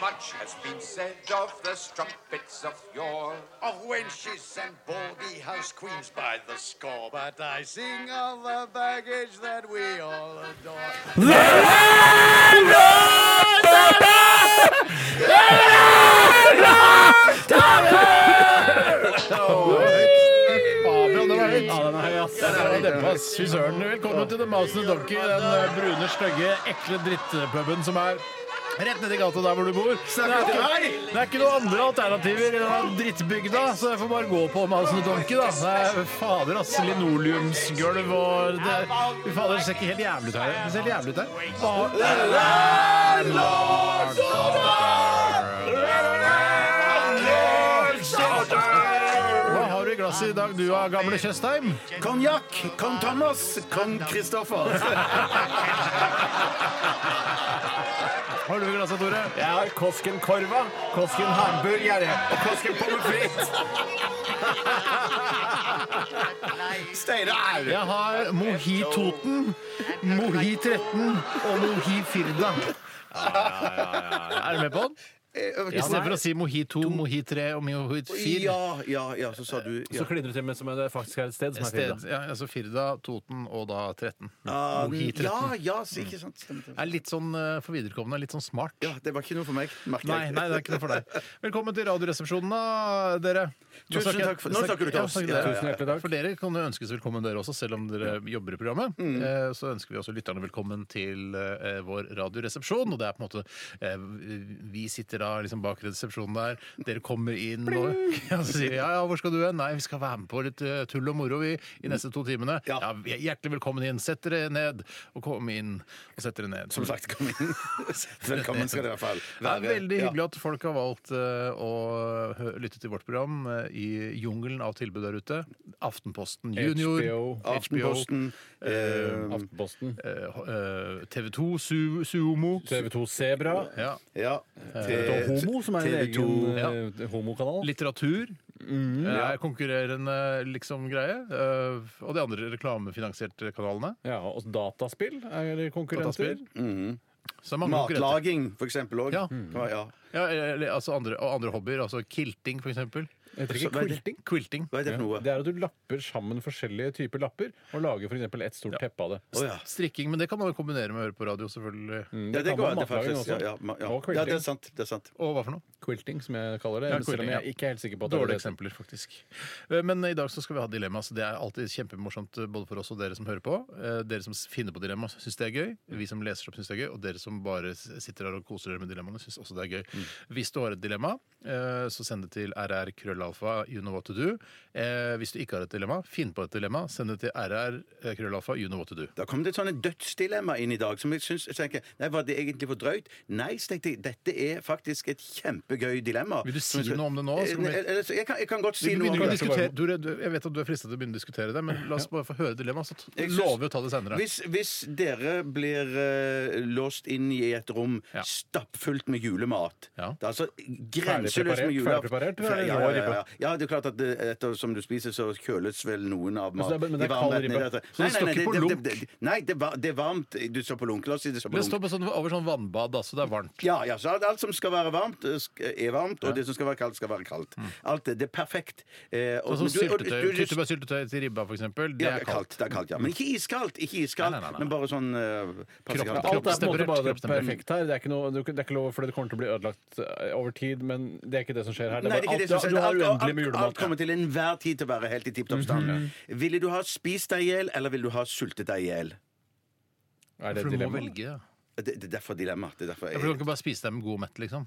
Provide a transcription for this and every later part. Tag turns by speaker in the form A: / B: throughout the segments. A: Much has been said of the strumpets of yore, of wenches and baldy house queens by the score. But I sing of the baggage that we all adore.
B: Fabian, det var høyt. Ja, den er høy, ass. Den er dempa, ass. Fy søren. Velkommen til The Mouse and the Donkey, den eh, brune, stygge, ekle drittpuben som er Rett nedi gata der hvor du bor. Det er, ikke, nei, det er ikke noen andre alternativer i denne drittbygda, så jeg får bare gå på Mouse and the Donkey, da. Det er fader, ass. Linoleumsgulv og det, er- Fy fader, det ser ikke helt jævlig ut her. Det ser helt jævlig ut her. Hva har du i glasset i dag, du av gamle Tjøstheim?
C: Konjakk, kong Thomas, kong Kristoffer.
B: Har du i glasset, Tore?
C: Jeg har Koskenkorva, Kosken hamburger og Kosken pommes frites. Steinar!
B: Jeg har Mohi Toten, Mohi 13 og Mohi Firda. Er du med på den?
D: Eh,
B: I stedet for å si Mohi 2, Mohi 3 og Mohi 4.
C: Ja, ja, ja, så sa du ja.
D: Så kliner du til med som det faktisk er et sted som er
B: Sted,
D: Firda.
B: ja, altså Firda, Toten og da 13.
C: Ah,
B: Mohi 13.
C: ja, ja, så ikke sant. Stemmer. stemmer.
B: Er litt sånn eh, for viderekomne, litt sånn smart.
C: Ja, det var ikke noe for meg. merker
B: Nei,
C: jeg.
B: nei, det er ikke noe for deg. Velkommen til Radioresepsjonen, da, dere. Nå
C: Tusen
B: snakker jeg-
C: takk for- nå snakker du til
B: Ja,
C: oss.
B: snakker
C: Ja,
B: dere.
C: ja, ja. Tusen
D: hjertelig takk.
B: For dere kan jo ønskes velkommen, dere også, selv om dere jobber i programmet.
C: Mm.
B: Eh, Så ønsker vi også lytterne velkommen til eh, vår radioresepsjon. Og det er på en måte eh, Vi sitter da liksom bak resepsjonen der, dere kommer inn og ja, så sier vi, ja, ja, hvor skal du hen? Nei, vi skal være med på litt eh, tull og moro vi, i neste to timene.
C: Ja.
B: Ja, vi er hjertelig velkommen inn. Sett dere ned. Og kom inn. Og sett dere ned.
C: Som sagt, kom inn. Velkommen skal det i hvert fall
B: Det
C: være.
B: er veldig
C: Ja.
B: hyggelig at folk har valgt eh, å hø- lytte til vårt program eh, i jungelen av tilbud der ute. Aftenposten Junior,
D: HBO,
C: Aftenposten.
D: Eh, Aftenposten.
B: eh, TV 2, Su Suomo
D: TV 2 Sebra.
B: ja.
C: Ja.
D: TV 2 Homo, som er en
C: TV2.
D: egen eh, homokanal.
B: Litteratur
C: Mm,
B: er konkurrerende liksom greie. eh, og de andre reklamefinansierte kanalene.
D: Ja, og dataspill er konkurrenter.
B: Dataspill.
C: Mm.
B: Så det er mange konkurrenter.
C: Matlaging, for eksempel òg.
B: Ja.
C: Ja.
B: Ja, eller, altså andre, og andre hobbyer. Altså kilting, for eksempel.
D: Heter det ikke
C: Hva er det?
D: quilting?
B: Quilting.
C: Hva er det for noe?
D: Det er at du lapper sammen forskjellige typer lapper og lager f.eks. et stort teppe av det.
C: Å, ja.
B: Strikking, men det kan man jo kombinere med å høre på radio, selvfølgelig.
D: Mm,
C: Ja, det
D: kan
C: går
D: man
C: an, det
D: matlaging
C: faktisk. Ja, ja, ma- ja.
D: Og
C: ja, det er
D: quilting.
C: sant. Det er sant.
B: Og hva for noe?
D: Quilting, som jeg kaller det.
B: Ja,
D: men selv om
B: quilting,
D: jeg ikke er helt sikker på at det er
B: Dårlige
D: det.
B: eksempler, faktisk. Eh, Men i dag så skal vi ha dilemma, så det er alltid kjempemorsomt eh, både for oss og dere som hører på. Eh, Dere som s- finner på dilemma, syns det er gøy.
D: Mm.
B: Vi som leser opp, syns det er gøy. Og dere som bare s- sitter her og koser dere med dilemmaene, syns også det er gøy.
D: Mm.
B: Hvis du har et dilemma, eh, så send det til rrkrøllalfa, you know what to do. Eh, Hvis du ikke har et dilemma, finn på et dilemma, send det til rrkrøllalfa, you know what to do.
C: Da kom det et sånne dødsdilemma inn i dag som jeg syns jeg tenker, Nei, var det egentlig for drøyt? Nei, så tenkte jeg, dette er faktisk et kjempegøy dilemma.
B: Vil du si
C: Som jeg skal-
B: noe om det nå, så kan vi-
C: Eh, eller så- Jeg kan, jeg kan godt si
B: Vi
C: noe om
B: begynner å
C: det.
B: diskutere, du, du- jeg vet at du er fristet til å begynne å diskutere det, men la oss bare få høre dilemmaet, så t-
C: Jeg syns-
B: lover vi å ta det senere.
C: Hvis, hvis dere blir eh, låst inn i et rom
B: Ja.
C: stappfullt med julemat
B: Ja.
C: Det er altså grenseløst med
D: Ferdigpreparert-
C: julemat.
D: ferdigpreparert, eller er
C: Ja, ja,
D: det
C: ja,
D: rå
C: ja.
D: ribbe?
C: ja, det er klart at det, etter som du spiser, så kjøles vel noen av
D: Altså,
C: mat
D: det er- men det er
C: i
D: kald
C: varmrettene
D: ribbe.
C: i
B: Så
C: dette.
B: det står
C: Nei, nei, nei,
B: ikke på
C: det-
B: lunk?
C: det- det- Nei, det, var- det er varmt. Du står på lunk. La oss si det står på
B: Det
C: lunk.
B: står på sånn, over sånn vannbad, da, så det er varmt.
C: Ja, ja, så alt, alt som skal være varmt, eh, sk- er varmt, og det som skal være kaldt, skal være kaldt. Alt det, det er perfekt. Eh, og-
B: Mm. Sånn som
C: men du- og- du-
B: syltetøy.
C: du- du-
B: Tyttebærsyltetøy til ribba, for eksempel. Det
C: Ja,
B: er kaldt. Mm.
C: Det er kaldt, ja. Men ikke iskaldt, ikke
B: Nei,
C: iskaldt,
B: nei, nei, nei.
C: men bare sånn eh, passe
B: Kroppen-
C: kaldt.
D: Alt er på en måte bare det
B: Kroppstemperert.
D: perfekte her. Det er ikke, noe, det er ikke lov for det kommer til å bli ødelagt eh, over tid, men det er ikke det som skjer her. Det
C: Nei,
D: er
C: det er
D: bare
C: ikke det som
D: alt,
C: skjer.
D: du har
C: Alt-
D: uendelig med
C: alt- Alt
D: julemat.
C: kommer til enhver tid til å være helt i tipp topp stand.
B: Mhm.
C: Ville du ha spist deg i hjel, eller ville du ha sultet deg i hjel?
D: Er det
B: For
D: et
B: du må
D: dilemma?
B: velge. Ja,
C: Det, det er derfor dilemmaet. Det er derfor
B: for du kan
C: jeg,
B: ikke bare spise deg med god mett, liksom.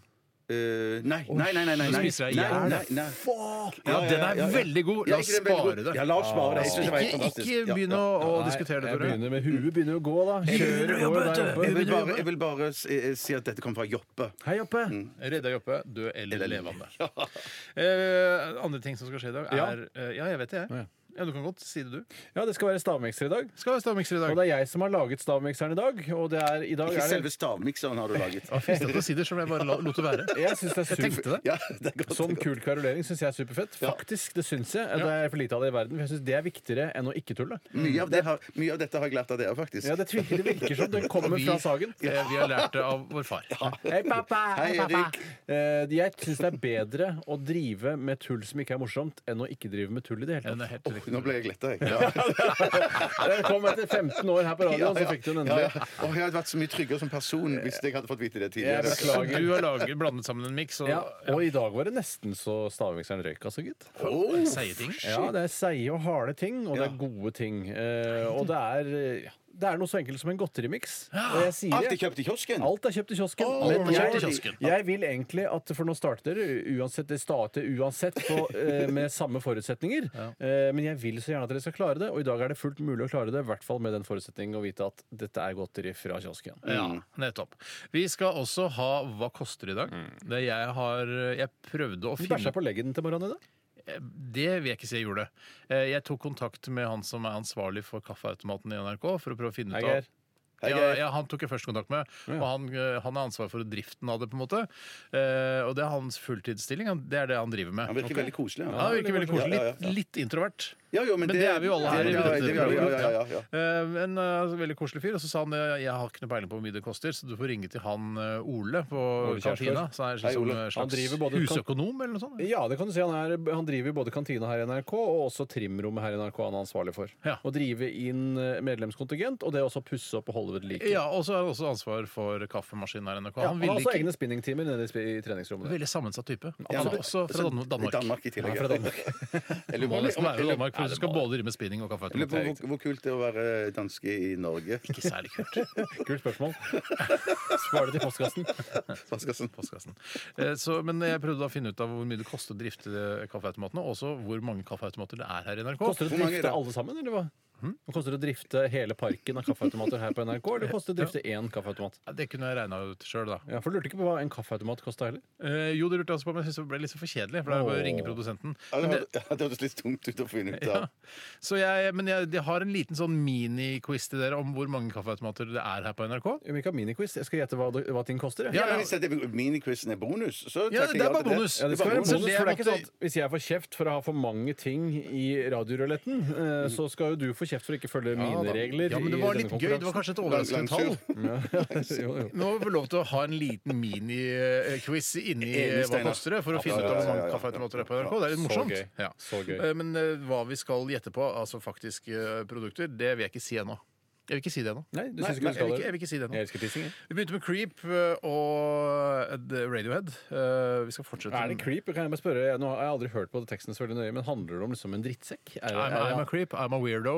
C: Eh, nei, nei, nei, nei, nei,
B: Du
C: nei.
B: spiser deg i
C: Nei,
B: hjel.
C: nei, nei.
B: Ja,
C: ja,
B: den
C: ja,
B: er
C: ja, ja.
B: veldig god.
C: Ja,
B: La oss
C: ikke den veldig god.
B: spare det.
C: Ja, la oss spare det. Jeg synes det var helt
B: Ikke,
C: fantastisk.
B: ikke
C: Ja,
B: begynn
C: ja.
B: å, å
D: Nei,
B: diskutere det,
D: jeg
B: Tore.
D: begynner med huet begynner å gå, da. Kjører og går der
C: Jeg vil
D: oppe.
C: bare, jeg vil bare s- eh, si at dette kom fra Joppe.
D: Hei oppe!
B: Redda Joppe, død eller levende. Eh, andre ting som skal skje i dag, er eh, Ja, jeg vet det, jeg. Ja, du kan godt si det, du.
D: Ja, det skal være stavmikser i dag.
B: Skal være stavmikser i
D: Og
B: dag.
D: det er jeg som har laget stavmikseren i dag. Og det er i dag
C: Ikke
D: er
C: selve
D: det
C: stavmikseren har du laget.
B: Det var fristende å si det, som jeg bare la- lot det være.
D: Jeg syns det er
B: tenkte
D: supert.
B: det.
C: Ja, det er godt.
D: Sånn kul kverulering syns jeg er superfett. Faktisk, det syns jeg. Det er for lite av det i verden. For jeg syns det er viktigere enn å ikke tulle.
C: Mye
B: Mm.
C: av, det har, mye av dette har jeg lært av dere, faktisk.
D: Ja, det tvi- det virker som det kommer
B: Vi-
D: fra Sagen.
B: Eh, Vi har lært det av vår far.
D: Hei, pappa!
C: Hei, Erik.
D: Eh, jeg syns det er bedre å drive med tull som ikke er morsomt, enn å ikke drive med tull i det
B: Den
D: hele tatt.
B: er helt riktig.
C: Nå ble jeg letta, jeg.
D: Den kom etter 15 år her på radioen, så fikk du den
C: Ja, ja.
D: endelig.
C: Åh, jeg hadde vært så mye tryggere som person hvis jeg hadde fått vite det
D: Jeg
C: tidligere.
D: beklager.
B: Du har laget, blandet sammen en miks og
D: Ja, og i dag var det nesten så stavmikseren røyk, altså, gitt.
C: Åh,
B: seie ting.
D: Ja, det er seige og harde ting, og det er
C: Ja.
D: gode ting. Eh, og det er, eh, ja, det er noe så enkelt som en godterimiks. Og jeg sier
C: Alt
D: det.
C: er kjøpt i kiosken!
D: Alt er kjøpt i kiosken.
C: Åh,
D: men
C: alt er
D: jeg,
C: kjøpt i
B: kiosken.
D: jeg vil egentlig at For nå starter dere uansett, det starter uansett på, eh, med samme forutsetninger. Eh, men jeg vil så gjerne at dere skal klare det, og i dag er det fullt mulig å klare det. I hvert fall med den forutsetningen å vite at dette er godteri fra kiosken.
B: Ja, nettopp. Vi skal også ha Hva koster i dag? Det jeg har Jeg prøvde å
D: Mm. Du
B: finne Eh,
D: bæsja på leggen til morgenen i dag?
B: Det vil jeg ikke si jeg gjorde. Eh, Jeg tok kontakt med han som er ansvarlig for kaffeautomaten i NRK, for å prøve å finne
D: Hei,
B: ut av
D: Geir.
B: ja, ja, Han tok jeg først kontakt med, og han, eh, han har ansvar for driften av det. på en måte Eh, Og det er hans fulltidsstilling. han- Det er det han driver med.
C: Han virker veldig koselig.
B: Ja, han virker veldig koselig.
C: Ja, ja,
B: Litt, litt introvert.
C: Ja, jo,
B: Men det er vi jo alle her i
C: Ja, ja,
B: dette
C: det er vi, ja, ja, ja, ja.
B: Eh, En eh, veldig koselig fyr. Og så sa han eh, jeg har ikke noe peiling på hvor mye det koster, så du får ringe til han eh, Ole på
D: Ole Kjærsgaard.
B: kantina. Så han er
C: Hei,
B: som
C: Ole.
B: en
D: Han
B: slags
D: driver både-
B: husøkonom eller noe sånt.
D: Ja, det kan du si. Han, er, han driver jo både kantina her i NRK og også trimrommet her i NRK han er ansvarlig for.
B: Ja.
D: Å drive inn eh, medlemskontingent, og det også pusse opp og holde ved like.
B: Ja, Og så har han også ansvar for kaffemaskinen her i NRK.
D: Ja,
B: Han
D: han har
B: ville
D: også
B: ikke
D: egne spinningtimer nede i sp- i treningsrommet. der.
B: Veldig sammensatt type.
C: Ja,
B: Han
C: men-
B: er også fra Dan-
C: Altså, I
B: Danmark.
C: Danmark i tillegg.
D: Han er fra Danmark.
C: Jeg
B: Må
C: lurer
B: nesten
C: på-
B: være fra Danmark,
D: Ja,
B: for du
D: det
B: skal
D: må
B: både drive med spinning og
C: jeg lurer på
B: kaffeautomat.
C: hvor, hvor kult det er å være danske i Norge.
B: Ikke særlig kult.
D: Kult spørsmål. Spar det til postkassen.
C: Hva skal sånn-
B: Postkassen. Eh, Så, men jeg prøvde da å finne ut av hvor mye det koster å drifte eh, kaffeautomatene, og også hvor mange kaffeautomater det er her i NRK.
D: Koster det
C: Hvor
D: å
C: mange er det?
D: drifte alle sammen, eller hva?
B: Hm?
D: Koster det å drifte hele parken av kaffeautomater her på NRK, eller koster det å drifte én kaffeautomat?
B: Ja, Det kunne jeg regna ut sjøl, da.
D: Ja, For du lurte ikke på hva en kaffeautomat kosta heller?
B: Eh, jo, det lurte jeg også på, men jeg synes det ble litt så for kjedelig. For det er jo bare å ringe produsenten.
C: Ja, det
B: Men
C: hadde-
B: det,
C: ja, det hørtes litt tungt ut å finne ut
B: ja.
C: av.
B: Så jeg, men jeg, jeg har en liten sånn mini-quiz til dere om hvor mange kaffeautomater det er her på NRK.
D: Vi kan ha miniquiz. Jeg skal gjette hva, det- hva ting koster. jeg.
C: Ja, men hvis dette miniquizen er bonus, så
B: Ja, det
C: takker
B: er
C: jeg
B: bare
C: til det.
B: bonus.
D: Ja, det skal
C: er bare
D: være bonus, for det er ikke
B: måtte-
D: sånn at Hvis jeg får kjeft for å ha for mange ting i radioruletten, eh, så skal jo du få kjeft for å ikke følge mine
C: da.
D: regler.
B: Ja, men det
D: i
B: var
D: denne
B: litt gøy. Det var kanskje et overraskende tall.
C: Langsur.
D: konkurransen. jo, jo.
B: Nå får vi lov til å ha en liten mini-quiz inni eh, Hva
C: Steinar.
B: koster det? For å finne ut
C: ja,
B: av hvor
C: ja,
B: mange
C: ja, ja.
B: kaffeautomater det er på NRK. Det er litt
D: Så
B: morsomt.
D: gøy.
B: Ja.
D: Så gøy.
B: Eh, Men eh, hva vi skal gjette på, altså faktisk eh, produkter, det vil jeg ikke si ennå. Jeg vil ikke si det ennå.
D: Nei, du
B: Nei, jeg
D: syns ikke du skal
B: vil
D: det?
B: ikke- jeg vil ikke si det nå.
D: Jeg elsker tissing. jeg.
B: Vi begynte med Creep eh, og The Radiohead. Eh, Vi skal fortsette
D: Er det creep? Kan jeg bare spørre? Jeg- Nå har jeg aldri hørt på det teksten så veldig nøye, men handler det om liksom en drittsekk? Er,
B: I'm, I'm a
D: er,
B: creep, I'm a weirdo,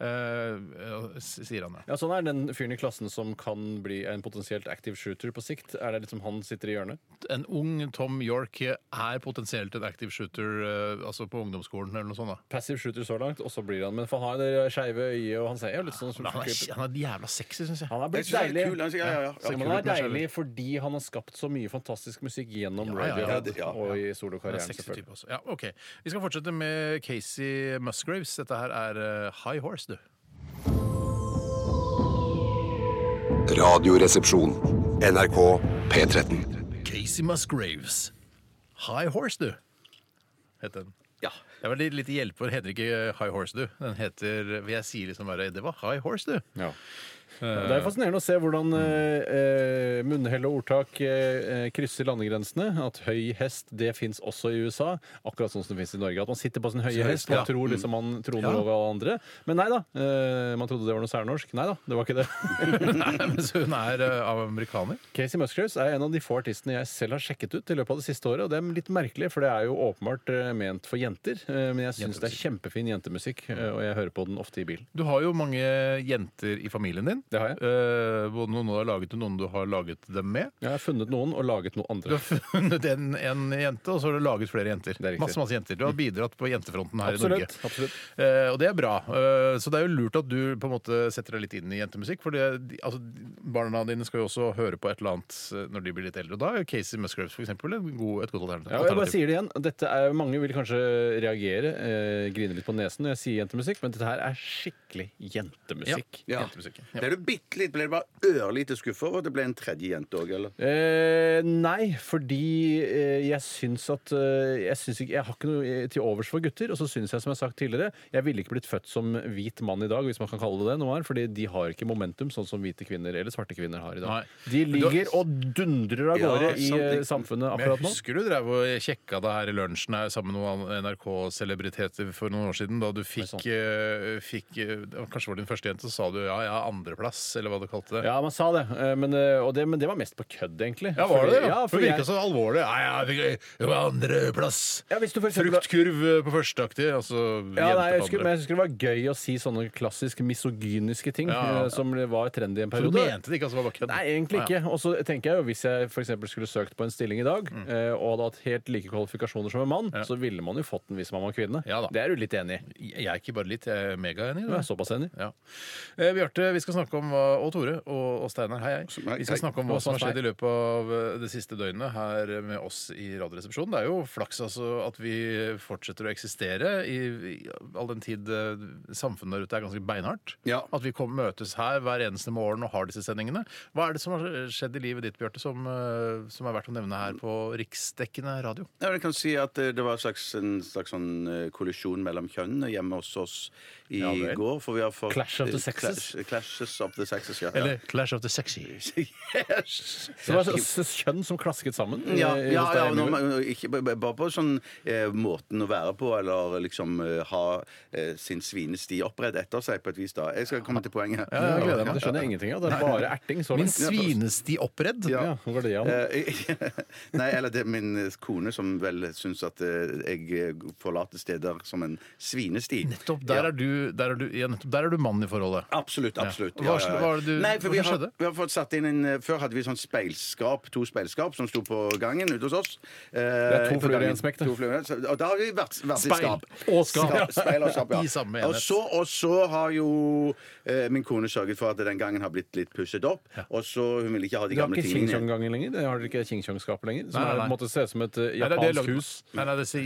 B: eh, eh, sier han. Ja.
D: ja, sånn er den fyren i klassen som kan bli en potensielt active shooter på sikt. Er det liksom han sitter i hjørnet?
B: En ung Tom York er potensielt en active shooter eh, altså på ungdomsskolen eller noe sånt. da.
D: Passive shooter så langt, og så blir han Men for han har det skeive øyet, og han ser jo litt sånn
B: Men Han er,
D: creep.
B: han er jævla sexy, syns jeg.
D: Han er
C: Jeg
D: blitt
C: synes det er
D: deilig.
C: litt kul. altså, Ja, ja, ja.
D: Så
C: ja.
D: man er
B: kult med
D: deilig fordi han har skapt så mye fantastisk musikk gjennom
B: ja, ja, ja,
D: Radiohead
C: det- ja, ja.
D: og i
B: Han er
D: solokarrieren.
B: sexy
D: selvfølgelig.
B: type også. Ja, ok. Vi skal fortsette med Casey Musgraves. Dette her er eh, High Horse, du.
E: Radioresepsjon. NRK P13.
B: Casey Musgraves. High Horse, du. Het den.
C: Ja.
B: Det var litt, litt hjelp, for den heter ikke eh, High Horse, du. Den heter Jeg sier liksom bare Det var High Horse, du.
D: Ja. Det er fascinerende å se hvordan eh, eh, munnhell og ordtak eh, eh, krysser landegrensene. At høy hest det fins også i USA, akkurat sånn som det fins i Norge. At man sitter på sin høye hest og
B: ja. Mm.
D: tror liksom man troner
B: Ja.
D: over alle andre. Men nei da. eh, man trodde det var noe særnorsk. Nei da, det var ikke det.
B: Nei, men så hun er eh, amerikaner.
D: Casey Musgraves er en av de få artistene jeg selv har sjekket ut i løpet av det siste året. Og det er litt merkelig, for det er jo åpenbart eh, ment for jenter. eh, Men jeg syns det er kjempefin jentemusikk, eh, og jeg hører på den ofte i bilen.
B: Du har jo mange jenter i familien din.
D: Det har jeg.
B: Eh, både noen du har laget og noen du har laget dem med.
D: Jeg har funnet noen og laget noe
B: Du
D: andre.
B: har funnet en, en jente, og så har du laget flere jenter.
D: Det er riktig.
B: Masse, masse jenter. Du har bidratt på jentefronten her i
D: Absolutt,
B: Norge.
D: absolutt.
B: Eh, og det er bra. Eh, så det er jo lurt at du på en måte setter deg litt inn i jentemusikk. For det, de- altså, barna dine skal jo også høre på et eller annet eh, når de blir litt eldre. Og da er jo Casey Musgraves for eksempel en god, et godt alternativ.
D: Ja, og jeg bare sier det igjen. Dette er, mange vil kanskje reagere, eh, grine litt på nesen når jeg sier jentemusikk, men dette her er skikkelig jentemusikk.
C: Ja.
B: Jentemusikk. Ja.
C: Ble du bitte litt, ble du bare ørlite skuffa over at det ble en tredje jente òg, eller?
D: Eh, nei, fordi eh, jeg syns at eh, jeg, syns ikke, jeg har ikke noe eh, til overs for gutter. Og så syns jeg, som jeg har sagt tidligere, jeg ville ikke blitt født som hvit mann i dag, hvis man kan kalle det det nå, her, fordi de har ikke momentum sånn som hvite kvinner eller svarte kvinner har i dag.
B: Nei.
D: De
B: Men du-
D: ligger og dundrer av
C: Ja,
D: gårde i
C: sant,
D: eh,
C: det-
D: samfunnet
B: Men jeg
D: akkurat nå.
B: husker du drev og kjekka deg her i lunsjen her sammen med noen NRK-celebriteter for noen år siden. Da du fikk,
D: sant.
B: eh, fikk eh, det var- Kanskje var din første jente, så sa du ja, jeg har andreplass, eller hva du kalte det.
D: Ja, man sa det. eh, Men, eh, og det, men det var mest på kødd, egentlig.
B: Ja, var det det?
D: Fordi-
B: Ja,
D: Ja,
B: for
D: for
B: det virka
D: jeg,
B: så alvorlig. Nei, jeg fikk jeg var andreplass!
D: ja, hvis du for eksempel,
B: Fruktkurv eh, på førsteaktig. Altså
D: ja, nei, jeg
B: jente
D: husker,
B: på
D: men
B: andre.
D: jeg husker det var gøy å si sånne klassisk misogyniske ting
B: Ja, ja, ja.
D: eh, som var trendy i en
B: Så du
D: periode.
B: mente det ikke? Altså, det var bare kødd?
D: Nei, egentlig
B: Ja, ja.
D: ikke. Og så tenker jeg jo, Hvis jeg for eksempel skulle søkt på en stilling i dag, eh, og hadde hatt helt like kvalifikasjoner som en mann, så ville man jo fått den hvis man var kvinne.
B: Ja da.
D: det er du litt enig i?
B: Jeg er ikke bare litt, jeg er megaenig.
D: Du
B: da.
D: er såpass enig?
B: Ja. Eh, Bjarte, vi skal snakke om hva- og Tore og, og Steinar, hei, hei.
C: Hei,
B: Vi skal
C: hei.
B: snakke om hva
D: Hva
B: som har
D: som er
B: skjedd i løpet av eh, det siste døgnet her med oss i Radioresepsjonen. Det er jo flaks altså at vi fortsetter å eksistere i, i all den tid eh, samfunnet der ute er ganske beinhardt.
C: Ja.
B: At vi kom, møtes her hver eneste morgen og har disse sendingene. Hva er det som har skjedd i livet ditt, Bjarte, som, eh, som er verdt å nevne her på riksdekkende radio?
C: Ja, jeg kan si at eh, Det var en slags, en slags sånn eh, kollisjon mellom kjønnene hjemme hos oss i
B: Ja vel.
C: går. For vi har fått
D: Clash of the
C: eh,
D: sexes.
C: Clash, clashes of the sexes, ja.
B: Eller Clash of the Sexy.
C: ja. yes.
D: Så det var så- så kjønn som klasket sammen? eh,
C: Ja, ja,
D: hos deg
C: ja
D: hjemme i
C: nå,
D: går.
C: men ikke, b- b- bare på sånn eh, måten å være på, eller liksom eh, ha eh, sin svinesti oppredd etter seg på et vis. da. Jeg skal komme til poenget.
D: ja, jeg gleder meg. Det skjønner jeg ingenting av. Det er bare erting. Så
B: Min
D: langt.
B: svinesti oppredd.
D: Ja, nå går det an.
C: Eh, Nei, eller det er min eh, kone som vel syns at eh, jeg eh, forlater steder som en svinesti.
B: Nettopp, der,
C: Ja.
B: er du, der, er du, ja, nettopp, der er du mann i forholdet.
C: Absolutt. absolutt.
B: Hva skjedde- hva var det du-
C: Nei, for
B: hva
C: vi
B: som
C: har,
B: skjedde?
C: vi har fått satt inn en, eh, Før hadde vi sånn speilskap, to speilskap som sto på gangen ute hos oss. Eh,
D: er to
C: på
D: fluer i
C: gangen.
D: en smekk, det.
C: To fluer i en smekk. Og da har vi vært, vært i
B: Speil
C: skap.
B: og skap.
C: speil og skap, ja.
B: I samme
C: og,
B: enhet.
C: så, og så har jo eh, min kone sørget for at den gangen har blitt litt pusset opp. Og så Hun vil ikke ha de
D: Du har
C: gamle
D: ikke Ching
C: tingene.
D: Chong-gangen lenger? Det har dere ikke Ching Chong-skapet lenger? Som
B: Nei, nei,
D: er på en
B: nei.
D: måte ser ut som et eh,
B: Nei, det er det
D: japansk
B: laget-
D: hus?
B: Nei, nei, det ser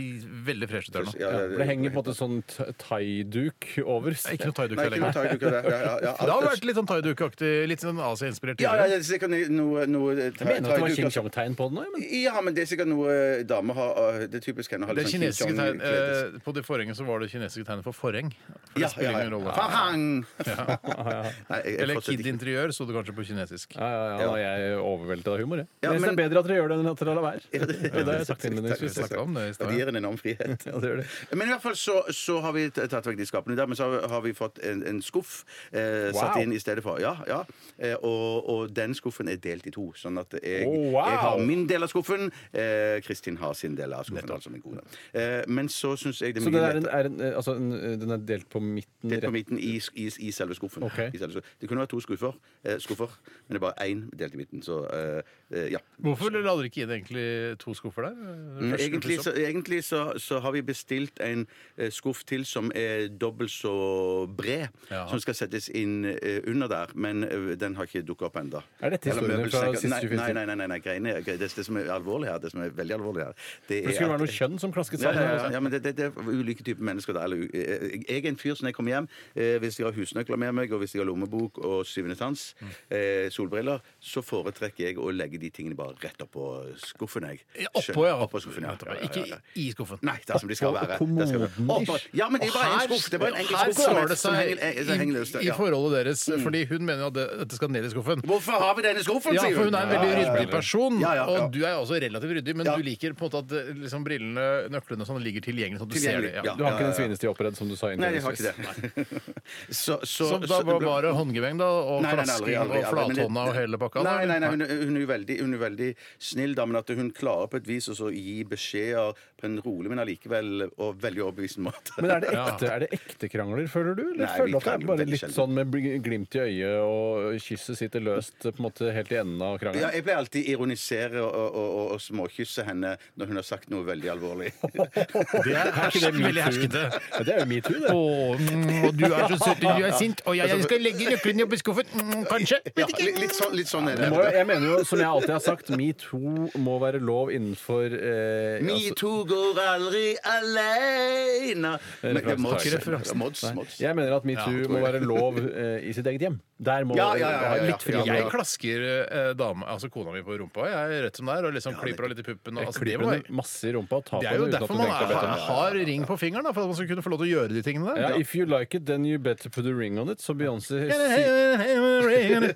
B: veldig fresh ut her nå.
C: Ja, ja, ja.
D: Ja, for det henger på en måte sånn t- thaiduk over.
B: Det er Ikke noe thaiduk
C: Nei,
B: her
C: ikke noe
B: lenger.
C: tak, ikke noe- ja, ja, ja.
B: Det har vært litt sånn thaiduk-aktig, litt sånn Asia-inspirert
C: Ja, ja,
B: tidligere.
C: det er sikkert noe, noe
D: Jeg mener at det var Ching Chong-tegn på den òg, men
C: Ja, men det er sikkert noe eh, damer har Det er typisk henne å ha
B: Det
C: litt sånn
B: kinesiske
C: Ching
B: tegn,
C: Chong kledes-
B: eh, på det forhenget så var det kinesiske tegnet for forheng. For det
C: Ja,
B: spiller
C: ja,
B: ingen rolle.
C: ja. Fahang! Nei, jeg- jeg
B: Eller
C: fortsetter
B: Kid
C: ikke.
B: Interiør sto det kanskje på kinesisk.
D: Ja, ja, ja, nå er jeg overveldet av humor, jeg.
C: Ja,
D: jeg synes
C: men-
D: det er bedre at dere gjør det enn at dere lar være. det har jeg sagt innledningsvis.
B: Vi snakket om det i stad.
C: Det gir en enorm frihet.
D: Ja, det gjør det.
C: Men i hvert fall så, så har vi t- tatt vekk de skapene der, men så har- har vi fått en, en skuff eh, satt inn i stedet for. Ja, ja. Eh, og, og den skuffen er delt i to, sånn at jeg,
D: Oh, wow.
C: jeg har min del av skuffen, eh, Kristin har sin del av skuffen, altså min kone. Eh, men så syns jeg det er
D: Så den
C: mye
D: er, en,
C: lettere.
D: er en, eh, altså, en, eh, den er delt på midten?
C: Delt på
D: Rett.
C: midten i, sk- i, i selve skuffen.
D: Ok.
C: I selve skuffen. Det kunne vært to skuffer, eh, skuffer, men det er bare én delt i midten. Så eh, eh, ja.
B: Hvorfor la dere ikke inn egentlig to skuffer der?
C: Mm,
B: Første
C: Egentlig,
B: pluss
C: så,
B: opp.
C: egentlig så, så har vi bestilt en eh, skuff til som er dobbelt så bred,
B: Ja.
C: som skal settes inn eh, under der, men eh, den har ikke dukket opp enda.
D: Er dette historien
C: Eller
D: fra
C: møbelsenker-
D: siste
C: Nei,
D: 24
C: Nei, nei, nei, nei, nei greiene, er- det, det som er alvorlig her, det som er veldig alvorlig her, det
D: For det
C: er
D: skulle
C: at-
D: være noe kjønn som klasket
C: ja,
D: sammen?
C: ja, ja,
D: altså.
C: ja, men det, det, det er ulike typer mennesker. Der. Eller, eh, jeg er en fyr som når jeg kommer hjem, eh, hvis jeg har husnøkler med meg, og hvis jeg har lommebok og syvende sans,
B: Mm.
C: eh, solbriller, så foretrekker jeg å legge de tingene bare rett oppå skuffen. Jeg.
B: Ja, Oppå, ja.
C: Oppå skuffen, ja. Ja, ja, ja, ja.
B: Ikke i i skuffen.
C: Nei, det er som de skal
D: Oppå
C: være. Det skal være.
D: kommoden-ish.
C: Oppå- Ja, men det er bare en
B: Her-
C: skuff. Det er bare en enkel
B: Her
C: skuff som-
B: slår det
C: som henger- eh, som henger løst,
B: seg i, i
C: ja. Mm.
B: forholdet deres, fordi hun mener jo at det, dette skal ned i skuffen.
C: Hvorfor har vi denne skuffen,
B: Ja,
C: sier
B: for hun er en veldig ryddig person,
C: Ja, ja, ja.
B: og du er jo også relativt ryddig, men
C: Ja.
B: du liker på en måte at eh, liksom, brillene, nøklene og sånn ligger tilgjengelig, sånn at du ser det.
C: Tilgjengelig, ja.
B: Ja.
D: Du har ikke den svineste oppredd som du sa
C: Nei, jeg har
D: innledningsvis?
C: ikke det. Så, så,
B: Så da
C: så-
B: var bare håndgeveng, da, og flasking og
C: men det-
B: flathånda og hele pakka? da,
C: Nei,
B: eller?
C: nei, nei hun, hun, er jo veldig, hun er veldig snill, da, men at hun klarer på et vis å så gi beskjeder på en rolig, men allikevel og veldig overbevisende måte.
D: Men er det ekte, er det ekte krangler, føler du?
C: Nei,
D: Eller
C: vi
D: føler du at det
C: krangler
D: er bare
C: veldig
D: litt
C: sjelden.
D: sånn med bl- glimt glimt i øyet, og kysset sitter løst på en måte helt i enden av
C: Ja,
D: krangelen.
C: jeg pleier alltid ironisere og, og, og, og småkysse henne når hun har sagt noe veldig alvorlig.
B: Det er, er ikke det
D: metoo?
B: veldig herskete.
D: Ja, det er jo metoo, det.
B: Å, mm, og du er så søt, og du er sint, og jeg, jeg skal legge nøkkelen opp i skuffen, mm, kanskje?
C: Ja, litt, litt, sånn, litt sånn er
D: Det
C: det.
D: Må, jo- jeg mener jo, som jeg alltid har sagt, metoo må være lov innenfor eh, altså-
C: Metoo går aldri aleine Men det er Mods.
D: Ikke referansen.
C: Mods,
D: Nei,
C: Mods.
D: Jeg mener at metoo må være lov eh, i sitt eget hjem. Der må
C: Ja, ja, ja, ja,
D: ha
C: ja.
D: litt friere
B: Jeg klasker eh, dame, altså kona mi på rumpa jeg er rett som det er, og liksom klipper av litt i puppen. Og, altså, det,
D: Klipper
B: må
D: henne
B: jeg-
D: masse i rumpa og tar
B: det
D: på
B: er jo
D: den uten at
B: derfor
D: du
B: man
D: tenker
B: er,
D: deg bedre om.
B: har ring på fingeren, da, for at man skal kunne få lov til å gjøre de tingene der.
D: Ja, if you like it, then you better put a ring on it, som Beyoncé
B: Ja,
D: sier. Jeg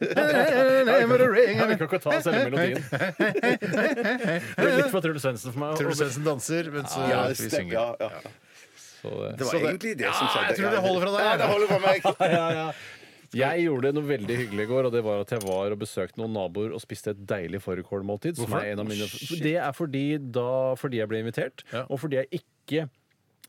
B: Jeg
D: kan ikke ta selve melodien. Det blir litt for Truls Svendsen for meg.
B: Truls Svendsen danser, mens eh,
C: Ja,
B: vi
C: stemmer.
B: synger.
C: Ja, ja.
D: Så det-
C: Det var egentlig det som skjedde.
B: jeg tror det holder fra deg.
C: Ja, det holder for meg.
D: Jeg gjorde noe veldig hyggelig i går, og det var at jeg var og besøkte noen naboer og spiste et deilig fårikålmåltid. som
B: Hvorfor?
D: er en av mine- Det er fordi, da, fordi jeg ble invitert,
B: Ja.
D: og fordi jeg ikke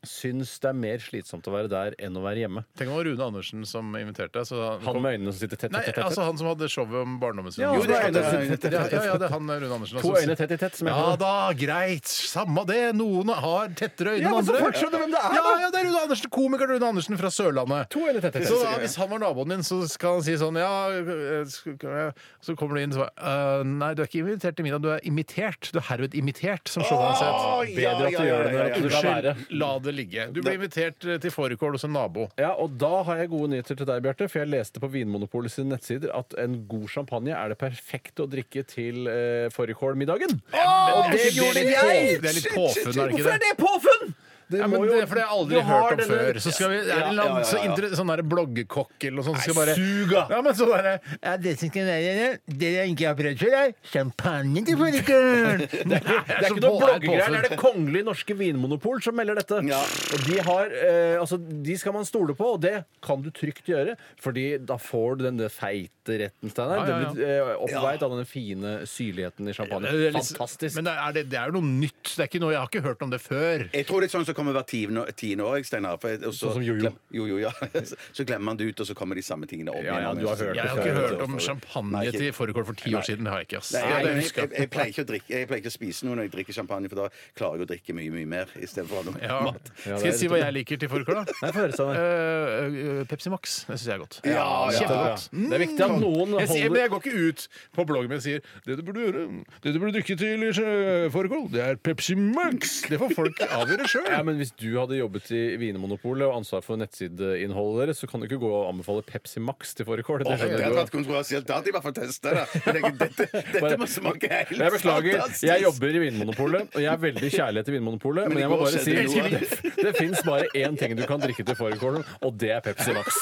D: syns det er mer slitsomt å være der enn å være hjemme.
B: Tenk om det var Rune Andersen som inviterte deg. så han-
D: Han med øynene som sitter tett,
B: Nei,
D: tett, tett, tett.
B: altså han som hadde showet om barndommen sin.
D: Ja,
B: Jo,
D: han
B: det er
D: med øynene
B: han.
D: tett, tett,
B: ja,
D: tett.
B: ja, ja, det er han Rune Andersen.
D: To
B: altså.
D: øyne tett i tett, som jeg
B: Ja
D: kaller det.
B: da, greit. Samme det. Noen har tettere øyne
D: Ja,
B: enn
D: men så
B: andre.
D: folk skjønner hvem det er,
B: ja,
D: da.
B: ja, det er Rune Andersen, Komiker Rune Andersen fra Sørlandet.
D: To øyne tett, tett,
B: Så
D: tett.
B: da, Hvis han var naboen din, så skal han si sånn Ja, eh, skal jeg- så kommer du inn så bare, «Eh, Nei, du er ikke invitert til middag, du er imitert. Du er herved imitert, som showet hans het.
C: Ja,
D: Bedre at
C: ja,
D: du gjør det
C: ja,
D: enn
C: ja,
D: at du lar være.
B: Unnskyld, la det ligge. Du ble invitert eh, til fårikål hos en nabo.
D: Ja, og da har jeg gode nyheter til deg, Bjarte. For jeg leste på Vinmonopolet sine nettsider at en god champagne er det perfekte å drikke til eh, fårikålmiddagen. og det gjorde
B: litt
D: jeg!
B: på- Det er litt påfunn, er det ikke det?
D: det påfunn?! Det
B: Ja, men
D: må
B: det
D: jo-
B: er fordi jeg aldri
D: Du
B: har hørt om
D: denne-
B: før. Så skal vi, er det en eller annen så inter- sånn der bloggekokk eller noe sånt som skal bare Suga! Ja, men så bare ja, Det som skal være det, det jeg ikke har prøvd før, er champagne til folket! det
D: Det er ikke noe bloggegreier. Det er det kongelige norske vinmonopol som melder dette.
C: Ja.
D: Og de har eh, Altså, de skal man stole på, og det kan du trygt gjøre. Fordi da får du den der feite retten,
B: Ja,
D: Steinar.
B: ja, ja.
D: Det blir eh, oppveid av den fine syrligheten i champagne.
B: er litt-
D: Fantastisk.
B: Men det er, det, det er jo noe nytt. Det er ikke noe, Jeg har ikke hørt om det før.
C: Jeg tror det er sånn som kommer hvert tiende, tiende år. jeg, Steinar. for jeg- og så
D: Sånn som jojo.
C: glem- jojo, ja. Så glemmer man det ut, og så kommer de samme tingene om
D: Ja, ja,
C: igjen.
D: du har hørt
B: Jeg har
D: det
B: ikke
D: før,
B: hørt om champagne
C: Nei, ikke-
B: til fårikål for ti år siden. Det har jeg ikke, ass.
C: Nei,
B: Ja,
C: jeg,
B: det
C: jeg,
B: husker
C: jeg,
B: jeg.
C: jeg, pleier ikke å drikke, jeg pleier ikke å spise noe når jeg drikker champagne, for da klarer jeg å drikke mye, mye mer istedenfor noe
B: Ja.
C: mat.
B: Skal jeg si hva jeg liker til fårikål, da?
D: Nei, få høre, Steinar.
B: Eh, eh, Pepsi Max. Det syns jeg er godt.
C: Ja, ja, ja.
B: Kjempegodt. Mm.
D: Det er viktig at noen
B: Jeg, sier, men
D: holder
B: jeg går ikke ut på bloggen min og sier det du burde gjøre, det du burde drikke til i sjø- fårikål, det er Pepsi Max. Det får folk avgjøre sjøl.
D: ja, men Hvis du hadde jobbet i Vinmonopolet og ansvar for nettsideinnholdet deres, så kan du ikke gå og anbefale Pepsi Max til fårikål. Det
C: Det
D: skjønner
C: hadde
D: du jo.
C: vært kontroversielt. Da hadde de i hvert fall testa det. Jeg tenker, Dette, dette må smake helt
D: Jeg beklager,
C: fantastisk.
D: jeg jobber i Vinmonopolet, og jeg er veldig kjærlighet til Vinmonopolet, men jeg må
C: går og
D: bare si
C: setter
D: det, det fins bare én ting du kan drikke til fårikålen, og det er Pepsi Max.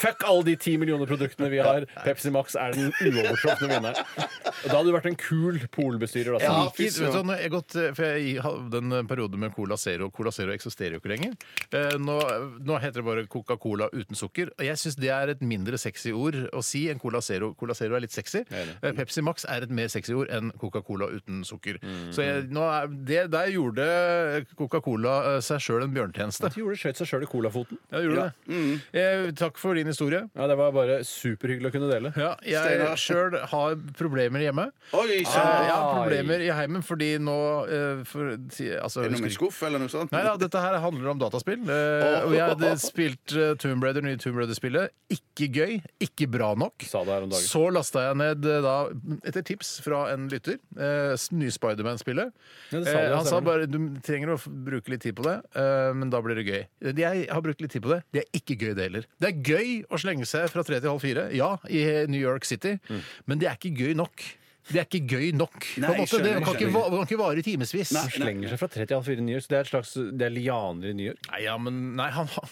D: Fuck alle de ti millioner produktene vi har. Pepsi Max er den uovertrufne vinneren. Og Da hadde du vært en kul polbestyrer. Da,
B: Jeg
D: Steinar.
B: liker, vet du, hva, når jeg, har gått, eh, for jeg hadde en periode eh, med Cola Zero. Cola Zero eksisterer jo ikke lenger. Eh, Nå, nå heter det bare Coca-Cola uten sukker. Og Jeg syns det er et mindre sexy ord å si enn Cola Zero. Cola Zero er litt sexy. Eh, Pepsi Max er et mer sexy ord enn Coca-Cola uten sukker. Så jeg, nå er, det, der gjorde Coca-Cola eh, seg sjøl en bjørnetjeneste.
D: Du gjorde skjøt seg sjøl i colafoten.
B: Ja, gjorde det. Eh, Takk for din historie.
D: Ja, det var bare superhyggelig å kunne dele.
B: Ja, jeg sjøl har problemer hjemme.
C: Oi,
B: Eh,
C: sann.
B: Jeg har problemer i heimen fordi nå eh, for, si- altså,
C: Er det noe
B: husker
C: med
B: ikke-
C: skuff eller noe sånt?
B: Nei da, dette her handler om dataspill. eh, og jeg hadde spilt eh, Tomb Raider, nye Tomb Raider-spillet. Ikke gøy, ikke bra nok.
D: Sa det her om dagen.
B: Så lasta jeg ned eh, da, etter tips fra en lytter, eh, s- nye Spiderman-spillet.
D: Ja, det sa du,
B: Eh, han
D: stemmer
B: sa
D: det.
B: bare du trenger å f- bruke litt tid på det, eh, men da blir det gøy. Jeg har brukt litt tid på det. Det er ikke gøy, det heller. Det er gøy å slenge seg fra tre til halv fire, ja, i eh, New York City,
D: Mm.
B: men det er ikke gøy nok. Det er ikke gøy nok. på
C: Nei,
B: en måte. Det
C: skjønner,
B: kan ikke,
C: skjønner.
B: va- det kan ikke vare i timevis.
C: Nei.
D: Slenger seg fra 3 til halv 4 i New York. Så det er et slags det er lianer i New York.
B: Nei, ja, men Nei, han han-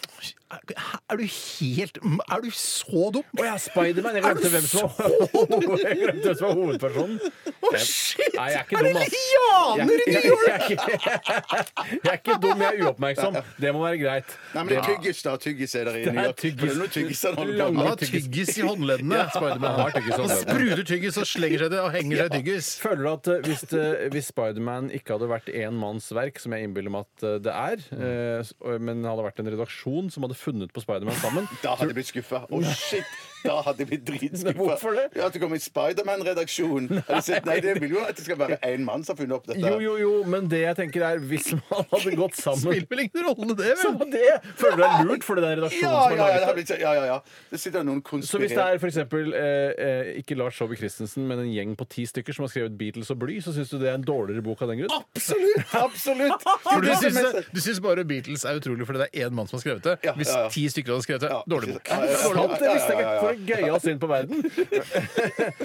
B: Er du helt Er du så dum?
D: Å ja, Spiderman! Jeg glemte hvem som var Jeg glemte hvem som var hovedpersonen.
B: Å, shit!
D: Nei, jeg er ikke
B: er det
D: dum, ass.
B: lianer i New York?!
D: Jeg, er ikke- jeg er ikke dum, jeg er uoppmerksom. Det må være greit.
C: Nei, men det er tyggis, da. Tyggis er der i New
D: er
C: York. For Det er noe tyggis han holder på
D: Lange-
C: med.
B: Han har tyggis i håndleddene. Spiderman
D: han har tyggis i
B: Han
D: håndleddene.
B: spruter tyggis og slenger seg til og henger seg i tyggis.
D: Føler du at eh, hvis, det- hvis Spiderman ikke hadde vært en manns verk, som jeg innbiller meg at eh, det
B: Mm.
D: er, eh, s- og- men hadde vært en redaksjon som hadde funnet på Spiderman sammen
C: Da hadde jeg blitt skuffa. Å, shit! Da hadde jeg blitt dritskuffa.
D: Men hvorfor det?
C: Ja, At det kom i Spiderman-redaksjon. Har du sett- Nei, det vil jo at det skal være én mann som har funnet opp dette.
D: Jo, jo, jo, men det jeg tenker er hvis man hadde gått sammen
A: Spiller vel ingen rolle, det,
D: Så
A: vel?
D: var det! Føler du deg lurt, for det er
A: sånn
D: redaksjonen
C: Ja,
D: som har
C: ja, ja, det
D: laget
C: har
D: det.
C: blitt, ja, ja, ja. Det sitter noen
D: Så hvis det
C: konspirerende
D: er for eksempel, eh, eh, ikke Lars Saabye Christensen, men en gjeng på ti stykker som har skrevet 'Beatles og bly', så syns du det er en dårligere bok av den grunn?
C: Absolutt! Absolutt!
A: For du
C: Det er det
A: syns,
C: meste-
A: du syns bare Beatles er utrolig fordi det er én mann som har skrevet det?
C: Ja,
A: Hvis
C: ja, ja.
A: ti stykker hadde skrevet det?
C: Ja,
A: Dårlig bok.
C: ja, ja, ja.
A: Dårlig
D: Sant,
A: bok.
D: det visste jeg ikke! For en gøyal syn på verden! Eh,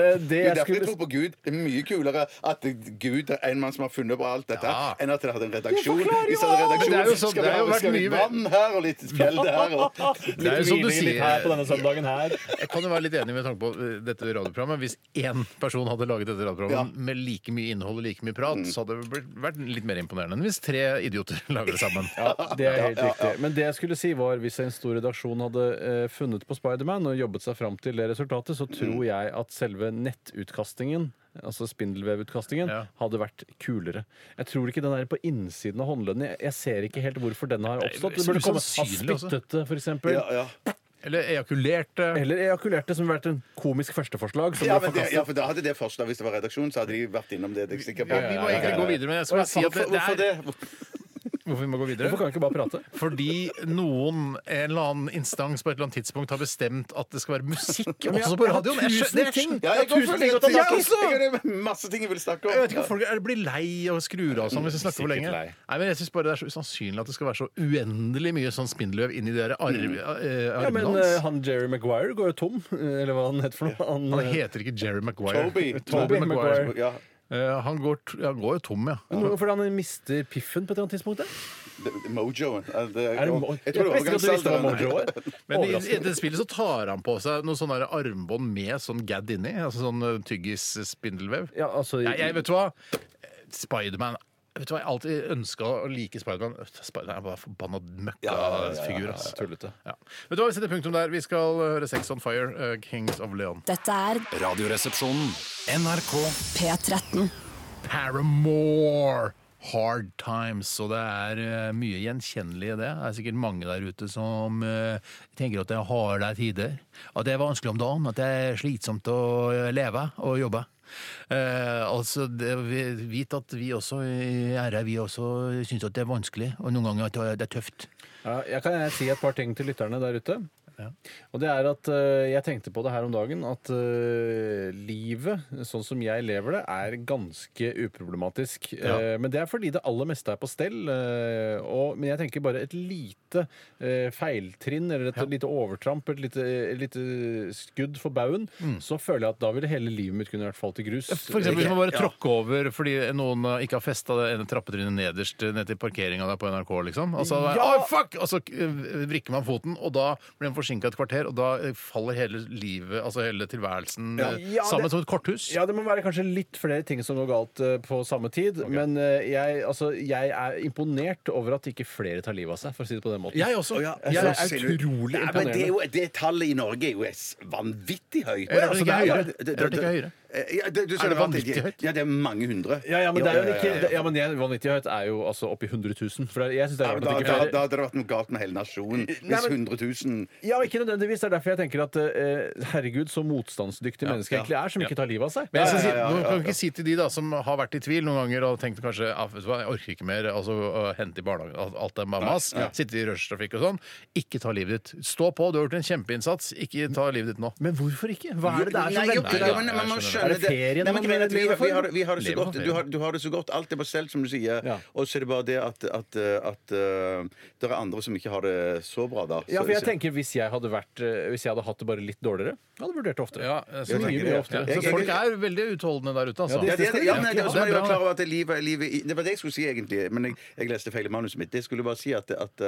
C: Det er
D: jeg
C: derfor jeg
D: skulle
C: tror på Gud. Det er mye kulere at Gud er en mann som har funnet på alt dette,
A: Ja.
C: enn at det hadde en redaksjon.
D: forklarer jo
C: Hvis det hadde en
D: alt!
A: Men
C: redaksjon
A: det er jo sånn-
C: skal
A: det
C: vi
A: har
C: ha
A: jo vært
C: skal vi
A: mye
C: ha litt vann her og litt fjell der. Og...
D: Litt
A: er jo som du
D: hviling
A: sier.
D: litt her på denne søndagen her.
A: Jeg kan jo være litt enig med tanke på eh, dette radioprogrammet. Hvis én person hadde laget dette radioprogrammet med like mye innhold og like mye prat, så hadde det blitt- vært litt mer imponerende enn hvis tre idioter lager det sammen.
D: Det er helt riktig. Men det jeg skulle si var hvis en stor redaksjon hadde eh, funnet på Spiderman og jobbet seg fram til det resultatet, så tror jeg at selve nettutkastingen Altså spindelvevutkastingen
A: Ja.
D: hadde vært kulere. Jeg tror ikke den er på innsiden av håndleddene. Jeg- Jeg ser ikke helt hvorfor den har oppstått. Det
A: så
D: burde komme av
A: usannsynlig også.
D: spyttete, for eksempel.
C: Ja, ja.
A: Eller ejakulerte.
D: Eller ejakulerte, som vært en komisk førsteforslag. Som
C: Ja,
D: ble
C: men det,
D: forkastet.
C: ja, for da hadde det forslaget, hvis det var redaksjon, så hadde de vært innom det. det er jeg sikker på.
A: Ja, vi må egentlig gå videre, men jeg skal
C: Å, ja,
A: bare si at det,
C: hvorfor- hvorfor
A: det er
C: det?
A: Hvorfor vi må gå videre?
D: Hvorfor kan vi ikke bare prate?
A: Fordi noen, en eller annen instans på et eller annet tidspunkt har bestemt at det skal være musikk også på radioen. Jeg skjø- det er-
C: Ja, jeg,
D: Det er
C: går for det.
D: tusen ting å ta tak i.
C: Jeg har masse ting jeg vil snakke om.
A: Jeg vet ikke om folk er, blir lei og skrur av sånn hvis vi snakker for
D: Sikkert
A: lenge.
D: lei.
A: Nei, men jeg synes bare Det er så usannsynlig at det skal være så uendelig mye sånn spindelvev inni de der arv, eh, armene
D: Ja, men
A: hans.
D: eh, han Jerry Maguire går jo tom, eh, eller hva han het for noe. Han,
A: Han
D: eh,
A: heter ikke Jerry Maguire.
C: Toby.
D: Toby Maguire.
C: Ja,
A: Eh, han, går, t- han går jo tom, ja.
D: Noe fordi han mister piffen på et eller annet tidspunkt? da?
C: det- det- Mojoen. Er det-
D: Er det mo-
C: Jeg tror det var
D: visste ikke at du visste hva mojo
C: organisatoren.
D: er.
A: Men i, i
D: Overraskende.
A: det spillet så tar han på seg noen sånne der armbånd med sånn gadd inni. Altså sånn eh, tyggis-spindelvev.
D: Ja, altså,
A: Nei, jeg vet du hva? Spiderman Vet du hva, Jeg har alltid ønska å like Spiderman. Spiderman er bare en forbanna møkkafigur. ass.
D: Tullete.
A: Ja. Vet du hva, Vi setter punktum der. Vi skal høre Sex on Fire, eh, Kings of Leon.
F: Dette er
G: Radioresepsjonen. NRK
F: P13.
A: Paramore! Hard Times. Og det er eh, mye gjenkjennelig i det. Det er sikkert mange der ute som eh, tenker at det er harde tider. At det er vanskelig om dagen. At det er slitsomt å leve og jobbe. Eh, altså, det, vi- Vit at vi også i RR vi også syns at det er vanskelig, og noen ganger at det er- det er tøft.
D: Ja, jeg kan gjerne si et par ting til lytterne der ute. Og det er at eh, jeg tenkte på det her om dagen, at eh, livet sånn som jeg lever det, er ganske uproblematisk. Eh, men det er fordi det aller meste er på stell. eh, og, men jeg tenker bare et lite eh, feiltrinn eller et lite overtramp, et lite, et lite skudd for baugen, så føler jeg at da ville hele livet mitt kunne vært falt i grus.
A: For eksempel hvis man bare tråkker over fordi noen eh, ikke har festa det ene trappetrinnet nederst eh, ned til parkeringa der på NRK, liksom. Altså, «Oi, fuck! Og så eh, vrikker man foten, og da blir man forsinka et kvarter, og da eh, faller hele livet, altså hele tilværelsen, eh,
D: Ja, det-
A: sammen som et korthus.
D: Ja, det må være kanskje litt flere ting som går galt eh, på samme tid. Men eh, jeg, altså, jeg er imponert over at ikke flere tar livet av seg, for å si det på den måten.
A: Jeg også.
C: Å, ja.
D: Jeg
C: Så
D: er
C: ser du-
D: utrolig
C: Nei, men det, er
D: imponerende.
C: jo, det tallet i Norge er jo s- vanvittig høyt.
A: Ja, altså, det er høyere.
C: det-
A: Jeg hørte ikke høyere.
C: Eh, ja, det- du sa
A: Er det
C: var-
A: vanvittig høyt?
C: Ja, det er mange hundre.
D: Ja, ja, men det er jo
C: ja, ja, ja.
D: ikke ja, men jeg- Vanvittig høyt er jo altså oppi 100 000. For jeg synes det er
C: Ja, men da,
D: rart at
C: da,
D: ikke
C: da
D: flere
C: hadde det vært noe galt med hele nasjonen. Hvis
D: Nei, men-
C: 100 000
D: ja, ikke nødvendigvis. Det er derfor jeg tenker at eh, herregud, så motstandsdyktig menneske
C: ja.
D: egentlig er, som ikke tar livet av seg.
A: Men jeg skal
C: Ja, ja, ja,
A: si, nå
C: ja,
A: kan vi ikke si til de da som har vært i tvil noen ganger og tenkt kanskje «Ah, vet du hva, jeg orker ikke mer altså, å hente i barnehagen, alt- alt er bare mas, sitte i rushtrafikk og sånn. Ikke ta livet ditt. Stå på, du har gjort en kjempeinnsats. Ikke ta livet ditt nå.
D: Men hvorfor ikke? Hva er det det er
C: Nei,
D: som
C: jo,
D: venter
C: jo,
D: deg?
C: men man må
A: Jeg
C: skjønne
D: Er det ferien
C: Nei, men
D: man
C: greien er at vi,
D: lever for?
C: vi, har, det- vi har det så
A: Lever man
C: godt. Du har, du har det så godt. Alt er på stell, som du sier.
D: Ja.
C: Og så er det bare det at, at, uh, at uh, det er andre som ikke har det så bra, da.
D: Ja,
C: Så-
D: for jeg
C: så-
D: tenker Hvis jeg hadde, vært, eh, hvis jeg hadde hatt det bare litt dårligere, jeg hadde vurdert det oftere.
A: Ja, så mye,
C: tenker det,
A: mye
C: ja.
A: oftere.
C: Jeg-
A: Så
C: jeg-
A: folk er veldig utholdende der ute, altså.
C: ja, det, er det, ja,
A: Ja,
C: nei, det,
A: det
C: er
A: er
C: også må jeg
A: bra.
C: være klar over at livet, livet i- Det var det jeg skulle si, egentlig. Men jeg, jeg leste feil i manuset mitt. Det skulle bare si at, at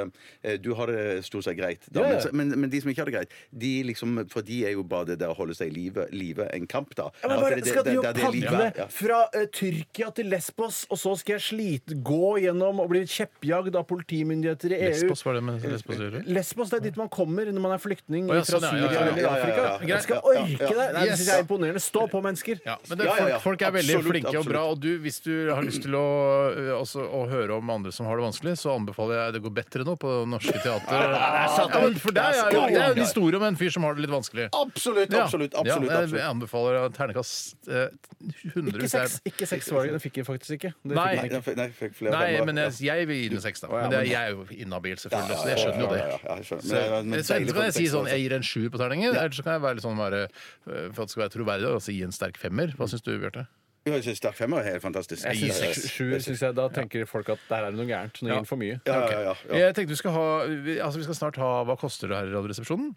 C: eh, du har det stort sett greit. Da,
D: Ja, ja.
C: men så- Men, men de som ikke har det greit, de liksom, for de er jo bare det der å holde seg i live, live en kamp, da.
D: men
C: at
D: bare,
C: det- det-
D: skal
C: det-
D: du
C: det- det er livet,
D: padle
C: ja.
D: fra eh, Tyrkia til Lesbos, og så skal jeg slite, gå gjennom og bli kjeppjagd av politimyndigheter i EU?
A: Lesbos var det med Lesbos å gjøre.
D: Lesbos det er dit man kommer når man er flyktning
A: Å, ja,
D: fra
A: sånn, ja,
D: Syria
A: ja, ja, ja.
D: eller
C: Ja, ja, ja,
D: Afrika.
C: ja.
D: Man skal
C: Ja, ja, ja.
D: orke det! Nei, Det
A: Yes.
D: syns jeg er imponerende. Stå på, mennesker!
A: Ja, men det,
C: Ja, ja, ja.
A: Folk, folk er veldig
C: Absolutt,
A: flinke og bra.
C: absolutt.
A: Og du, hvis du har lyst til å, ø, også, å høre om andre som har det vanskelig, så anbefaler jeg Det går bedre nå på Norske Teater. Ja, men For deg er jo det er jo en historie om en fyr som har det litt vanskelig.
C: Absolutt,
A: Ja.
C: absolutt.
A: Ja,
C: absolutt,
A: jeg-
C: absolutt.
A: Jeg anbefaler ternekast eh, 100.
D: Ikke
A: hvis jeg-
D: seks, ikke seks var det. Det fikk jeg faktisk ikke.
A: Nei.
D: Det fikk
C: Nei,
D: jeg ikke.
C: jeg fikk- nei, jeg fikk flere
A: Nei,
C: femmere.
A: men jeg, jeg vil gi den seks, da. Men det er, jeg er jo inhabil, selvfølgelig. Så jeg skjønner jo
C: Ja,
A: det.
C: ja, ja, jeg skjønner. Men det var- men
A: Så enten
C: deilig
A: kan jeg si
C: kontekst,
A: sånn
C: altså.
A: jeg gir en sjuer på terningen, eller så kan jeg være litt sånn bare, eh, for at det skal være troverdig, altså gi en sterk femmer. Hva syns du, Bjarte?
C: Jo, jeg synes Sterk femmer er helt fantastisk.
D: Jeg
C: Ja,
D: synes seks- Sjuer syns jeg. Da tenker folk at der er det noe gærent. Nå gir den for mye.
C: Ja, ja, ja, ja.
A: Jeg tenkte vi skal ha vi, altså vi skal snart ha Hva koster det her i Radioresepsjonen?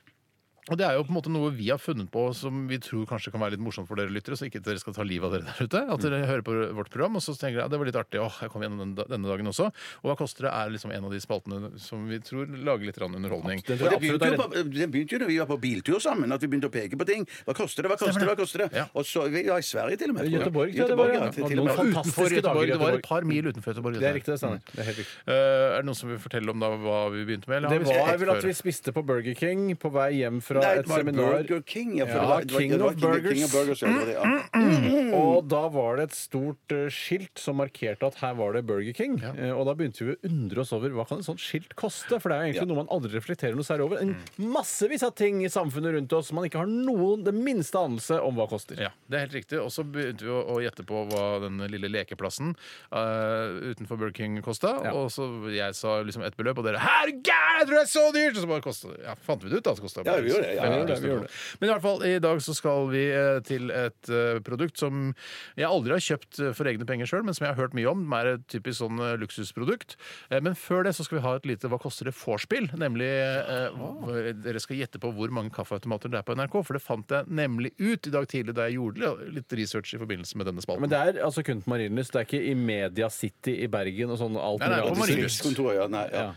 A: Og det er jo på en måte noe vi har funnet på som vi tror kanskje kan være litt morsomt for dere lyttere, så ikke dere skal ta livet av dere der ute. At
D: Mm.
A: dere hører på vårt program, og så tenker dere at det var litt artig, åh, jeg kom gjennom den, da- denne dagen også. Og Hva koster det er liksom en av de spaltene som vi tror lager litt grann underholdning.
C: Og det
D: Den tror jeg absolutt
C: begynte,
D: er
C: jo på, det begynte jo da vi var på biltur sammen, at vi begynte å peke på ting. Hva koster det, hva koster det? hva koster det?
A: Ja.
C: Og så Vi var i Sverige til og med. tror jeg.
D: Göteborg, tror jeg det var,
C: Göteborg,
D: ja.
C: ja. til- til og
D: Noen
C: med.
D: fantastiske
A: Utenfor Göteborg.
D: dager i
A: Det var
D: Göteborg.
A: et par mil utenfor Göteborg.
D: Det er riktig, det Steinar. Mm, Det er helt riktig.
A: Eh, er det noen som vil fortelle om da hva vi begynte med? eller har
D: Det
A: vi sagt
D: var vel at
A: før?
D: vi spiste på Burger King på vei hjem fra
C: Nei,
D: et
C: det var
D: seminar.
C: Burger King. Ja, for
D: Ja,
C: det var, det var,
D: King
C: det var
D: of
C: King- King of
D: Burgers. Mm,
C: Burgers. Ja, Mm. det var det, ja.
D: Og da var det et stort eh, skilt som markerte at her var det Burger King. Eh, Og da begynte vi å undre oss over hva kan et sånt skilt koste? For det er jo egentlig
C: Ja.
D: noe man aldri reflekterer noe særlig over. En
A: Mm.
D: massevis av ting i samfunnet rundt oss som man ikke har noen det minste anelse om hva koster.
A: Ja, det er helt riktig. Og så begynte vi å, å gjette på hva den lille lekeplassen eh, utenfor Burger King kosta.
D: Ja.
A: Og så jeg sa liksom ett beløp, og dere 'Her, gæren! Jeg tror det er så dyrt!' Og så bare kostet det. Ja, fant vi det ut, da? Så kostet det
C: Ja, vi gjorde det, ja, ja,
A: 50 000
D: ja, vi gjorde det.
A: kroner. Men i hvert fall, i dag så skal vi eh, til et eh, produkt som jeg aldri har kjøpt eh, for egne penger sjøl, men som jeg har hørt mye om. Det er et typisk sånn eh, luksusprodukt. Eh, men før det så skal vi ha et lite 'Hva koster det?' vorspiel. Nemlig
D: Ah.
A: eh, hva- Dere skal gjette på hvor mange kaffeautomater det er på NRK, for det fant jeg nemlig ut i dag tidlig da jeg gjorde litt research i forbindelse med denne spalten.
D: Men det er altså kun på Marienlyst. Det er ikke i Media City i Bergen og sånn alt
A: Nei, nei, på
D: mulig annet.
A: Marienlyst.
C: Distriktskontoret, ja. Nei, ja.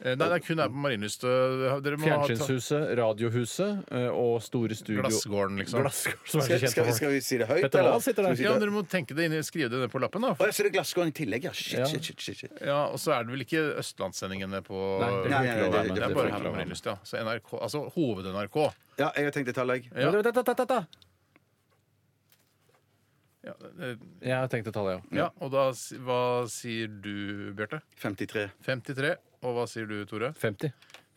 A: Eh, Nei, det er kun her på Marienlyst. Eh, dere må ha-
D: Fjernsynshuset, Radiohuset eh, og store studio
A: Glassgården, liksom.
D: Glassgården, som er så
C: Skal,
D: kjent
C: skal, vi,
D: for.
C: skal vi si det høyt,
D: Petter
C: eller?
D: Wahl sitter der.
C: Skal vi si
A: Ja, men
C: det-
A: dere må tenke det inn, skrive det ned på lappen, da.
C: Å, jeg ser det glasskåren i tillegg, ja. Shit,
D: Ja.
C: shit, shit. shit, shit.
A: Ja, Og så er det vel ikke Østlandssendingene på
D: Nei, det får
C: Nei, nei,
D: ikke lov å
C: nei,
D: være med.
A: Det er bare
C: det får ikke
A: på
C: lov.
A: Marienlyst, ja. Så NRK, altså hoved-NRK.
C: Ja, jeg har tenkt et tall, jeg.
A: Ja.
D: Vent, vent, vent, vent, vent.
A: Ja, eh,
D: Jeg har tenkt å ta det, ja.
A: ja, og da si- hva sier du, Bjarte?
C: 53.
A: 53. Og hva sier du, Tore?
D: 50.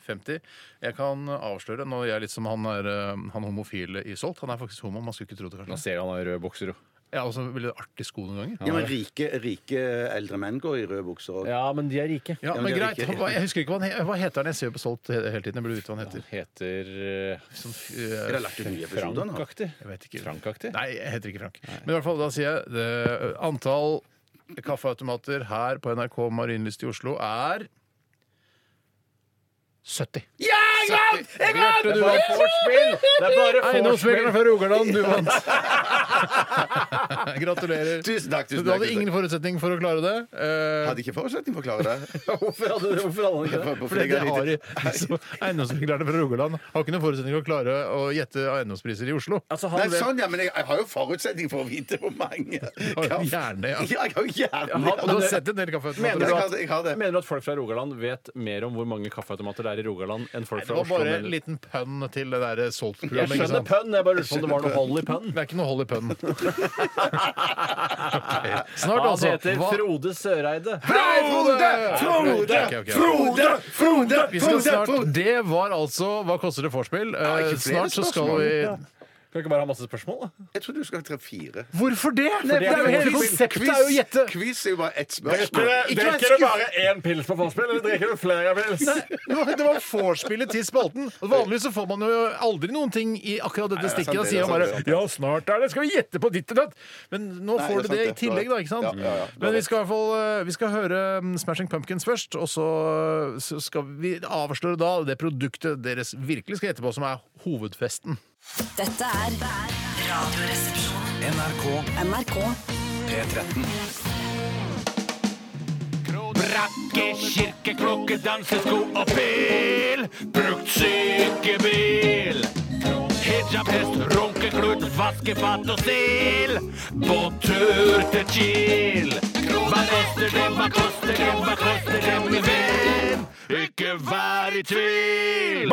A: 50. Jeg kan avsløre, nå er jeg litt som han, er, eh, han homofile i Solt. Han er faktisk homo, man skulle ikke tro det,
D: Nå
A: kanskje.
D: ser jeg han har røde bukser, jo.
A: Ja, og så veldig artig sko noen ganger.
C: Ja, men rike, rike eldre menn går i røde bukser òg.
D: Ja, men de er rike.
A: Ja,
C: men
A: men
C: det er
A: greit.
C: ikke-
A: Hva, jeg husker ikke hva, han, he- hva heter han? Jeg ser jo på Solt he- hele tiden. Jeg burde vite hva han heter.
D: Heter eh,
A: Sånn,
C: Det
A: eh,
C: er lagt ut nye episoder nå.
D: Frank-aktig.
A: jeg vet ikke.
D: Frank-aktig?
A: Nei, jeg heter ikke Frank. Men i hvert fall, da sier jeg det, antall kaffeautomater her på NRK Marienlyst i Oslo er 70. Ja, jeg vant! Jeg vant!
D: Det er bare vorspiel! Det er bare
A: Eiendomsmeglerne fra Rogaland, du vant! Gratulerer.
C: Tusen takk, tusen
A: du
C: takk,
A: hadde
C: tusen
A: ingen forutsetning for å klare det. Eh,
C: Hadde ikke forutsetning for å klare det.
D: Hvorfor hadde hvorfor hadde han ikke det?
A: Fordi det har så Eiendomsmeglerne fra Rogaland har ikke noen forutsetning for å klare å gjette eiendomspriser i Oslo.
D: Altså,
C: Nei,
D: han vet,
C: sånn, ja, men jeg, jeg har jo forutsetning for å vite hvor mange.
A: Har du Gjerne, ja.
C: Ja, jeg har jo
A: Og
C: hjerne.
A: Du har sett en del
C: Jeg
A: kaffeautomater.
D: Mener du
C: har
D: at-
C: det, jeg har det.
D: mener du at folk fra Rogaland vet mer om hvor mange kaffeautomater det er i Rogaland enn folk
A: Det
D: fra
A: var
D: Oslo?
A: bare
D: mener
A: en
D: du?
A: liten pønn til det der
D: Jeg
A: Solt-programmet. ikke
D: skjønner
C: sånn.
A: sant?
D: pønn, jeg bare lurte på om det var noe hold i pønn.
A: Det er ikke noe hold i pønnen. Ok. Snart,
D: Han
A: altså.
D: heter
A: Hva-
D: Frode Søreide.
C: Frode!
A: Ok, ok, ok.
C: Frode! Frode!
A: Vi skal snart Det var altså Hva koster det vorspiel? Eh,
C: ikke flere
A: Snart så skal
C: spørsmål.
A: vi
D: Kan vi ikke bare ha masse spørsmål, da?
C: Jeg trodde du skulle ha tre-fire.
A: Hvorfor det?
D: det er jo hele
A: konseptet
C: Quiz er jo bare ett spørsmål.
D: Drikker du bare én pils på vorspiel, eller drikker du flere pils?
A: Det var- det var vorspielet til spalten. Og Vanligvis så får man jo aldri noen ting i akkurat dette
C: det er sant,
A: stikket. Da
C: det er
A: sier man
C: sant,
A: bare
C: det er sant.
A: 'ja, snart er det', skal vi gjette på ditt og datt? Men nå
C: Nei,
A: får du
C: det er
A: det i
C: sant, det.
A: tillegg, da. ikke sant?
C: Ja, ja, ja.
A: Men vi skal i hvert fall eh, Vi skal høre mm, Smashing Pumpkins først, og så eh, så skal vi avsløre da det produktet deres virkelig skal gjette på, som er hovedfesten.
F: Dette er Radioresepsjonen.
G: NRK
F: NRK.
G: P13.
B: Brakke, kirke, klokke, dansesko og pil. Brukt sykebil. Helt hijabhest, runkeklut, vaskefat og stil. På tur til Kiel. Hva koster det, hva koster det, hva koster det, min venn? Ikke vær i tvil.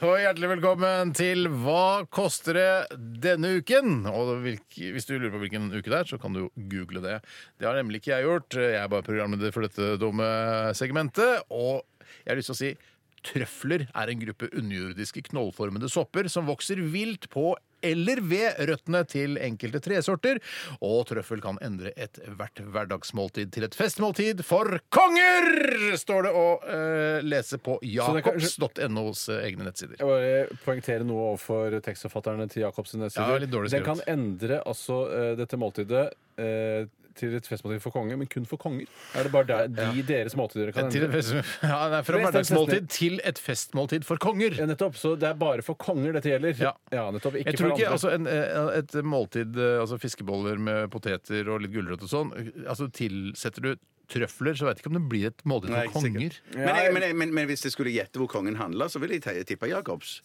A: Og hjertelig velkommen til Hva koster det denne uken? Og hvilk- hvis du lurer på hvilken uke det er, så kan du jo google det. Det har nemlig ikke jeg gjort. Jeg er bare programleder for dette dumme segmentet. Og jeg har lyst til å si trøfler er en gruppe underjordiske knollformede sopper som vokser vilt på eller ved røttene til enkelte tresorter. Og trøffel kan endre ethvert hverdagsmåltid til et festmåltid for konger! står det å eh, lese på
D: det kan-
A: Jacobs NOs egne nettsider.
D: Jeg bare poengterer noe overfor tekstforfatterne til Jacobs nettsider.
A: Ja, litt dårlig
D: Den
A: skrevet.
D: kan endre altså eh, dette måltidet eh, til et festmåltid for konge, men kun for konger. Er det bare der, de deres måltider kan
A: Til et
D: endre?
A: fest, ja, det er fra
D: Rest av
A: hverdagsmåltid til et festmåltid for konger.
D: Ja, nettopp, så det er bare for konger dette gjelder?
A: Ja.
D: nettopp, ikke
A: Jeg tror
D: for
A: ikke
D: andre.
A: altså, en, eh, et måltid, eh, altså fiskeboller med poteter og litt gulrøtter og sånn altså Tilsetter du trøfler, så veit jeg ikke om det blir et måltid
C: Nei,
A: for
C: ikke
A: konger.
C: sikkert. Men, jeg, men, jeg, men, men hvis jeg skulle gjette hvor kongen handla, så ville jeg te- tippa Jacobs.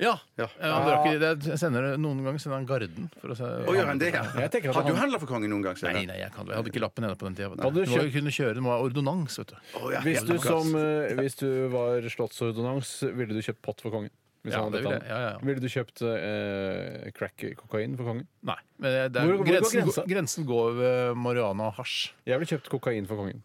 A: Ja.
C: Ja.
A: Eh, han drar ikke- det er- jeg sender, noen ganger sender han Garden. For å se,
C: Å, gjør han det, ja?
D: Jeg tenker at
C: Har du
D: han-
C: handla for kongen noen gang?
A: Nei,
C: Steinar?
A: nei, jeg, kan, jeg hadde ikke lappen ennå på den tida.
D: Hadde
A: Du,
D: du
A: må jo
D: kjøpt-
A: kunne kjøre, du må ha ordonnans, vet du.
C: Å, ja,
D: Hvis du,
C: Jacobs.
D: som, eh, hvis du var slottsordonnans, ville du kjøpt pott for kongen? Hvis
A: Ja,
D: han
A: det
D: hadde
A: ville
D: tatt
A: jeg.
D: den.
A: Ja, ja, ja.
D: Ville du kjøpt eh, crack-kokain for kongen?
A: Nei. Men det er,
D: Hvor- hvor går
A: grensen,
D: grensa?
A: går- grensen går ved marihuana og hasj.
D: Jeg ville kjøpt kokain for kongen.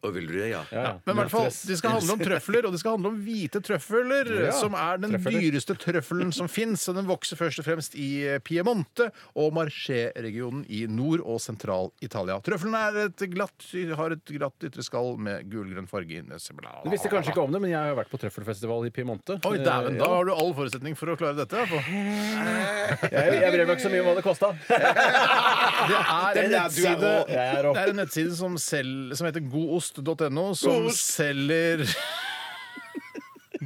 C: Å, ville du det, ja?
D: Ja, ja.
A: Men i hvert fall,
D: Stress.
A: de skal handle om trøfler, og de skal handle om hvite trøfler,
D: Ja,
A: som er den
D: trøfler.
A: dyreste trøffelen som fins. Den vokser først og fremst i eh, Piemonte og Marché-regionen i Nord- og Sentral-Italia. Trøffelen er et glatt, har et glatt ytre skall med gulgrønn farge i nøsset. Bla, bla,
D: Du visste kanskje ikke om det, men jeg har vært på trøffelfestival i Piemonte.
A: bla. Oi, dæven,
D: Eh,
A: da
D: ja.
A: har du all forutsetning for å klare dette. i hvert fall.
D: Jeg, jeg bryr meg ikke så mye om hva det kosta.
A: Det er en
C: Den er- du er
A: nettside,
C: rå.
D: Jeg er rå.
A: det er en nettside som, selger- som heter godost.no, som selger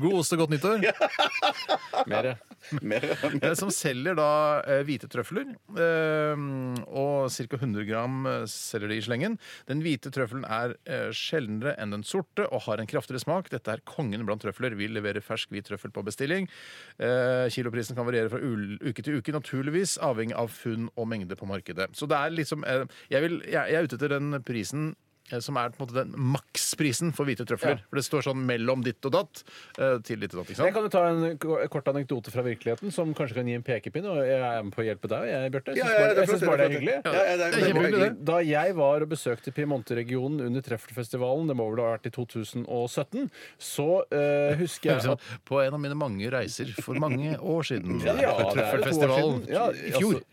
A: God ost og godt nyttår.
D: Mer.
A: Eh, Som selger da eh, hvite trøfler. Eh, og ca. 100 gram eh, selger de i slengen. Den hvite trøffelen er eh, sjeldnere enn den sorte og har en kraftigere smak. Dette er kongen blant trøfler. Vi leverer fersk hvit trøffel på bestilling. Eh, kiloprisen kan variere fra ul- uke til uke, naturligvis, avhengig av funn og mengde på markedet. Så det er liksom eh, jeg, vil, jeg, jeg er ute etter den prisen eh, som er på en måte den maksprisen for hvite trøfler. For det står sånn mellom ditt og datt eh, til ditt og datt. ikke sant?
D: Jeg kan jo ta en ko- kort anekdote fra virkeligheten som kanskje kan gi en pekepinn. Og jeg er med på å hjelpe deg, jeg, Bjarte. Jeg
C: Ja,
D: syns
C: ja, ja, det
D: bare,
C: er
D: jeg synes
C: flott,
D: bare det er
C: flott.
D: hyggelig.
C: Ja, ja, det er-
A: Det er kjempehyggelig, det.
D: Da jeg var og besøkte Piemonte-regionen under Treffelfestivalen, det må vel ha vært i 2017, så eh, husker jeg
A: Liksom,
D: at
A: På en av mine mange reiser for mange år siden.
D: Ja, det er
A: på
D: to år
A: Trøffelfestivalen.
D: siden. Ja,
A: I fjor.
D: altså,
A: I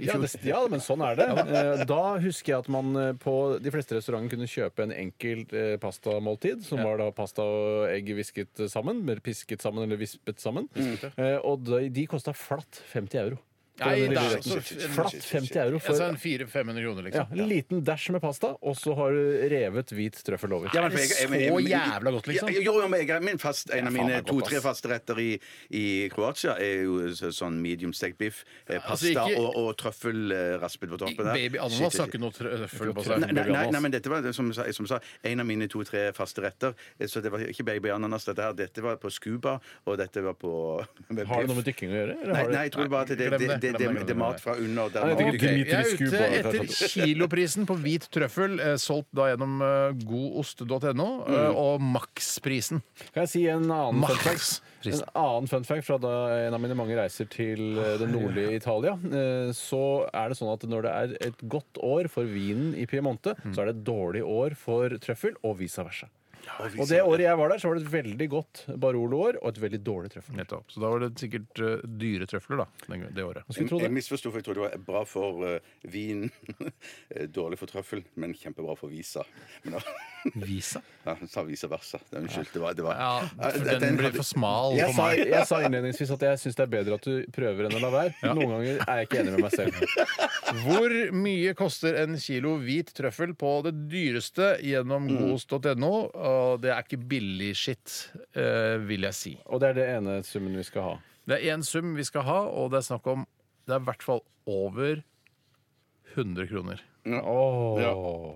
D: Ja,
A: fjor.
D: det, ja, men sånn er det. Eh, Da husker jeg at man eh, på de fleste restauranter kunne kjøpe en enkel eh, pastamåltid, som var da pasta og egg visket sammen, eller pisket sammen eller vispet sammen.
A: Mm.
D: Eh, Og de, de kosta flatt 50 euro. på
A: Nei, det
D: denne lille
A: er
D: retten.
A: så-
D: Flatt 50 euro
A: Altså
D: for
A: en 400-500 kroner,
D: ja,
A: liksom.
D: en liten dæsj med pasta, og så har du revet hvit trøffel over.
C: Ja, men for jeg- jeg- jeg-
A: Så
C: jeg-
A: jævla godt, liksom.
C: Ja, Jo, jo, men jeg, min fast, en
A: faen
C: av mine
A: meg godt,
C: to-tre
A: ass.
C: faste retter i, i Kroatia er jo så- sånn medium stekt biff, eh, pasta
A: altså, ikke-
C: og, og trøffel eh, raspet på toppen der.
A: Baby altså,
C: Shit,
A: ananas
C: shit,
A: har ikke noe trøffel på
C: Nei,
A: seg.
C: nei, nei, nei, men dette var som jeg sa, som jeg sa, en av mine to-tre faste retter. Eh, Så det var ikke baby ananas, dette her. Dette var på scuba, og dette var på med
D: Har det
C: biff.
D: noe med dykking å gjøre? eller
C: Nei,
D: har det-
C: nei, jeg tror bare at det, det,
A: Glem
C: det,
A: det, glem det,
C: det, det,
A: glem
C: det
A: det.
C: er mat fra under. Der,
D: Nei, jeg tenker
C: Ok.
D: Dimitri
A: Jeg er
D: Scuba,
A: ute
D: det er
A: etter
D: sant.
A: kiloprisen på hvit trøffel, eh, solgt da gjennom eh, godost.no, eh, og maksprisen.
D: Kan jeg si en annen
A: Max.
D: Mm. fun fact? En annen fun fact fra da en av mine mange reiser til eh, det nordlige Italia. eh, Så er det sånn at når det er et godt år for vinen i Piemonte, så er det et dårlig år for trøffel, og vice versa. Og det året jeg var der, så var det et veldig godt Barolo-år og et veldig dårlig trøffel.
A: Nettopp. Så da var det sikkert eh, dyre trøfler, da, den- det året.
D: Skulle tro
C: Jeg
D: det.
C: misforsto, for jeg trodde det var bra for eh, vin, eh, dårlig for trøffel, men kjempebra for visa. Men, da-
A: Visa?
C: ja, hun sa vice versa. Det- Unnskyld. Det var, det var
A: Ja,
C: Eh,
A: for den blir for smal
D: Jeg
A: for
D: sa,
A: meg.
D: jeg sa innledningsvis at jeg syns det er bedre at du prøver enn å la være. Noen ganger er jeg ikke enig med meg selv.
A: Hvor mye koster en kilo hvit trøffel på det dyreste gjennom
D: Mm.
A: godost.no? Og det er ikke billig skitt, eh, vil jeg si.
D: Og det er det ene summen vi skal ha.
A: Det er én sum vi skal ha, og det er snakk om Det er i hvert fall over 100 kroner.
D: Åh.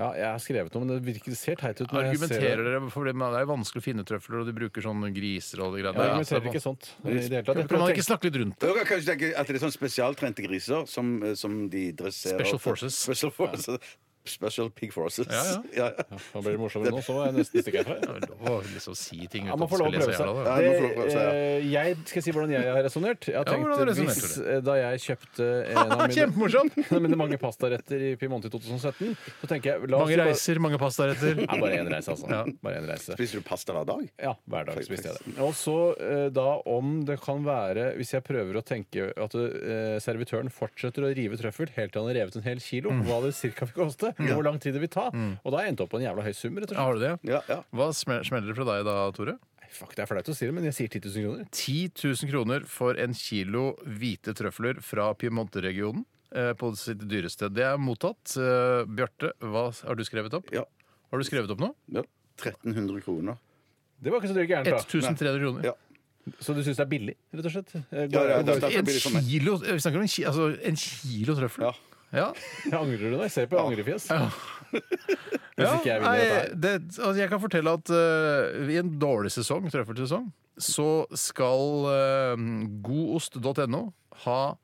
D: Ja, jeg har skrevet noe, men det virker, det ser teit ut. når jeg ser det.
A: Argumenterer dere for det? Men det er jo vanskelig å finne trøfler, og de bruker sånn griser og alle de
D: Jeg
A: greiene
D: argumenterer ikke sånt i det hele tatt. Jeg
A: Kan man
D: prøver å
A: ikke snakke litt rundt det?
C: Jeg kan kanskje tenke at det er sånn spesialtrente griser som, eh, som de dresserer
A: Special
C: for-
A: forces.
C: Special, forces. special pig forces.
A: Ja,
C: Ja.
D: tenke- Nå blir det morsommere nå, så var jeg nesten stikker
A: Det
D: herfra.
A: er lov å liksom si ting
D: Ja,
A: uten
D: man
A: at du skal
D: får lov å prøve
A: lese
D: seg.
A: jævla det.
C: Ja, man får lov å
D: Det,
C: prøve seg,
D: eh, jeg skal si hvordan jeg har resonnert. Jeg har
A: Ja, hvordan
D: tenkt
A: resonerte
D: hvis
A: du?
D: eh, da jeg kjøpte en av mine,
A: Kjempemorsomt!
D: en av mine mange pastaretter i Piemonte i 2017, så tenker jeg la oss
A: Mange
D: bare-
A: reiser, mange pastaretter.
D: Ja, bare én reise, altså.
A: Ja.
D: Bare en reise.
C: Spiser du pasta hver dag?
D: Ja, hver dag spiste jeg det. Og så eh, da om det kan være, hvis jeg prøver å tenke at eh, servitøren fortsetter å rive trøffel helt til han har revet en hel kilo,
A: Mm.
D: hva det cirka vil koste, og hvor lang tid det vil ta, og da har jeg endt opp på en jævla høy sum, rett og slett.
A: Har du det?
C: Ja, ja.
A: Hva smel- smeller det fra deg da, Tore?
D: Fuck, det er flaut å si det, men jeg sier 10 000 kroner.
A: 10 000 kroner for en kilo hvite trøfler fra Piemonte-regionen. eh, På sitt dyreste. Det er mottatt. Eh, Bjarte, hva har du skrevet opp?
C: Ja.
A: Har du skrevet opp noe?
C: ja. 1300 kroner.
D: Det var ikke så dyrt gærent,
A: 1300 kroner.
C: Ja.
D: da. Så du syns det er billig, rett og slett? Eh,
C: Ja, ja,
D: går-
C: det er-
A: En
C: billig for meg.
A: kilo, vi snakker om en, ki, altså en kilo trøfler?
C: Ja.
A: Ja.
D: Angrer du deg? Se på angrefjes. Hvis
A: Ja,
D: ikke jeg vinner
A: nei,
D: dette her.
A: det, altså jeg kan fortelle at eh, i en dårlig sesong, trøffelsesong, så skal eh, godost.no ha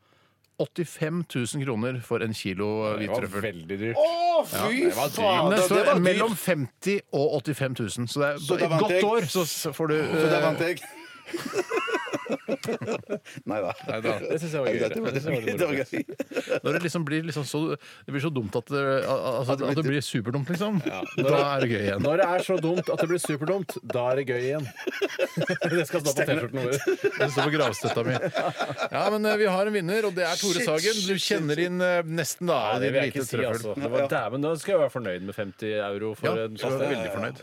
A: 85 000 kroner for en kilo eh,
D: Det
A: hvit
D: var
A: trøffel.
D: veldig dyrt.
C: Å,
A: Men
C: fy
D: var dyrt.
C: fader!
A: det
C: Det
A: står
C: var dyrt!
A: mellom 50 og 85 000, så det er
C: Så
A: på
C: da
A: et
C: vant
A: godt
C: jeg.
A: år så s- får du
C: Så der
A: eh,
C: vant jeg. Nei da.
D: Det syns jeg var gøy.
C: Dette var-
D: Det synes jeg var litt
C: det var gøy.
D: morsomt.
A: Når det liksom blir liksom så, det blir så dumt at det, al- altså, at det blir superdumt, liksom. Da er det gøy igjen.
D: Når det er så dumt at det blir superdumt, da er det gøy igjen. Det skal stå på T-skjortene våre.
A: Det står på gravstøtta mi. Ja, men eh, vi har en vinner, og det er Tore
C: Shit,
A: Sagen. Du
C: shit,
A: kjenner inn eh, nesten, da.
D: Ja, det
A: din
D: vil jeg
A: hvite
D: ikke si,
A: trøffel.
D: altså. Det var, dæven, da skal jeg være fornøyd med 50 euro for
A: Ja,
D: en
A: skal du
D: pasta.
A: være veldig fornøyd.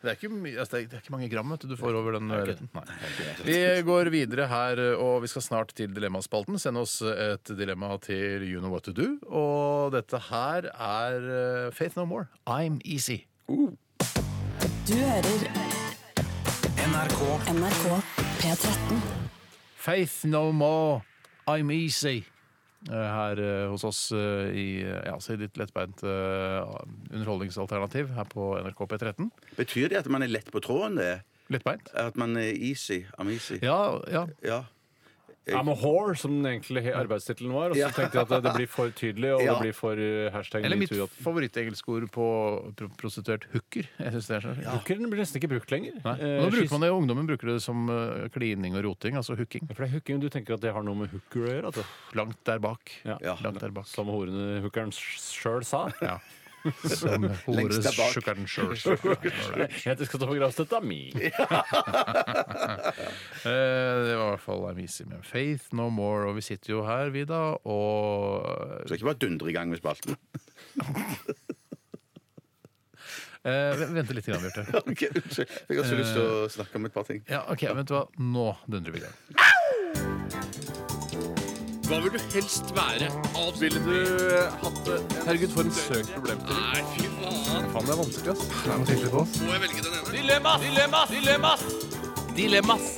A: Det, er ikke mye, altså, det, er, det er ikke mange gram vet du, du får over den retten. Nei. Vi går videre her, og vi skal snart til Dilemmaspalten. Send oss et dilemma til You Know What To Do. Og dette her er eh, Faith No More. I'm Easy.
F: Du hører
G: NRK
F: NRK P13.
A: Faith No More. I'm Easy. Eh, Her eh, hos oss eh, i, eh, ja, altså i ditt lettbeint eh, underholdningsalternativ her på NRK P13.
C: Betyr det at man er lett på tråden? det?
A: Lettbeint?
C: At man er easy? I'm easy?
A: Ja, ja.
C: Ja.
D: I'm a whore, som den egentlige arbeidstittelen var. Og så tenkte jeg at det- det blir for tydelig, og
C: Ja.
D: det blir for eh, hashtag
A: Eller mitt
D: metoo.
A: favorittengelskord på pro- prostituert hooker. Jeg synes det er så
D: Hookeren blir nesten ikke brukt lenger.
A: Nei.
D: Eh,
A: Nå bruker
D: skyss-
A: man det, Ungdommen bruker det som eh, klining og roting, altså hooking.
D: For det er hooking, Du tenker at det har noe med hooker å gjøre? At det,
A: Langt der bak.
D: Ja.
A: Langt der bak.
D: som horene hookeren sjøl sa?
A: Ja. Som
C: Lengst der bak.
A: horesjukkeren sjøl. Det
D: Jeg skal stå på gravstøtta mi!
A: Eh, var i hvert fall I'm easy med Faith No More. Og vi sitter jo her, vi, da, og
C: Så ikke bare dundre i gang med spalten.
A: eh, Vente litt, grann, Bjarte.
C: Ok, Unnskyld. Jeg har så lyst til å snakke om et par ting.
A: Ja, OK, vet du hva. Nå dundrer vi i gang.
B: Hva vil du helst være? Ville du hatt det? Herregud, for en søk problem til. Nei, fy faen. Faen, det er vanskelig, ass. Må jeg velge den ene? Dilemmas! Dilemmas! Dilemmas! Dilemmas!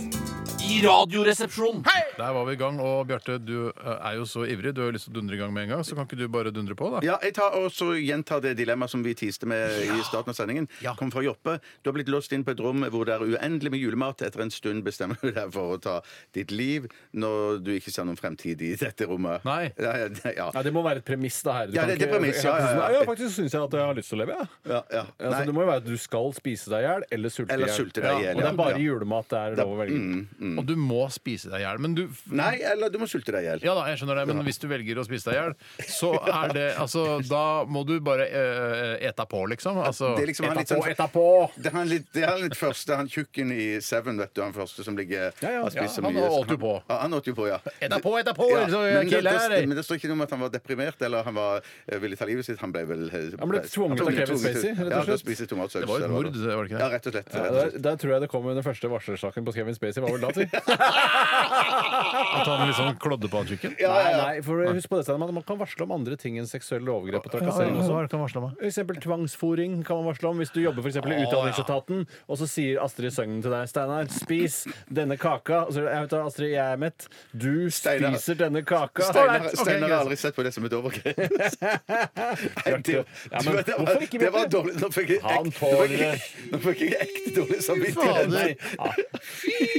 B: I radioresepsjonen!
A: Der var vi i gang. Og Bjarte, du eh, er jo så ivrig. Du har jo lyst til å dundre i gang med en gang, så kan ikke du bare dundre på, da?
C: Ja, jeg tar også gjentar det dilemmaet som vi tiste med i starten av sendingen.
A: Ja.
C: Kom fra Joppe. Du har blitt låst inn på et rom hvor det er uendelig med julemat. Etter en stund bestemmer du deg for å ta ditt liv når du ikke ser noen fremtid i dette rommet.
A: Nei.
C: Ja, ja, ja.
D: Ja, det må være et premiss, det her. Du
C: Ja,
D: kan
C: det- det er
D: ikke-
C: premiss, ja, ja, ja.
D: Nei, faktisk syns jeg at jeg har lyst til å leve, jeg.
C: ja, ja.
D: Altså,
C: Nei.
D: det må jo være at du skal spise deg i hjel eller sulte
C: Eller
D: i hjel.
C: sulte deg i hjel,
D: Og det
C: ja. mm.
D: er bare
C: Ja.
D: julemat det er lov å velge.
A: Og du må spise deg i hjel. Men du
C: Nei, eller du må sulte deg i hjel.
A: Ja da, jeg skjønner det, men hvis du velger å spise deg i hjel, så er det Altså, da må du bare eh, eta på, liksom. Altså,
C: Det er liksom han litt sånn-
D: etterpå!
C: Det er han litt, det er han litt første, han tjukken i Seven, vet du, han første som ligger
D: Ja, ja,
C: han
A: ja,
C: spiser
A: han
C: mye.
A: åt jo på.
C: Ja, han åt jo på, ja.
A: Eta på, eta på!
C: Ja,
A: så
C: men, det,
A: kill her.
C: det,
D: eh.
C: men det står ikke noe om at han var deprimert eller han var, eh, ville ta livet sitt. Han ble vel
D: Han ble tvunget av Kevin Spacey, rett og
C: Ja, til å
D: slett.
C: spise
A: Det
C: tomatsaus.
A: var jo et
C: eller hva
A: mord, det var det ikke det?
C: Ja, rett og slett.
D: Ja,
C: Rett og
D: der,
C: slett.
D: der tror jeg det kom under første varselsaken på Kevin Spacey. Var vel da, si.
A: At han liksom klodde på adjuken?
D: Nei, nei, for husk på dette, man man kan varsle om andre ting enn seksuelle overgrep og trakassering. også. For eksempel tvangsfòring kan man varsle om. Hvis du jobber for eksempel i Utdanningsetaten, og så sier Astrid Søgnen til deg Steinar, spis denne kaka. Og så, jeg vet da, Astrid, jeg er mett. Du
C: Steinar.
D: spiser denne kaka.
C: Steinar
A: Alright, ok,
C: Steinar har
A: greit.
C: aldri sett på det som et overgrep. Nei, det,
D: Ja, men
C: du vet, det,
D: hvorfor ikke
C: var, det var
D: Bjarte?
C: dårlig. Nå fikk jeg ekte,
D: Han
C: nå fikk
D: tåler
C: jeg, nå fikk jeg ekte dårlig samvittighet.
D: Nei, Ah. ja.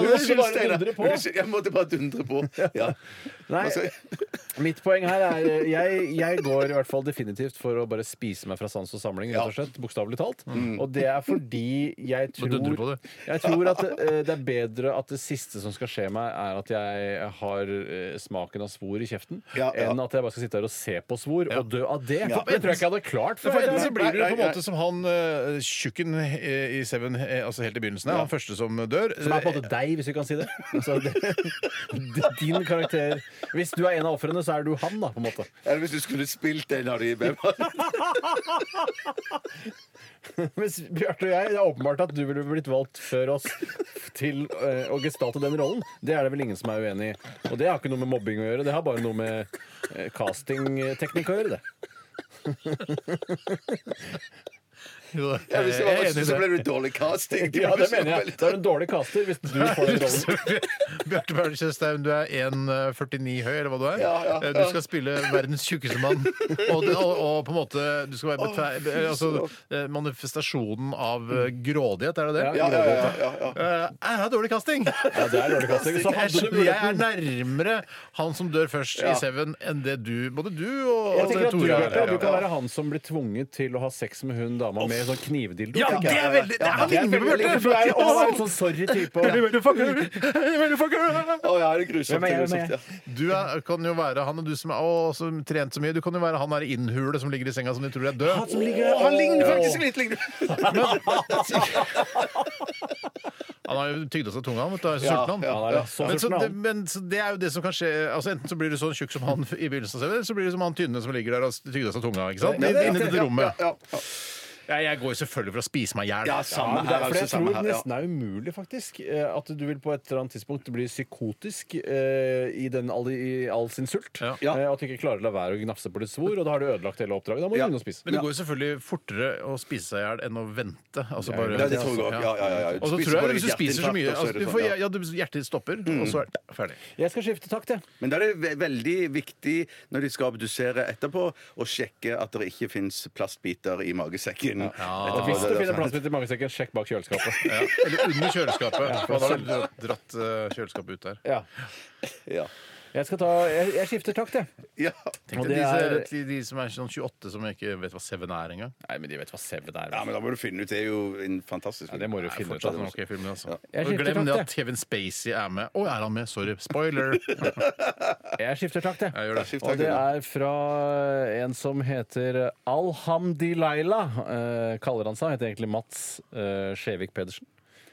C: Du,
D: Unnskyld,
C: Steinar.
D: dundre på.
C: Unnskyld, Jeg måtte bare dundre på. Ja.
D: Nei,
C: Altså,
D: mitt poeng her er eh, jeg, jeg går i hvert fall definitivt for å bare spise meg fra sans og samling, rett og slett. Bokstavelig talt.
C: Mm.
D: Og det er fordi jeg tror
A: dundrer på det.
D: Jeg tror at eh, det er bedre at det siste som skal skje meg, er at jeg har eh, smaken av svor i kjeften,
C: Ja, ja.
D: enn at jeg bare skal sitte her og se på svor og dø av det. Det tror jeg ikke jeg hadde klart
A: For enten så
D: før.
A: blir du
C: Nei,
A: på en
C: nei,
A: måte som han eh, tjukken eh, i Seven, eh, altså helt i begynnelsen, han første som dør.
D: Som er på en måte deg, hvis vi kan si det. Altså, det, det din karakter Hvis du er en av ofrene, så er du han, da, på en måte.
C: eller hvis du skulle spilt en av de hvem var det?
D: Mens Bjarte og jeg, det er åpenbart at du ville blitt valgt før oss til eh, å gestalte den rollen. Det er det vel ingen som er uenig i. Og det har ikke noe med mobbing å gjøre, det har bare noe med eh, castingteknikk å gjøre, det.
C: Ja, hvis det var
A: Eh, Jeg er
C: oss,
A: enig i
C: så
A: det.
C: ble det dårlig casting.
D: Ja, det mener jeg. Da er du en dårlig caster hvis du får den rollen.
A: Bjarte Bjørn Tjøstheim, du er 1,49 høy, eller hva du er.
C: Ja, ja,
A: Eh,
C: ja.
A: Du skal spille verdens tjukkeste mann. Og, det- og, og på en måte Du skal være betre- eh, altså, eh, manifestasjonen av eh, grådighet, er det det?
C: Ja, ja, ja, ja, ja.
A: Eh, Jeg har dårlig casting!
D: Ja, det er dårlig casting. Så
A: Jeg,
D: hadde du
A: jeg er
D: muligheten.
A: nærmere han som dør først i Seven, enn det du Både du og
D: Jeg tenker at du,
A: Tore er.
D: Bjarte, du kan være han som blir tvunget til å ha sex med hun dama med sånn knivdildo.
A: Ja,
D: tenker
A: det
D: jeg.
A: er veldig Det er han ligner på
D: veldig- for du er jo også en
A: Bjarte!
D: sånn sorry type. og-
C: Å, ja, det er grusomt.
D: Hvem er jeg, hvem er
C: grusomt,
D: jeg?
C: ja.
A: Du er, kan jo være han og du som er å, som trent så mye. Du kan jo være han her i innhule som ligger i senga som de tror er død.
D: som ligger der.
A: Å, han ligner faktisk
C: Faktisk
A: litt!
C: litt lignende.
A: Han har jo tygd av seg tunga, han, vet du. Han er så
C: Ja,
A: sulten,
C: ja,
A: han.
D: Han er så
A: Men, så,
D: sulten,
A: det,
D: han.
A: men så det er jo det som kan skje. Altså, enten så blir du sånn tjukk som han i begynnelsen av serien, eller så blir du som han tynne som ligger der og tygde av seg tunga. ikke sant?
C: Ja, det er
A: Inni
C: riktig.
A: dette rommet.
C: Ja, ja,
A: Ja, jeg går jo selvfølgelig for å spise meg i hjel.
C: ja, samme
D: Men det
C: her,
D: er fordi
C: altså.
D: jeg
C: Samme
D: tror
C: her.
D: det
C: Ja.
D: nesten er umulig, faktisk. eh, At du vil på et eller annet tidspunkt bli psykotisk eh, i, den, all, i all sin sult.
A: Ja.
C: Ja.
D: Eh, At du ikke klarer å la være å gnafse på ditt svor, og da har du ødelagt hele oppdraget. Da må du
C: Ja.
D: begynne å spise.
A: Men det går jo selvfølgelig fortere å spise seg i hjel enn å vente. Altså bare,
C: Ja, det tror jeg også. Ja, ja, ja, ja.
A: Og så
C: Spiser
A: tror
C: bare
A: jeg hvis du
C: litt
A: spiser så
C: hjerteinfarkt,
A: mye
C: og så
A: altså,
C: er det
A: du
C: sånn,
A: får,
C: ja. Mm.
A: ja, du- Hjertet stopper, og så er det ferdig.
D: Jeg skal skifte takt, jeg.
C: Men da er det ve- veldig viktig når de skal abdusere etterpå, å sjekke at det ikke fins plastbiter i magesekken.
D: Og
C: Etterpå,
D: Hvis
C: det
D: du
C: er
D: finner
C: sånn.
D: plastbit i magesekken, sjekk bak kjøleskapet.
A: Ja. Eller under kjøleskapet. for da har du dratt eh, kjøleskapet ut der.
D: Ja.
C: Ja.
D: Jeg, skal ta, jeg, jeg skifter takt, jeg.
C: Ja.
A: Tenk
D: Og
A: deg
D: det
A: de,
D: er-
A: de, de som er sånn 28 som ikke vet hva Seven er engang.
D: Nei, men de vet hva CV er.
C: ja, men da må du finne ut. Det er jo en fantastisk
D: Ja, det må du
A: Det er
D: finne ut
A: fortsatt
D: av.
A: en ok film, altså.
D: Jeg
A: Og
D: skifter
A: glem det
D: takt, jeg.
A: at Kevin Spacey er med. Å, er han med? Sorry. Spoiler! Jeg
D: Jeg skifter takt, jeg.
A: gjør det.
C: Skift
D: Og det
C: takk.
D: er fra en som heter Alhamdilaila, eh, kaller han seg. Heter egentlig Mats eh, Skjevik Pedersen.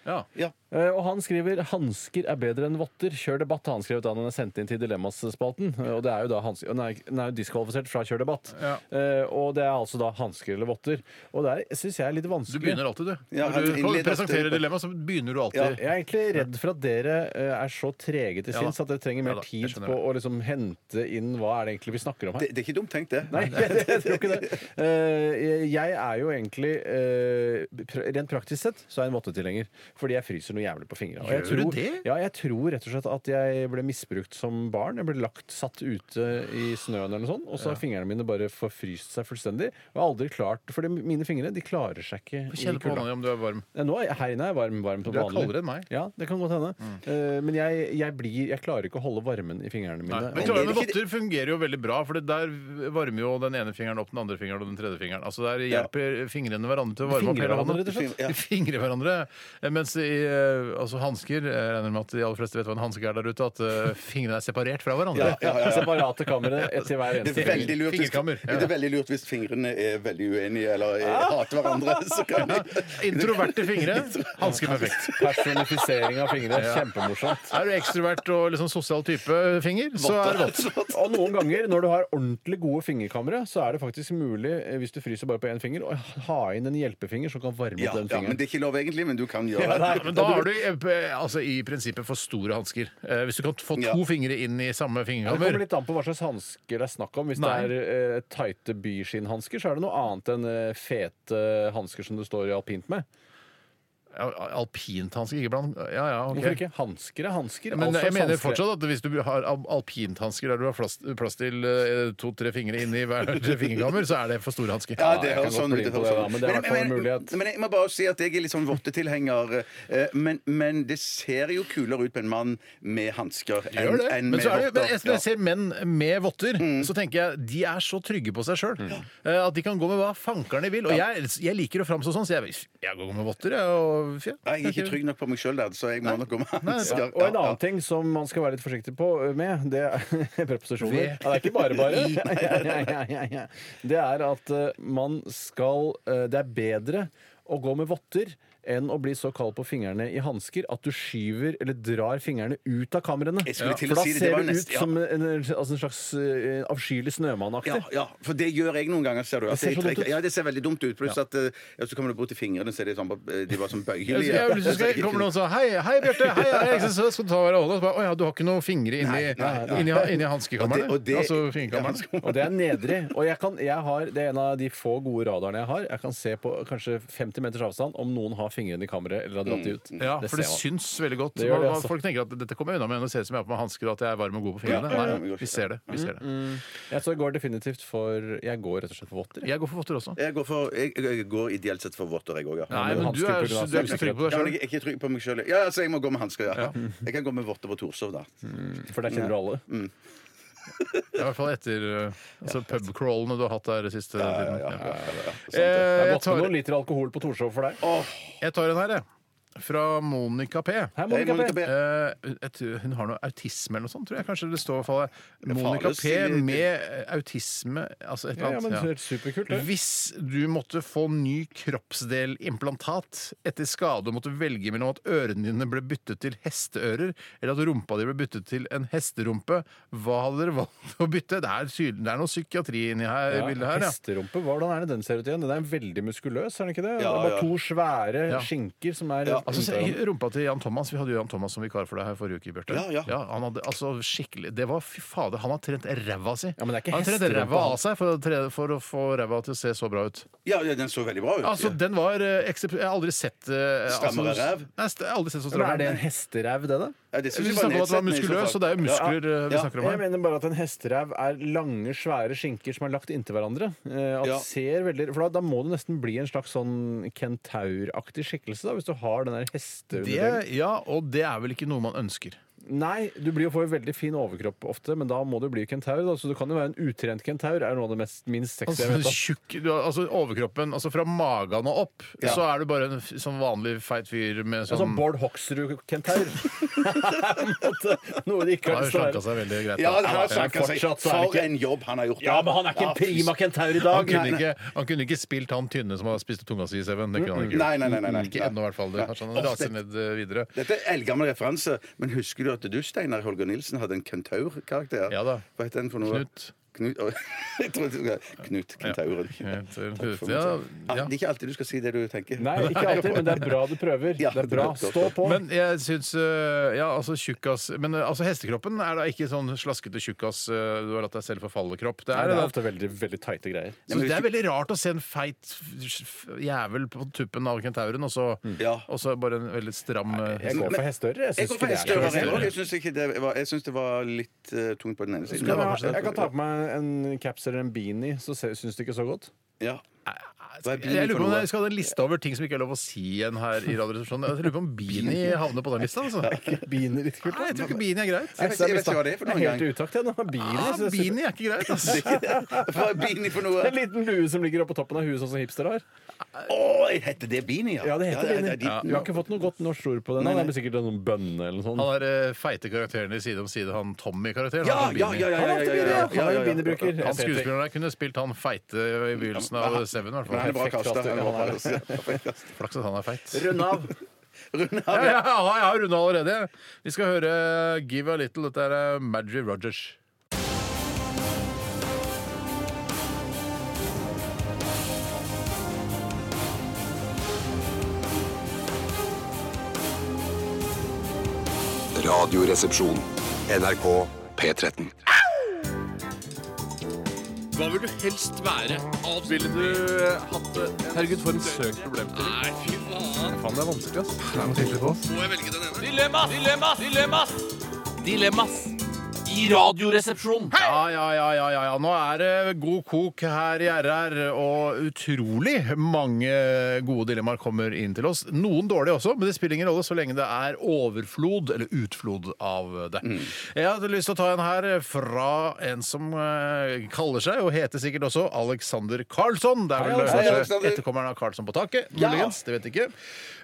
A: Ja.
D: Eh, Og han skriver 'Hansker er bedre enn votter'. Kjør debatt, har han skrevet da han er sendt inn til Dilemmas-spalten. Eh, Og det er jo da hansker Den er, den er jo diskvalifisert fra Kjør debatt.
A: Ja.
D: Eh, Og det er altså da hansker eller votter. Og det syns jeg er litt
A: Du
D: vanskelig.
A: begynner alltid, du.
C: Ja,
A: Når
C: han
A: du
C: innleder
A: presenterer
C: alltid-
A: dilemma, så begynner du alltid.
D: Jeg er egentlig redd for at dere eh, er så trege til
A: Ja da.
D: sinns at dere
A: Ja
D: trenger mer
A: da, jeg
D: tid
A: skjønner
D: på å liksom hente inn hva er det egentlig vi snakker om her.
C: Det, det er ikke dumt tenkt, det.
D: Nei, jeg, jeg tror ikke det. Eh, jeg er jo egentlig eh, pr- Rent praktisk sett så er jeg en vottetilhenger. Fordi jeg fryser noe jævlig på fingra. Og jeg
A: Gjør du
D: tror-
A: det?
D: Ja, jeg tror rett og slett at jeg ble misbrukt som barn. Jeg ble lagt satt ute i snøen eller noe sånt, og så har fingrene mine bare forfryst seg fullstendig. Og jeg har aldri klart Fordi mine fingre de klarer seg ikke
A: Få kjenne
D: i
A: på
D: kulda.
A: hånda di om du er varm.
D: Nei, Nå er jeg, her inne er jeg varm, varm på
A: Du er
D: vanlig.
A: kaldere enn meg. Mm.
D: Ja, det kan godt hende. Eh, men jeg, jeg, blir, jeg klarer ikke å holde varmen i fingrene
A: Nei.
D: mine.
A: Men
D: Og-
A: klare med votter fungerer jo veldig bra, for det der varmer jo den ene fingeren opp den andre fingeren og den tredje fingeren. Altså der hjelper fingrene hverandre til å varme opp
D: Fingrer
A: hele hånda.
D: hverandre, rett og slett.
A: De fingrer hverandre. Eh, Mens i eh, altså hansker Jeg regner med at de aller fleste vet hva en hanske er der ute, at eh, fingrene er separert fra hverandre.
D: Separate kamre etter hver eneste
C: Det er, veldig lurt hvis,
A: Fingerkammer, ja.
C: det er veldig lurt hvis fingrene er veldig uenige eller eh,
D: Ah!
C: hater hverandre. Så kan jeg,
A: Introverte fingre, hansker perfekt.
D: Personifisering av fingre. Kjempemorsomt.
A: Er du ekstrovert og liksom sosial type finger, så er det godt.
D: Og noen ganger når du har ordentlig gode fingerkamre, så er det faktisk mulig, eh, hvis du fryser bare på én finger, å ha inn en hjelpefinger som kan varme opp
C: ja,
D: den
C: ja, men
D: fingeren.
C: det er ikke lov egentlig, men du kan gjøre
D: nei.
A: Men da har du eh, altså, i prinsippet for store hansker. Eh, hvis du kan få to
C: Ja.
A: fingre inn i samme
D: Det kommer
A: fingerhammer.
D: litt an på hva slags hansker det er snakk om. Hvis
A: Nei.
D: det er eh, tighte byskinnhansker, så er det noe annet enn eh, fete hansker som du står i alpint med.
A: Ja, Alpinthansker, ikke blant Ja, ja, ok.
D: Hvorfor ikke? Hansker er hansker.
A: Men eh,
D: alt
A: jeg
D: slags
A: mener
D: hansker.
A: fortsatt at hvis du har al- alpinthansker der du har plass, plass til eh, to-tre fingre inni hver fingerkammer, så er det for store hansker.
C: Ja, det
D: jeg
C: høres
D: kan
C: sånn
D: godt
C: ut. det
D: bli med på
C: høres sånn
D: det, da,
C: ut.
D: men det er i hvert fall en mulighet.
C: men jeg må bare si at jeg er litt sånn vottetilhenger. eh, Men, men det ser jo kulere ut på en mann med hansker enn
A: Gjør det.
C: enn
A: Men,
C: med
A: så er det, men
C: votter.
A: jeg, når jeg ser menn med votter,
C: Mm.
A: så tenker jeg de er så trygge på seg sjøl. At de kan gå med hva fankeren de vil. Og jeg, jeg liker å framstå sånn, så jeg, jeg går med votter. Jeg, og, ja.
C: Nei, Jeg er ikke trygg nok på meg sjøl der, så jeg må nok gå med hansker.
D: Ja, og en annen ting som man skal være litt forsiktig på eh, med, det er preposisjoner.
A: Ved.
D: Ja, det er ikke bare bare. Ja, ja, ja, ja, ja. Det er at eh, man skal eh, Det er bedre å gå med votter enn å bli så kald på fingrene i hansker at du skyver eller drar fingrene ut av kamrene.
C: Jeg skulle til å
D: For da
C: si det, det
D: ser
C: var
D: du
C: nest-
D: ut
C: ja.
D: som en, altså en slags eh, avskyelig snømannaktig.
C: Ja, ja, for det gjør jeg noen ganger, ser du. At
D: ser
C: jeg
D: så dumt
C: trekker-
D: ut.
C: ja, det ser veldig dumt ut. Pluss at eh, ja, så kommer du bort til fingrene, så er de, sånn, eh, de var sånn
A: Jeg, jeg,
C: bøyelige.
A: jeg, jeg, jeg kommer noen og sier 'Hei, hei Bjarte'. Hei, hei, så så skal du ta hver hånda. Og så bare 'Å ja, du har ikke noen fingre inni, inni, inni hanskekammeret'.
C: Og det- og det-
A: altså fingerkammeret.
D: Og det er nedrig. Og jeg kan, jeg har, det er en av de få gode radarene jeg har. Jeg kan se på kanskje 50 meters avstand om noen har fingrene i kammeret eller har
C: Mm.
D: dratt de ut.
A: Ja, for det
D: ser man.
A: syns veldig godt.
D: Det gjør det,
A: Hva- hva-
D: altså.
A: Folk tenker at dette kommer jeg unna med når det ser ut som jeg har på meg hansker og at jeg er varm og god på fingrene.
C: Ja, ja, ja, vi
A: Nei, vi
C: går ikke. Mm.
A: ser det. Vi ser det.
D: Jeg, så jeg går definitivt for Jeg går rett og slett for votter. jeg.
A: Jeg går for votter også.
C: Jeg går, for, jeg, jeg går ideelt sett for votter, jeg òg. Ja.
A: Nei, men du
D: hansker
A: er,
D: burde være
A: du er ikke så trygg på deg
C: Ja, men
A: sjøl.
C: jeg er ikke trygg på meg sjøl. Ja, altså, jeg må gå med hansker. Ja. Jeg kan gå med votter på Torshov, da.
D: For der kjenner du alle.
A: Ja, I hvert fall etter uh, altså pubcrawlene du har hatt der siste tiden. Ja. Eh,
D: Det er
A: Jeg
D: godt med
A: tar,
D: noen liter alkohol på Torshov for deg.
A: jeg tar en her, jeg. Fra Monica P.
D: Hei,
C: Hei,
D: Monica
C: Monica
D: P.
C: P.
A: Eh, jeg tror hun har noe autisme eller noe sånt, tror jeg. Kanskje det står i hvert fall Monica
C: farlig å
A: P
C: si det.
A: med autisme, altså et
D: Ja, ja,
A: eller
D: men
A: annet. Ja.
D: det er superkult, det.
A: Hvis du måtte få ny kroppsdelimplantat etter skade og måtte velge mellom at ørene dine ble byttet til hesteører, eller at rumpa di ble byttet til en hesterumpe, hva hadde dere valgt å bytte? Det er, sy- det er noe psykiatri inni her, i bildet her. Ja.
D: Hesterumpe, hvordan er det den ser ut igjen? Den er veldig muskuløs, er den ikke det? det er
C: ja.
D: bare to svære
A: Ja.
D: skinker som er
A: Altså, se, rumpa til Jan Thomas Vi hadde jo Jan Thomas som vikar for deg her forrige uke, Bjarte.
C: Ja, ja.
A: han hadde altså skikkelig Det var fy fader, han har trent ræva si.
D: Ja, men det er ikke
A: han har trent
D: hesterumpa,
A: ræva
D: han.
A: av seg for, å tre- for å få ræva til å se så bra ut.
C: Ja, ja, den så veldig bra ut.
A: Altså, den var eh, eksep- Jeg har aldri sett eh,
C: Strammere
A: altså,
C: ræv?
A: Nei, st- jeg har aldri sett så
D: Men
A: stram
D: er det en hesteræv, det, da?
C: Ja, det synes
A: Vi
C: jeg var
A: snakker om at den var
C: nedsettende i så
A: muskuløs,
C: fall.
A: og det er jo muskler eh, vi
C: Ja.
A: snakker om
D: Jeg
A: her.
D: mener bare at en hesteræv er lange, svære skinker som er lagt inntil hverandre. Eh, At
C: Ja.
D: ser veldig, for da, da må det nesten bli en slags sånn kentauraktig skikkelse, da, hvis du har den der hesteunderdelen.
A: Det, ja, og det er vel ikke noe man ønsker.
D: Nei, du blir jo får veldig fin overkropp ofte, men da må du bli kentaur. Da. Så du kan jo være en utrent kentaur. Er noe av det mest, minst sexy
A: Altså,
D: jeg vet. Da.
A: tjukk, du, har- altså Overkroppen altså fra magen og opp,
C: Ja.
A: så er du bare en f- sånn vanlig feit fyr med
D: En
A: sånn
D: sånn Bård Hoksrud-kentaur. På en måte. noe de ikke
A: Han
D: har
A: har
D: lyst til å
A: slanka
D: være.
A: seg veldig greit.
C: Ja,
A: da.
C: det har
D: men
C: sagt seg.
D: fortsatt så er det
C: For
D: ikke-
C: en jobb han har gjort.
D: Ja, men han er ikke en prima kentaur i
A: han,
D: dag.
A: kunne ikke, han kunne ikke spilt han tynne som har spist tunga si i seven. Det
D: Mm,
A: kunne han ikke. gjort.
C: Nei, nei, nei, nei, nei.
A: Ikke ennå, i hvert fall. Det har sånn
C: Nei.
A: raser ned eh, videre.
C: Dette er eldgammel referanse, men husker du at du, Steinar Holger Nilsen, hadde en kentaur-karakter?
A: Ja da.
C: Hva het den for noe?
A: Knut.
C: Knut Oi, jeg trodde du skulle- Knut Kentauren.
A: Knut,
C: Takk for meg.
A: ja, ja.
C: Ah, Det er ikke alltid du skal si det du tenker.
D: Nei, ikke alltid, men det er bra du prøver.
C: Ja,
D: Det er bra. Stå på.
A: Men jeg syns øh, Ja, altså tjukkas Men øh, altså hestekroppen er da ikke sånn slaskete tjukkas øh, du har latt deg selv forfalle kropp. Det
D: Nei,
A: er,
D: det er
A: det,
D: ofte veldig, veldig tighte greier.
A: så det er veldig rart å se en feit f- f- jævel på tuppen av kentauren, og så,
C: Ja.
A: og så bare en veldig stram øh,
D: Jeg går
C: Men-
D: for hesteører.
C: Jeg
D: Jeg syns
C: går for
D: ikke det er
C: hestører,
D: noe.
C: jeg òg. Jeg syns ikke det var- jeg syns det var litt eh, tungt på den ene siden.
A: Skal
D: Men
A: var
D: jeg,
A: kanskje det.
D: jeg kan ta på meg en caps eller en beanie, så se- syns det ikke så godt.
C: Ja. Hva er
A: Jeg
C: beanie
A: jeg lurer på om
C: for noe?
A: jeg skal ha en liste over ting som ikke er lov å si igjen her i Radioresepsjonen. Jeg lurer på om beanie havner på den lista. Altså. Nei,
D: Beanie litt kult.
A: jeg tror ikke beanie er greit.
C: Jeg vet ikke- jeg vet ikke hva det er for noen
D: Jeg er
C: gang. Ah,
D: helt i utakt, jeg. nå. Beanie.
A: Ja,
D: så jeg synes-
A: beanie er ikke greit, altså.
C: Hva er beanie for
D: Det
C: noe?
D: er En liten lue som ligger oppå toppen av huet, sånn som hipster har.
C: Å, heter det beanie, ja?
D: Ja, det heter beanie.
C: dit-
D: Vi har ikke fått noe godt norsk ord på den. Det blir sikkert noen bønne eller noe sånt.
A: Han er eh, feite karakteren i Side om side, han Tommy-karakteren.
C: Ja,
A: han er
C: ja,
A: beanie.
C: ja, ja, ja, ja, ja, ja,
D: altså.
C: ja, ja, ja.
A: Han skuespilleren der kunne spilt han feite i begynnelsen av Seven. i hvert
C: Men han
A: fall.
C: er bra
D: Perfekt
C: kasta.
D: kastet,
C: Han er bra
D: han er
C: kastet.
A: Flaks at han er feit.
C: Rund av. Rund
A: Ja, ja,
C: av, ja.
A: ja, jeg har runda allerede. Vi skal høre Give a Little. Dette er Madgie Rogers.
E: Radioresepsjon. NRK P13.
B: Hva vil du helst være? Ville du hatt det?
D: Herregud, for en søk problem.
B: Nei, fy faen.
D: Faen, det er vanskelig, ass.
B: Må jeg velge den ene? Dilemmas! Dilemmas! Dilemmas! Dilemmas! I radioresepsjonen.
A: Ja, ja, ja, ja, ja, ja. Nå er det god kok her i RR, og utrolig mange gode dilemmaer kommer inn til oss. Noen dårlige også, men det spiller ingen rolle så lenge det er overflod eller utflod av det.
D: Mm.
A: Jeg hadde lyst til å ta en her fra en som eh, kaller seg, og heter sikkert også, Alexander Karlsson. Det er vel
D: Hei,
A: kanskje etterkommeren av Karlsson på taket, muligens. Det vet jeg ikke.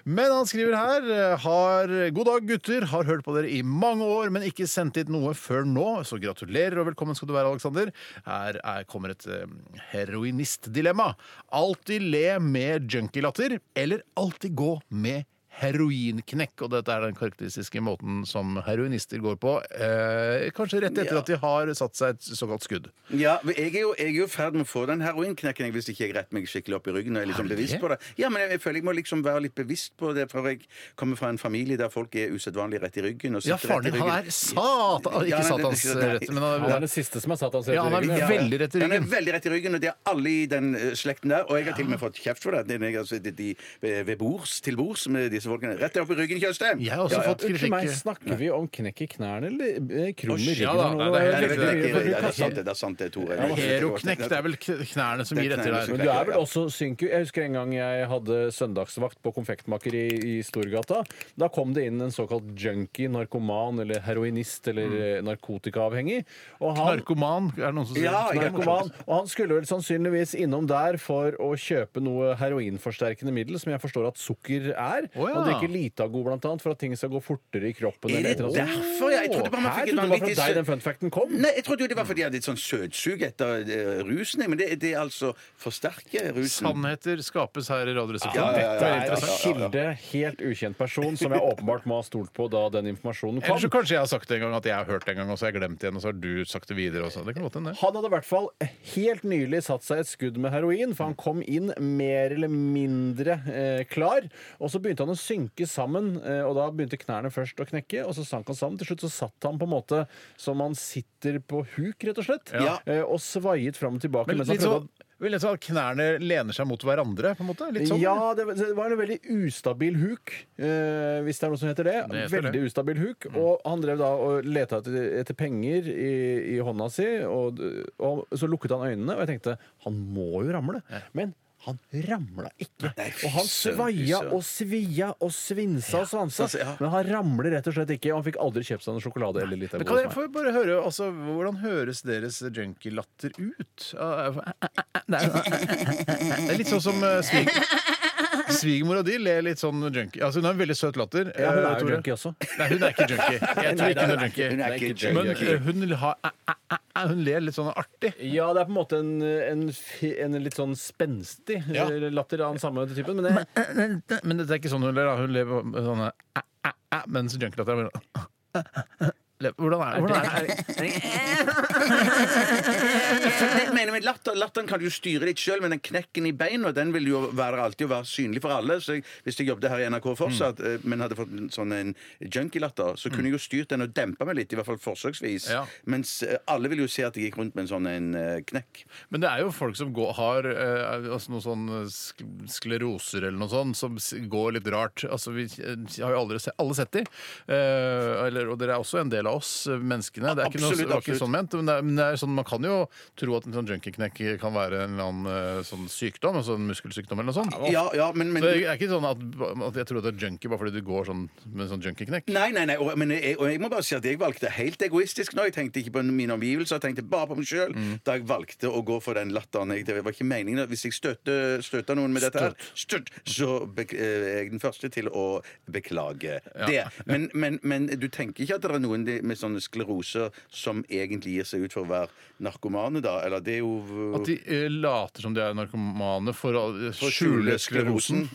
A: Men han skriver her eh, har, God dag, gutter. Har hørt på dere i mange år, men ikke sendt inn noe før nå. Så gratulerer og velkommen skal du være, Alexander. Her er, kommer et eh, heroinistdilemma. Alltid le med junkielatter, eller alltid gå med Heroinknekk, og dette er den karakteristiske måten som heroinister går på. Eh, kanskje rett etter
C: Ja.
A: at de har satt seg et såkalt skudd.
C: Ja, men jeg er jo jeg er jo i ferd med å få den heroinknekken jeg, hvis ikke jeg retter meg skikkelig opp i ryggen. og er
A: Er
C: liksom
A: du
C: bevisst
A: det?
C: på det. Ja, men jeg, jeg føler jeg må liksom være litt bevisst på det, for jeg kommer fra en familie der folk er usedvanlig rett i ryggen. Og
A: Ja,
C: sitter
A: faren
C: rett i
A: din han er
C: ryggen.
A: satan Ikke
C: Ja, nei, det- det-
A: satans rett, men han
D: Han
A: er
D: er den siste som er satans rett
A: Ja, han er
D: i ryggen, ja.
A: veldig rett i
C: Den er
A: ryggen.
C: veldig rett i ryggen, og det er alle i den eh, slekten der. Og jeg har til og med fått kjeft for det. det er, altså, de, de, ved bords, til bords med disse folkene. Rett opp i ryggen, Tjøstheim!
A: Jeg har også fått
D: Unnskyld meg,
A: kritikk.
D: snakker vi om knekk i knærne eller eh, krum i
A: Å, ja
D: ryggen?
A: da,
D: eller
A: nei,
D: noe?
A: det er
C: Ja, det,
A: helt
C: det, det, det, det, er
D: Helt
C: sant, det, det er sant, det, Tore.
A: Heroknekk, det er vel k- knærne som
C: Det er
A: gir etter
C: knærne
A: der.
C: som
D: Men du er vel også synku? Jeg husker en gang jeg hadde søndagsvakt på konfektmaker i, i Storgata. Da kom det inn en såkalt junkie, narkoman eller heroinist eller eh, narkotikaavhengig. Og han,
A: Narkoman, er det noen som sier.
C: Ja, jeg-
D: narkoman, og han skulle vel sannsynligvis innom der for å kjøpe noe heroinforsterkende middel, som jeg forstår at sukker er.
A: Å, ja.
D: Han drikker Litago blant annet for at ting skal gå fortere i kroppen.
C: Er
D: eller
C: det
D: et eller annet sånt.
C: derfor? Jeg, jeg trodde bare man
D: Her
C: fikk et
D: trodde jeg
C: vanvittig
D: det var fra
C: sø-
D: deg den fun facten kom.
C: Nei, jeg trodde jo det var fordi jeg hadde et sånn søtsug etter eh, rusen. jeg, Men det, det er altså forsterke rusen.
A: Sannheter skapes her i
C: Ja, ja,
A: Radioresepsjonen.
C: ja,
D: Dette er en
C: interessant.
D: kilde, helt ukjent person, som jeg åpenbart må ha stolt på da den informasjonen
A: Eller så
D: kom.
A: kanskje jeg har sagt det en gang at jeg har hørt det en gang, og så har jeg glemt det igjen, og så har du sagt det videre også. Det kan godt hende. det.
D: Han hadde i hvert fall helt nylig satt seg et skudd med heroin, for han kom inn mer eller mindre eh, klar. Og så begynte han å synke sammen, eh, og da begynte knærne først å knekke, og så sank han sammen. Til slutt så satt han på en måte som han sitter på huk, rett og slett,
C: Ja.
D: eh, og svaiet fram og tilbake.
A: Men
D: mens han
A: litt
D: prøvde å-
A: sånn vil jeg si at knærne lener seg mot hverandre, på en måte? Litt sånn?
D: Ja, det, det var en veldig ustabil huk, eh, hvis det er noe som heter det. Mm.
A: Det heter
D: veldig ustabil huk. Og han drev da og leta etter, etter penger i, i hånda si, og, og så lukket han øynene, og jeg tenkte han må jo ramle. Men han ramla ikke.
C: Nei, fy
D: og han
C: søren, fy
D: svaia
C: søren.
D: og svia og svinsa og svansa.
C: altså, ja.
D: Men han ramler rett og slett ikke, og han fikk aldri kjøpt seg noe sjokolade eller litt av
A: Men kan jeg få bare høre, altså, Hvordan høres deres junkie-latter ut? Ah, Det er- det er litt sånn som eh, svig... Svigermora di ler litt sånn junkie. Altså, hun har en veldig søt latter.
D: Ja, hun
A: eh,
D: er jo
A: Tore.
D: junkie også.
C: altså.
A: Nei, hun er ikke junkie. Jeg tror ikke hun er junkie.
C: Hun er ikke
A: Men
C: junkie.
A: eh, hun, vil ha, æ, æ, æ, æ, hun ler litt sånn artig.
D: Ja, det er på en måte en, en, fi- en litt sånn spenstig
A: Ja.
D: eh, latter av den samme typen. Men jeg,
A: Men dette er ikke sånn hun ler. da. Hun ler på- sånn, eh, med sånne æ, æ, æ, mens junkielatter er bare Le- Hvordan er det? Hvordan er det?
C: Det jeg mener med latter, Latteren kan du jo styre litt sjøl, men den knekken i beina den vil jo være alltid og være synlig for alle. Så jeg, Hvis jeg jobbet her i NRK fortsatt, eh, men hadde fått en sånn en junkie-latter, så kunne jeg jo styrt den og dempa meg litt, i hvert fall forsøksvis.
A: Ja.
C: Mens eh, alle vil jo se at jeg gikk rundt med en sånn en eh, knekk.
A: Men det er jo folk som går, har eh, altså noen sånn sk skleroser eller noe sånt, som s- går litt rart. Altså, vi eh, har jo aldri se alle sett de. Eh, eller, og dere er også en del av oss eh, menneskene. Det er ikke noe,
C: Absolutt,
A: det var ikke
C: absolutt.
A: sånn ment, men, det er, men det er sånn, man kan jo tro at en sånn junkieknekk kan være en eller annen eh, sånn sykdom, altså en muskelsykdom eller noe sånt.
C: Ja, ja, men, men
A: Så det er ikke sånn at, at jeg tror at det er junkie bare fordi du går sånn med en sånn junkieknekk.
C: Nei, nei, nei, og, men jeg, og jeg må bare si at jeg valgte helt egoistisk nå. Jeg tenkte ikke på mine omgivelser, jeg tenkte bare på meg sjøl da jeg valgte å gå for den latteren. Jeg, det var ikke meningen. Hvis jeg støter, støter noen med dette her, støt, så bek- eh, er jeg den første til å beklage det. Men, men, men du tenker ikke at det er noen de- med sånne skleroser som egentlig gir seg ut for å være narkomane, da? Eller det er jo
A: At de eh, later som de er narkomane for å eh,
C: å
A: skjule sklerosen.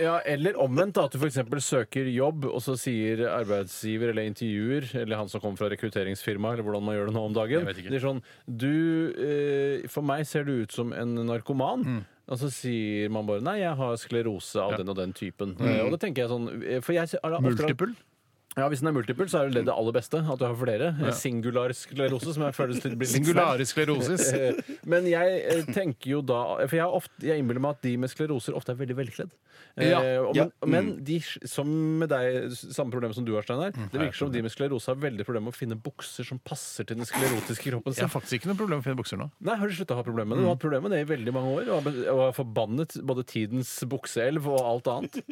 D: Ja, Eller omvendt, da, at du f.eks. søker jobb, og så sier arbeidsgiver eller intervjuer, eller han som kommer fra rekrutteringsfirma, eller hvordan man gjør det nå om dagen,
A: Jeg vet ikke.
D: det er sånn Du eh, For meg ser du ut som en narkoman.
A: Mm.
D: Og så sier man bare 'nei, jeg har sklerose av den og den typen'. Eh, Og det tenker jeg sånn eh, For jeg ser- har ofte-
A: Mm. Multiple?
D: Ja, Hvis den er multiple, så er det det aller beste. At du har flere. Eh, Singular sklerose, som jeg føler litt blir litt
A: Singulare sklerosis.
D: Eh, Men jeg eh, tenker jo da For jeg, har ofte- jeg innbiller meg at de med skleroser ofte er veldig velkledd. Eh,
A: Ja.
D: og-
C: Ja.
D: Men, men de, som med deg, s- samme problem som du har, Steinar. Det virker som de med sklerose har veldig problem med å finne bukser som passer til den sklerotiske kroppen
A: Jeg
D: sin.
A: har faktisk ikke noe problem med å finne bukser nå.
D: Nei, har du slutta å ha problemer
C: Mm.
D: med det? Du har hatt problemer med det i veldig mange år. Og har be- og har forbannet både tidens bukseelv og alt annet.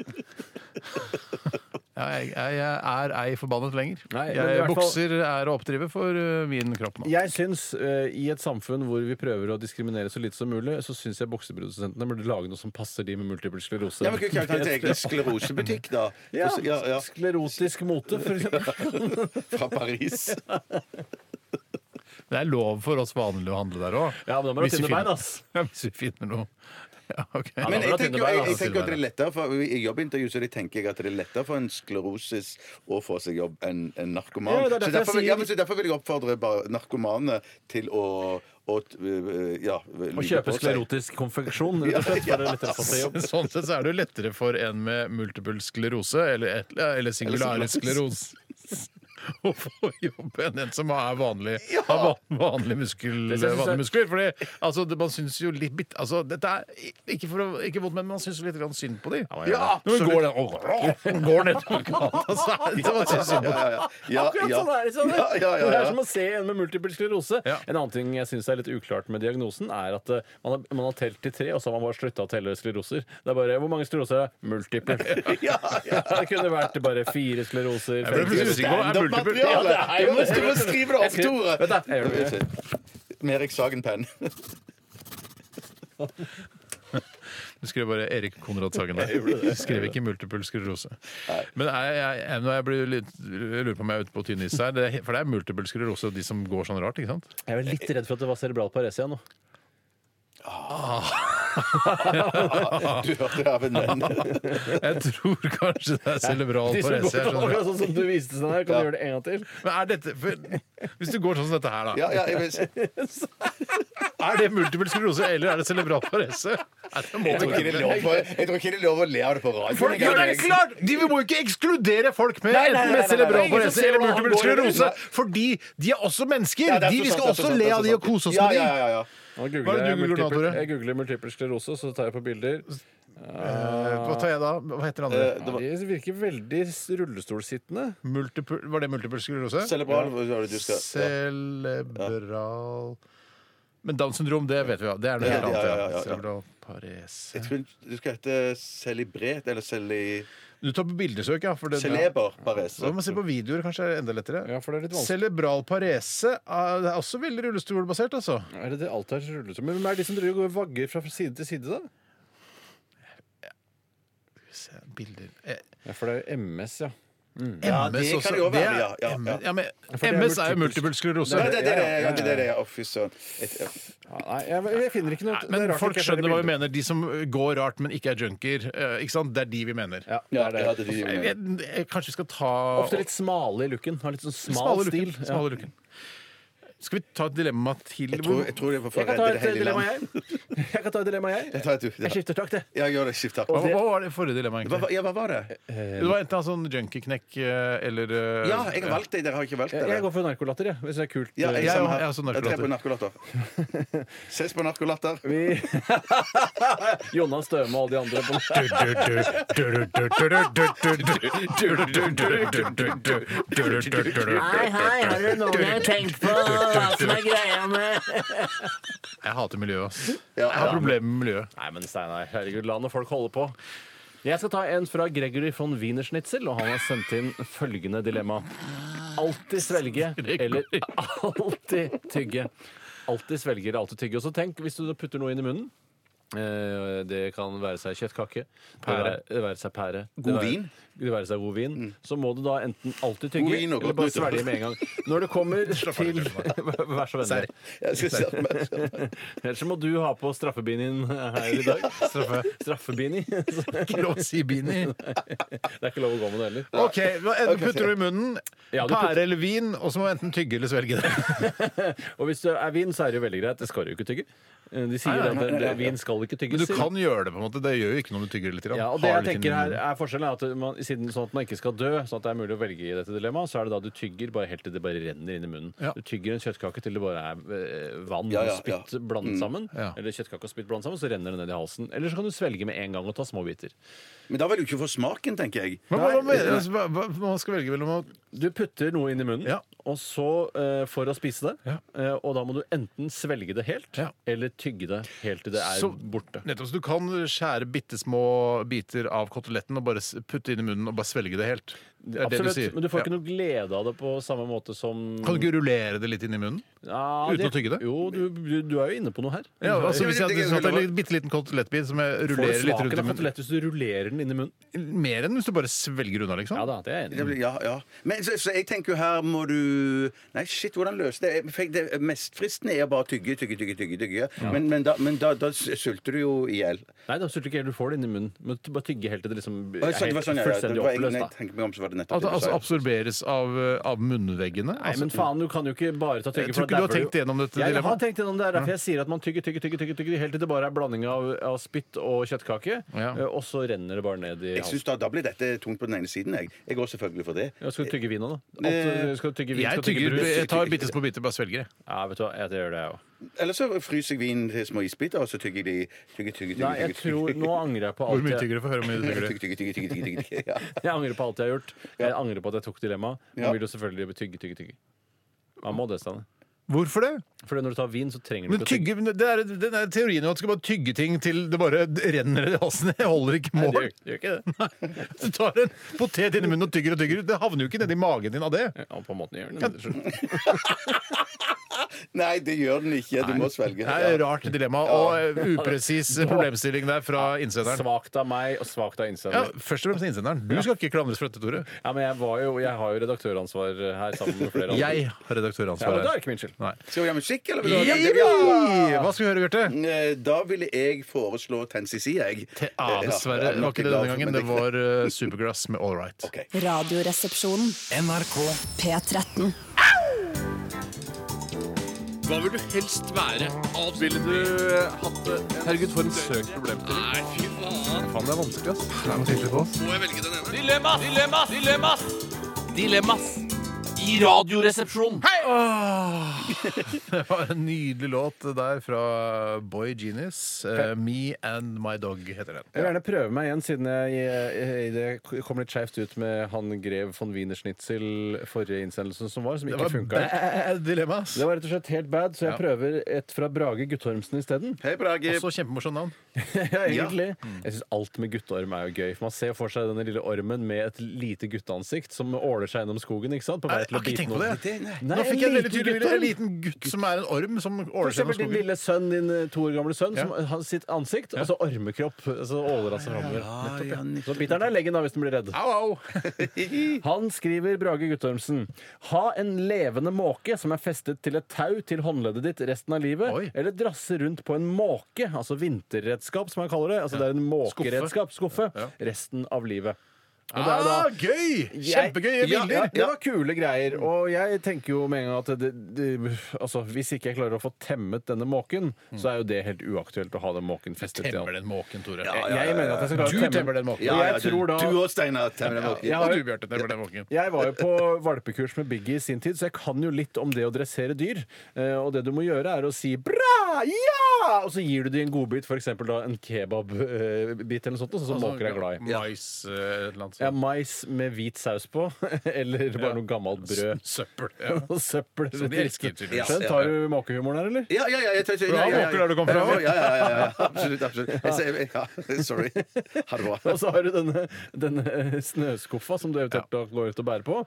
A: Jeg, jeg, jeg er ei forbannet lenger.
D: Nei, men i
A: jeg,
D: hvert fall-
A: bukser er å oppdrive for eh, min kropp nå.
D: Jeg syns, eh, i et samfunn hvor vi prøver å diskriminere så lite som mulig, så syns jeg bukseprodusentene burde lage noe som passer de med multiple sklerose.
C: Ja, men Kan vi ha en egen sklerosebutikk, da?
D: Ja,
C: Så- ja, ja.
D: Sklerotisk mote, for eksempel.
C: Fra Paris.
A: Det er lov for oss vanlige å handle der òg.
D: Ja, men da må du ha tynne bein, ass.
A: Ja, hvis vi finner noe. Ja, ok.
D: Ja, da
C: Men
D: må
C: jeg
D: du ha tynne
C: tenker, jo-
D: bein,
C: jeg, jeg
D: ass.
C: tenker at det er lettere for, I jobbintervju så de tenker jeg at det er lettere for en sklerosis å få seg jobb enn en narkoman.
D: Ja, det er derfor
C: så, derfor, vil-
D: jeg sier-
C: ja, men, så derfor vil jeg oppfordre bare narkomane til å, å øh, ja,
D: Å kjøpe sklerotisk konfeksjon. Rett og slett, for det er lettere å få seg jobb.
A: Sånn sett så er det jo lettere for en med multiple sklerose eller, et- eller singulare
C: Eller
A: sklerose å få jobb enn en som er vanlig, har van- vanlige muskel,
D: Det synes jeg-
A: vanlige muskler. Fordi altså, det, man syns jo litt bitt, altså, Dette er ikke, for å, ikke vondt, men man syns jo litt grann synd på dem.
C: Ja,
A: Når man går, den- åh, går nedover gata, så er det så man synes synd på dem.
C: Ja, ja,
D: Akkurat
C: ja.
D: sånn er det, sånn.
C: Ja, ja, ja,
D: Det er
C: ja.
D: som å se en med multiple sklerose.
A: Ja.
D: En annen ting jeg syns er litt uklart med diagnosen, er at eh, man har, man har telt til tre, og så har man bare slutta å telle skleroser. Det er bare Hvor mange skleroser er det? Multiple. Det kunne vært bare fire skleroser.
A: Jeg ble
D: fem
A: plutselig usikker på hva er multiple.
C: Standardmateriale.
D: Ja, det
C: Du
D: er jo-
C: må- du må skrive det
D: Jeg
C: opp,
D: skri-
C: Tore!
D: Vent da, jeg gjør det.
C: Med Erik Sagen-penn.
A: Du skrev bare Erik Konrad Sagen der. Du skrev ikke multiple sklerose. Men jeg, jeg, jeg, når jeg, blir litt, jeg lurer på om jeg er ute på tynn is her. Det, er he- for det er multiple sklerose og de som går sånn rart, ikke sant?
D: Jeg er litt redd for at det var cerebral parese igjen nå.
C: Du hørte det av en venn.
A: Jeg tror kanskje det er cerebral
D: De som går
A: parese. jeg skjønner.
D: akkurat sånn som du viste sånn her, kan du gjøre det en gang til?
A: Men er dette for, Hvis du går sånn som dette her, da.
C: Ja, ja, jeg vil si.
A: Er det multiple sklerose, eller er det cerebral parese? Nei, det må
C: Jeg tror
A: være-
C: ikke det er lov å- jeg tror ikke det er lov å le av det på radioen.
A: Folk, jo, det er klart! De må jo ikke ekskludere folk med
C: Nei, nei,
A: enten med
C: nei, nei, nei, nei.
A: cerebral
C: Ingen som
A: parese
C: ser
A: eller
C: hvordan han
A: multiple
C: går i
A: sklerose,
C: det.
A: fordi de er også mennesker.
C: Ja, det er
A: de,
C: så
A: vi skal
C: sant, det er
A: også
C: så sant,
A: le
C: det er
A: av
C: så
A: de og
C: sant.
A: kose oss
C: Ja,
A: med
C: ja, ja,
A: de.
C: ja.
D: Nå
A: Hva er
D: googler
A: det
D: jeg,
A: du googler nå,
D: multiple,
A: Tore?
D: jeg googler multiple sklerose, så tar jeg på bilder.
A: Eh, Hva tar jeg da? Hva heter det andre?
C: Eh, det var-
D: De virker veldig rullestolsittende.
A: Multiple, var det multiple sklerose?
C: Cerebral hva var det du skal- ja.
A: Cerebral Men Downs syndrom, det vet vi jo. Det er noe
C: Ja,
A: helt annet.
C: ja, ja,
A: Ja,
C: ja, ja.
A: Cerebral
C: Jeg
A: parese
C: tror du skal hete celebret eller celi...
A: Du tar på bildesøk, ja. For det,
C: Celeber
A: Så må
C: parese.
A: man se på videoer, kanskje er det enda lettere.
D: Ja, for det er litt vanskelig.
A: Cerebral parese eh, det er også veldig rullestolbasert, altså.
D: Er det det alt er rullestol? Men hvem er de som driver og går og vagger fra side til side, da?
A: Se, Bilder eh,
D: Ja, for det er jo MS, ja.
C: Ja, det
A: MS
C: kan
A: også.
C: det jo være,
A: er-
C: ja, ja, ja.
A: M- ja, men
D: for det er
A: MS er jo
D: multiple-
A: multiple sklerose.
C: Nei, det er det, det,
D: Ja, ja,
C: er- det, er det,
D: ja,
C: ja. Å, fy søren. Et- ja.
D: Ja, Nei, jeg, jeg finner ikke noe
A: Nei, Men folk skjønner hva vi mener. De som eh, går rart, men ikke er junkier. eh, Ikke sant? Det er de vi mener.
D: Ja, det
C: Ja,
D: er det.
C: ja, det er de
A: Jeg
C: gjorde.
A: vet, jeg, kanskje vi skal ta
D: Ofte litt smale i looken. Har litt sånn smal
A: Smale
D: stil.
A: luken. Smale luken. Skal vi ta et dilemma til?
C: Jeg tror, jeg tror det var for
D: Jeg
C: å
D: kan ta
C: redde det
D: et
C: hele
D: dilemma,
C: landet.
D: jeg. Jeg kan ta et dilemma, jeg.
C: Ta et du, ja.
D: Jeg skifter takt, jeg.
C: Ja, gjør det. Skift takk.
A: hva, hva var det forrige dilemmaet?
C: Hva,
A: egentlig?
C: ja, hva var det?
A: Det var enten sånn junkieknekk eh, eller eh,
C: Ja, jeg har valgt det. Dere har ikke valgt det.
D: Jeg, jeg går for narkolatter, jeg, hvis det er kult.
C: Ja,
A: Jeg
C: samme
A: er-
C: her.
A: jeg er også narkolatter.
C: Jeg tror på narkolatter. Ses på narkolatter.
D: Vi Jonna Støme og alle de andre på
A: Jeg
F: hei, har dere noen gang tenkt på hva som er greia med
A: hater miljøet, ass. Jeg har problemer med miljøet.
D: Nei, men Steinar, herregud, la nå folk holde på. Jeg skal ta en fra Gregory von Wienerschnitzel, og han har sendt inn følgende dilemma. Alltid svelge eller alltid tygge. Alltid svelge eller alltid tygge. Og så tenk, hvis du da putter noe inn i munnen eh, Det kan være seg kjøttkake, pære.
A: Pære.
D: Det være seg pære det
C: God
D: være-
C: vin. Mm.
D: Det være seg god vin. Så må du da enten alltid
C: God
D: tygge
C: vin og
D: eller
C: godt
D: bare
C: nyttår.
D: svelge med en gang. Når det kommer til Vær så vennlig.
C: Jeg skal se på meg.
D: Ellers så må du ha på straffebinien eh, her i dag.
A: Straffe.
D: Straffebini. Det
A: Ikke lov å si bini.
D: er ikke lov å gå med det heller.
A: OK, hva enten putter du i munnen,
D: Ja, du putter-
A: pære eller vin, og så må du enten tygge eller svelge det.
D: Og hvis det er vin, så er det jo veldig greit. Det skal du jo ikke tygge. Eh, De sier at det- det- vin skal ikke tygges.
A: Men du
D: sier de.
A: kan gjøre det, på en måte. Det gjør jo ikke noe om du tygger litt. grann.
D: Ja, og det
A: Har
D: jeg
A: litt
D: tenker
A: inni
D: her
A: munnen.
D: er Forskjellen er at man, siden sånn at man ikke skal dø, sånn at det er mulig å velge i dette dilemmaet, så er det da du tygger bare helt til det bare renner inn i munnen.
A: Ja.
D: Du tygger en kjøttkake til det bare er eh, vann
C: Ja, ja,
D: og spytt
C: ja. Mm.
D: blandet sammen.
A: Ja.
D: Eller kjøttkake og spytt blandet sammen, så renner det ned i halsen. Eller så kan du svelge med en gang og ta små biter.
C: Men da vil du ikke få smaken, tenker jeg.
A: Men hva, hva, mener du? hva, hva, man skal velge mellom å
D: Du putter noe inn i munnen,
A: Ja.
D: og så eh, for å spise det. eh, og da må du enten svelge det helt,
A: Ja.
D: eller tygge det helt til det er
A: Så-
D: borte.
A: Nettopp, så Du kan skjære bitte små biter av koteletten og bare s- putte inn i munnen og bare svelge det helt. Det er det
D: Absolutt,
A: du sier.
D: men du får ikke
A: Ja.
D: noe glede av det på samme måte som
A: Kan du ikke rullere det litt inn i munnen?
D: Ja,
A: Uten å tygge det?
D: Jo, du, du, du er jo inne på noe her.
A: Ja, altså Hvis jeg
C: det- det-
A: hadde tatt en bitte liten kotelettbit som jeg
D: Får du
A: rullerer litt rundt
D: smaken
A: i
D: av
A: munnen
D: kotelett hvis du rullerer den inn i munnen?
A: Mer enn hvis du bare svelger unna, liksom.
D: Ja da, det er jeg
C: Det
D: enig i.
C: blir- Ja, ja. Men så, så jeg tenker jo her må du Nei, shit, hvordan løse det? Jeg- for jeg- det mest fristende er å bare tygge, tygge, tygge. tygge, tygge. Men, men, da, men da, da sulter du jo i hjel.
D: Nei, da sulter ikke helt, du får det inn i munnen. Men du bare tygge helt til det liksom er
C: Oi, så det var
D: helt
C: sånn, ja, ja. Det
D: fullstendig
C: var- jeg-
D: oppløst.
C: nei,
D: da.
C: tenker meg om, så var det nettopp
A: At det
C: det du
A: altså
C: sa.
A: absorberes av, eh, av munnveggene?
D: Nei, men faen, du kan jo ikke bare ta tygge
A: Altså, Jeg tror
D: for da
A: ikke du har
D: dauer
A: tenkt gjennom dette
D: Jeg har
A: dilemmaet.
D: tenkt gjennom det, det er derfor jeg sier at man tygger, tygger, tygger, tygger, tygger helt til det bare er blanding av, av spytt og kjøttkake,
A: Ja.
D: eh, og så renner det bare ned i
C: Jeg synes da,
D: halsen.
C: da blir dette tungt på den ene siden. Jeg, jeg går selvfølgelig for det.
D: Ja, skal du tygge vin nå, da? Alt, skal du tygge vin,
A: Eh, jeg,
D: skal du tygge
A: tygger,
D: brus?
A: jeg tar bitte små biter, bare svelger. jeg.
D: Ja, vet du hva, jeg gjør det, jeg òg.
C: Eller så fryser jeg vin til små isbiter, og så tygger jeg de tygge, tygge, tygge.
D: Nei, jeg tror Nå angrer jeg på
A: Hvor
D: alt
A: mye
D: jeg
A: tygger du? Få høre hvor mye du tygger.
C: Tygge, tygge, tygge, tygge, tygge, tygge. Ja.
D: Jeg angrer på alt jeg har gjort. Jeg angrer på at jeg tok dilemmaet.
C: Ja.
D: Man vil jo selvfølgelig tygge, tygge, tygge. Man må det, Stanley.
A: Hvorfor det?
D: For når du tar vin, så trenger du
A: Men
D: ikke å tygge.
A: tygge, men det er, den er teorien om at du skal bare tygge ting til det bare renner i halsen. Jeg holder ikke mål.
D: Nei, det gjør- det gjør ikke det.
A: Nei. Du tar en potet inn i munnen og tygger og tygger. Det havner jo ikke nedi magen din av det.
D: Ja, på en måte gjør den det. skjønner du.
C: Nei, det gjør den ikke. Du må svelge.
A: Det er
C: Ja.
A: et rart dilemma og eh, upresis problemstilling der fra innsenderen.
D: Svakt av meg og svakt av
A: Ja,
D: innsender.
A: Først og fremst innsenderen. Du skal ikke klandres for dette, Tore.
D: Ja, men jeg, var jo, jeg har jo redaktøransvar eh, her sammen med flere andre.
A: Jeg har
D: ja, men
A: redaktøransvaret.
D: Det er ikke min skyld.
A: Nei.
C: Skal vi ha musikk, eller? vil du ha-
A: Jippi! Hva skal vi høre, Bjarte?
C: Eh, Da ville jeg foreslå Tensisi, jeg.
A: Te- Ah,
C: Ja,
A: dessverre.
C: jeg er
A: Det var
C: nok
A: ikke det denne
C: glad for-
A: gangen.
C: men
A: Det var eh, Supergrass med All Right.
C: Ok.
H: Radioresepsjonen.
G: NRK
H: P13.
B: Dilemmas! Dilemmas! Dilemmas! Dilemmas! I Radioresepsjonen!
A: Det var en nydelig låt der fra Boy Genius. Eh, Me and My Dog heter den.
D: Jeg vil gjerne prøve meg igjen, siden jeg, jeg, det kom litt skeivt ut med han Grev von Wienerschnitzel forrige innsendelsen som var, som
A: Det
D: ikke
A: var
D: funka.
A: bad dilemma, ass.
D: Det var rett og slett helt bad, så jeg
A: Ja.
D: prøver et fra Brage Guttormsen isteden.
C: Hei, Brage.
A: Også kjempemorsomt navn.
D: Ja, egentlig.
A: Mm.
D: Jeg syns alt med gutteorm er jo gøy. For Man ser for seg denne lille ormen med et lite gutteansikt som åler seg gjennom skogen. ikke sant? På vei
A: Jeg
D: til
A: har
D: å
A: ikke
D: bite
A: tenkt på
D: noen.
A: det.
D: Nei,
A: Nå fikk jeg en veldig
D: liten
A: tydelig bilde. En
D: guttorm.
A: liten gutt som er en orm som
D: For
A: åler seg gjennom
D: eksempel din
A: skogen.
D: lille sønn, din eh, to år gamle sønn, som har sitt ansikt, altså og så ormekropp. Så åler han seg framover. Så biter han deg i leggen da, hvis den blir redd.
A: Au, au!
D: Han skriver Brage Guttormsen Ha en levende måke som er festet til et tau til håndleddet ditt resten av livet,
A: Oi.
D: eller drasse rundt på en måke, altså vinterredskap som han kaller det. Altså det er en måkeredskap, skuffe, resten av livet. Og det er
A: Ah,
D: da-
A: gøy!
D: Jeg-
A: Kjempegøye
D: Ja, Ja,
A: bilder.
D: det var kule greier. Og jeg tenker jo med en gang at det, det, altså, hvis ikke jeg klarer å få temmet denne måken, så er jo det helt uaktuelt å ha den måken festet til
A: Temmer
D: alt.
A: den måken, Tore.
D: Jeg mener at jeg skal klare å
A: Du
D: temme
A: temmer den måken.
C: Ja,
D: Og
C: ja,
D: jeg tror da
C: Du òg, Steinar. Temmer deg opp.
D: jeg
A: Og
D: har,
A: du, Bjarte, temmer den måken.
D: jeg var jo på valpekurs med Biggie i sin tid, så jeg kan jo litt om det å dressere dyr. Eh, Og det du må gjøre, er å si 'bra! Ja!' Og så gir du dem en godbit, f.eks. en kebabbit eller noe sånt, og
A: Altså,
D: sånn som måker er glad i.
A: Mais eh, et eller
D: Ja,
A: annet.
D: mais med hvit saus på, eller bare noe gammelt brød.
A: Søppel. Ja.
D: Og søppel.
A: Som de elsker, tydeligvis.
D: Skjønn, tar du måkehumoren her, eller?
C: Ja, ja, ja. Jeg tar,
A: Bra,
C: ja, ja,
A: Håker, der du kom fra.
C: Ja, ja, ja, ja, ja. Absolutt. absolutt. Jeg sier, ja, sorry. Ha det bra.
D: Og så har du denne, denne snøskuffa som du eventuelt da går ut og bærer på.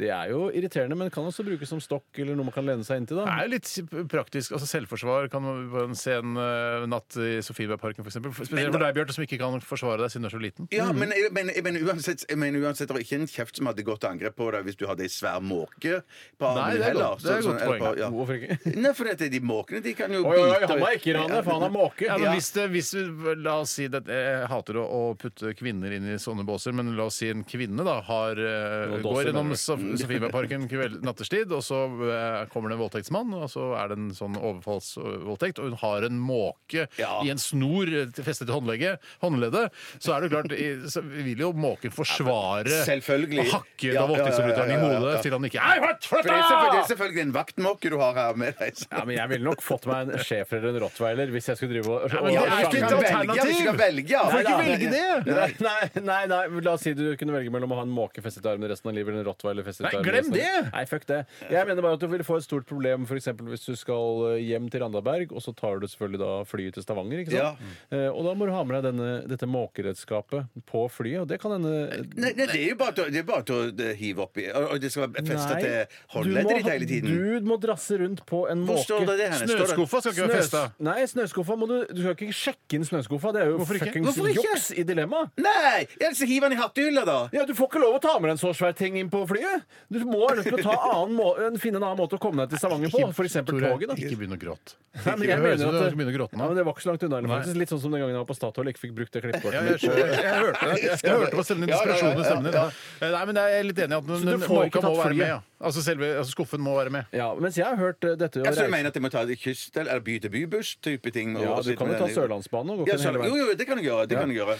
D: Det er jo irriterende, men kan også brukes som stokk eller noe man kan lene seg inntil.
A: Det
D: da.
A: er jo litt praktisk. altså Selvforsvar kan man på en sen eh, natt i Sofiebergparken f.eks. Spesielt for deg, Bjarte, som ikke kan forsvare deg siden du er så liten.
D: Mm.
C: Ja, eh, men, jeg- men, jeg mener uansett uansett, jeg mener uansett, det var ikke en kjeft som hadde gått til angrep på deg hvis du hadde ei svær måke på armen
A: Nei, det er
C: heller.
A: godt- det er et
C: Så-
A: godt
C: eller på-
A: poeng.
C: ja.
D: Hvorfor ikke?
C: Nei, for dette, de måkene, de kan jo
D: Oi, oi, oi,
C: bite-
D: han var ikke rane, for han er måke.
A: Ja, men
C: Ja.
A: Hvis, det, hvis vi, La oss si det, Jeg hater å, å putte kvinner inn i sånne båser, men la oss si en kvinne da har, eh,
D: Noen dåser,
A: går gjennom
D: mener du?
A: Sof-
C: Mm.
A: Sofiebergparken kveld- nattestid, og så eh, kommer det en voldtektsmann, og så er det en sånn overfallsvoldtekt, og hun har en måke
C: Ja.
A: i en snor eh, til- festet til håndlegget, håndleddet, så er det klart i- så vil jo måken forsvare
C: Selvfølgelig.
A: og hakke da
C: Ja, ja, ja,
A: voldtektsforbryteren
C: ja, ja, ja,
A: i
C: ja.
A: hodet til han ikke Hei, hva-
C: For det er, selvfølgelig, det er selvfølgelig en vaktmåke du har her med deg. så-
D: Ja, men Jeg ville nok fått meg en schæfer eller en rottweiler hvis jeg skulle drive og
A: men
C: Ja,
A: det er
C: hvis
A: jo
C: du
A: ikke
C: kan
A: et
C: velge, ja, hvis du kan velge, ja.
A: Hvorfor ikke
C: Nei, nei,
A: velge
C: nei.
A: det?
D: Nei, nei, nei, nei, men la oss si du kunne velge mellom å ha en måke festet til armen resten av livet eller en rottweiler festet
A: Nei,
D: til armen.
A: glem
D: resten av livet.
A: det!
D: Nei, fuck det! Jeg mener bare at du vil få et stort problem for eksempel hvis du skal eh, hjem til Randaberg, og så tar du selvfølgelig da flyet til Stavanger, ikke sant? Eh, Og da må du ha med deg denne, dette måkeredskapet på flyet, og det kan hende
C: Nei, nei, det er jo bare til å- det er bare til å eh, hive oppi. Og og det skal være festa
D: Nei,
C: til
D: du må
C: håndleddet ditt
D: ha-
C: hele tiden.
D: Du må drasse rundt på en
C: Hvor
D: måke.
C: står det det her? Står det-
A: Snøskuffa skal ikke være
D: Snøs
A: festa.
D: nei, snøskuffa må du Du skal ikke sjekke inn snøskuffa. Det er jo
A: Hvorfor ikke?
D: fuckings
C: Hvorfor ikke?
D: juks i dilemma.
C: Nei! Ellers så hiver han i hattehylla, da.
D: Ja, Du får ikke lov å ta med deg en så svær ting inn på flyet! Du må er nødt til å ta annen må finne en annen måte å komme deg til Stavanger på. F.eks.
A: Tore,
D: toget. da
A: Ikke begynn å gråte.
D: Nei, men jeg
A: Det høres
D: mener
A: ut som
D: at
A: du begynner å gråte nå.
D: Ja, men Det var ikke så langt unna. eller
A: Nei.
D: faktisk. Litt sånn som den gangen jeg var på Statoil og ikke fikk brukt det
A: Ja,
D: klippekortet.
A: jeg, skjønner. jeg, hørte det. Jeg hørte på stemmen din. Desperasjonen i stemmen din. Eh, Nei, men jeg er litt enig i at den,
D: du
A: den
D: får
A: måka
D: ikke
A: må
D: tatt
A: være
D: flyet?
A: med. Ja. Altså selve altså skuffen må være med.
D: Ja, Mens jeg har hørt eh, dette å
C: Ja, så du
D: reise-
C: mener at jeg må ta det kyst- eller by til bybuss-type ting? og-
D: Ja,
C: og
D: du
C: sitte
D: kan
C: med
D: jo ta
C: den i-
D: Sørlandsbanen og gå
C: Ja,
D: til hele
C: Sørland-
D: veien.
C: jo, jo, det kan jeg gjøre. Det kan jeg gjøre.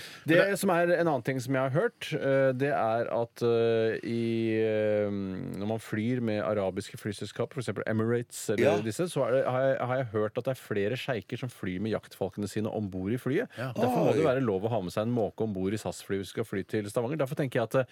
D: Det som er en annen ting som jeg har hørt, eh, det er at eh, i eh, Når man flyr med arabiske flyselskap, f.eks. Emirates eller
C: Ja.
D: disse, så er det, har, jeg, har jeg hørt at det er flere sjeiker som flyr med jaktfalkene sine om bord i flyet. Derfor må det være lov å ha med seg en måke om bord i SAS-flyet hvis du skal fly til Stavanger. Derfor tenker jeg at eh,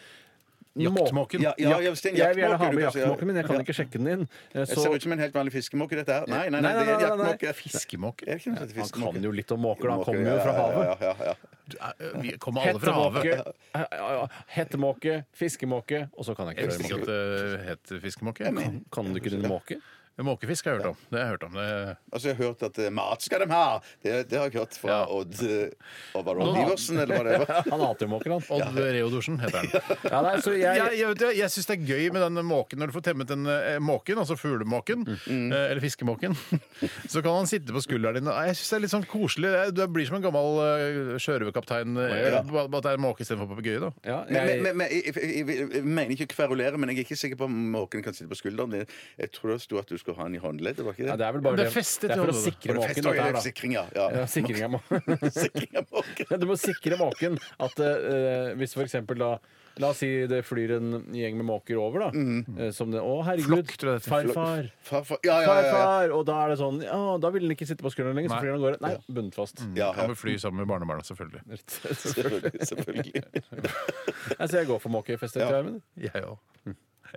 D: må-
A: Jaktmåken.
C: Ja, ja, ja, hvis det er en
D: Jeg vil gjerne ha
C: jaktmåke du
D: med
C: kan si, ja.
D: jaktmåken min, jeg
C: Ja.
D: kan ikke sjekke den inn. Eh,
C: Jeg
D: Så
C: ser ut som en helt vanlig fiskemåke, dette her. Nei, nei, nei,
D: Nei, nei,
C: det er en
D: nei, nei, nei.
C: jaktmåke.
A: Fiskemåke?
C: Jeg kan ikke si
D: han
C: fiskemåke.
D: kan jo litt om måker, da. han kommer
C: Ja,
D: jo fra
C: ja,
D: havet.
C: Ja, ja, ja.
A: Du er- Vi kommer alle fra havet.
D: Hettemåke, eh, eh, hettemåke, fiskemåke, og så kan jeg
A: Jeg visste
D: ikke det.
A: ikke at det het fiskemåke.
D: Kan, kan du ikke din måke?
A: Måkefisk har jeg hørt om. Det har jeg hørt om. Det
C: Altså, jeg har hørt at eh, mat skal de ha! Det, det har jeg hørt fra
A: Ja.
C: Odd eh, og var det Odd Iversen, eller hva det var.
D: Han hater jo måker, han.
A: Odd Reodorsen heter han.
D: Ja, nei, så
A: Jeg,
D: jeg,
A: jeg, vet det, jeg syns det er gøy med den måken når du får temmet den eh, måken, altså fuglemåken, eh, eller fiskemåken. Så kan han sitte på skulderen din. og- Jeg syns det er litt sånn koselig. Jeg- Du blir som en gammel eh, sjørøverkaptein, eh,
C: Ja.
A: bare bare at det er en måke istedenfor papegøye, da.
D: ja,
C: Men, men,
D: jeg
C: men, men jeg, jeg, jeg, jeg mener ikke å kverulere, men jeg er ikke sikker på om måken kan sitte på skulderen din. Jeg tror det sto at du skulle ha den i håndleddet, var ikke det?
D: ja, det er vel bare
A: Det
D: det.
A: er festet
D: Det er for
A: i
D: å
A: hodet.
D: sikre
C: Var det
D: måken.
C: fest-
D: dette her, da.
C: Sikring, ja. ja.
D: Ja, sikring av måken.
C: Sikring av måken.
D: Ja, du må sikre måken at eh, hvis for eksempel da La oss si det flyr en gjeng med måker over, da. eh, Som det, å, herregud,
A: Flokk, tror jeg det heter.
D: farfar,
C: Far, far, ja, ja, ja, ja.
D: farfar! Og da er det sånn Ja, da vil den ikke sitte på skulderen lenger,
A: Nei.
D: så flyr den av gårde. Nei, bundet fast.
C: ja, Mm.
A: Kan vi
C: ja.
A: fly sammen med barnebarna, selvfølgelig.
C: Selvfølgelig. selvfølgelig.
D: Altså, jeg går for måkefestet til armen.
A: Jeg òg.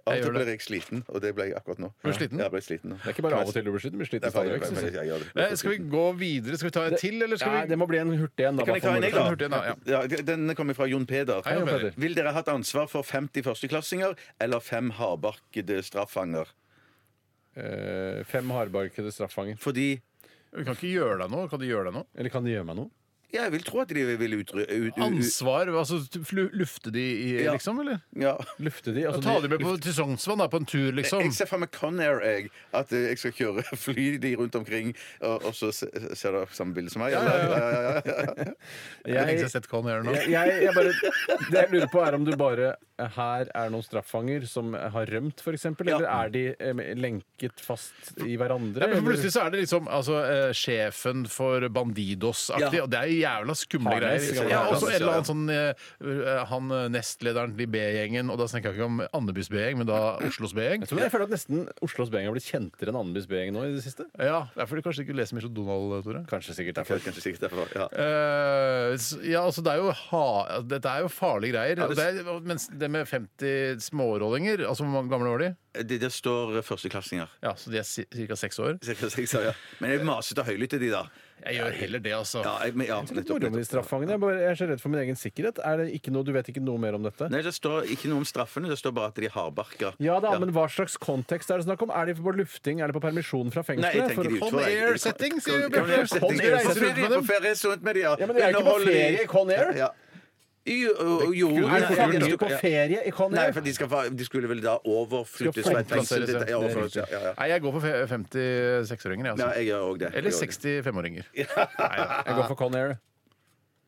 C: Av og
A: gjør
C: til
A: det.
C: ble jeg sliten, og det ble jeg akkurat nå.
A: Ble du sliten?
C: Ja, jeg ble sliten nå.
D: Det er ikke bare av og til du blir sliten, du blir
C: Det
D: sliten
C: er feil,
D: stadig vekk.
C: feil,
D: synes
C: feil, ja,
D: jeg.
C: ja, det-
A: Eh, Skal vi gå videre? Skal vi ta en til, eller
D: Nei,
A: skal vi
D: det må bli en hurtig en, da. liksom-
C: Kan jeg ta en, jeg,
A: Ja, hurtig en, da, ja.
C: da? Ja, den kommer fra Jon Peder.
A: Hei, Jon Peder.
C: Vil dere hatt ansvar for 50 førsteklassinger eller fem hardbarkede straffanger?
D: Eh, Fem hardbarkede straffanger.
C: Fordi
A: Vi kan ikke gjøre deg noe. Kan du gjøre deg noe?
D: Eller kan de gjøre meg noe?
C: ja, jeg vil tro at de vil utrydde ut, u- u-
A: Ansvar? Altså flu- lufte de i,
C: Ja.
A: liksom, eller?
C: ja.
D: Lufte de? Altså,
A: Ta de med på, til Sognsvann, da, på en tur, liksom.
C: Jeg ser for meg Conair, jeg. At eh, jeg skal kjøre fly de rundt omkring, og, og så se- ser dere samme bilde som meg? Eller? Ja, ja, ja, ja.
A: Jeg tenkte
D: jeg,
A: jeg sett hva han gjør nå.
D: jeg, jeg, jeg bare, det jeg lurer på, er om du bare eh, her er noen straffanger som har rømt, f.eks., eller er de eh, lenket fast i hverandre?
A: Ja, men for
D: eller?
A: plutselig så er det liksom altså, eh, sjefen for Bandidos-aktig,
C: Ja.
A: og det er jævla skumle
D: Harnes,
A: greier.
D: skal man
A: Ja,
D: ha.
A: og så en eller annen sånn eh, eh, han eh, nestlederen til B-gjengen, og da snakker jeg ikke om Andebys B-gjeng, men da Oslos B-gjeng.
D: Jeg tror jeg føler at nesten Oslos B-gjeng har blitt kjentere enn Andeby's B-gjeng nå i det siste.
A: Ja, det er fordi du kanskje ikke leser mye som Donald, Tore.
D: Kanskje sikkert
C: Det er
D: derfor.
C: Kanskje sikkert derfor. Ja.
A: Eh, s- ja, altså det er jo ha, Dette er jo farlige greier. og det er, mens det med 50 smårollinger Altså hvor mange gamle var de?
C: Eh, Det, det står førsteklassinger.
A: Ja, Så de er ca. seks år?
C: Cirka seks år, ja. Men jeg maset og høylytt til de, da.
A: Jeg gjør heller det, altså.
C: Ja, jeg, men, ja,
D: Det er
C: nettopp,
D: moro med de
C: nettopp.
D: straffangene. Jeg, bare, jeg er så redd for min egen sikkerhet. Er det ikke noe, du vet ikke noe mer om dette?
C: Nei, Det står ikke noe om straffene, det står bare at de er hardbarka.
D: Ja da, men hva slags kontekst er det snakk om? Er de på lufting? Er det på permisjon fra fengselet?
C: Nei, jeg tenker de
D: For-
C: utfor-
A: Con-air-setting, sier jo Bjarte.
C: Con-air-setting.
A: Con-air-setting.
C: På ferie, på ferie, rundt med de, ja.
D: Ja, men det er ikke på
C: Underholder de.
D: ferie, Con Air.
C: Ja, Jo, jo, jo,
A: Skulle
C: nei,
A: du
C: jeg-
A: fulgt
D: Faktisk
C: jeg-
D: på ferie i Conny.
C: Nei, for de, skal, fa- de skulle vel da overflyttes
D: Skal
C: fra et fengsel til
A: plasseres,
C: ja,
A: ja.
C: overflyttes, ja, ja, ja.
A: Nei, jeg går for fe- 56-åringer, jeg,
C: Ja,
A: altså.
C: jeg gjør òg det. Jeg
A: Eller
C: gjør det.
A: 65-åringer. Nei,
D: Jeg går for Conair.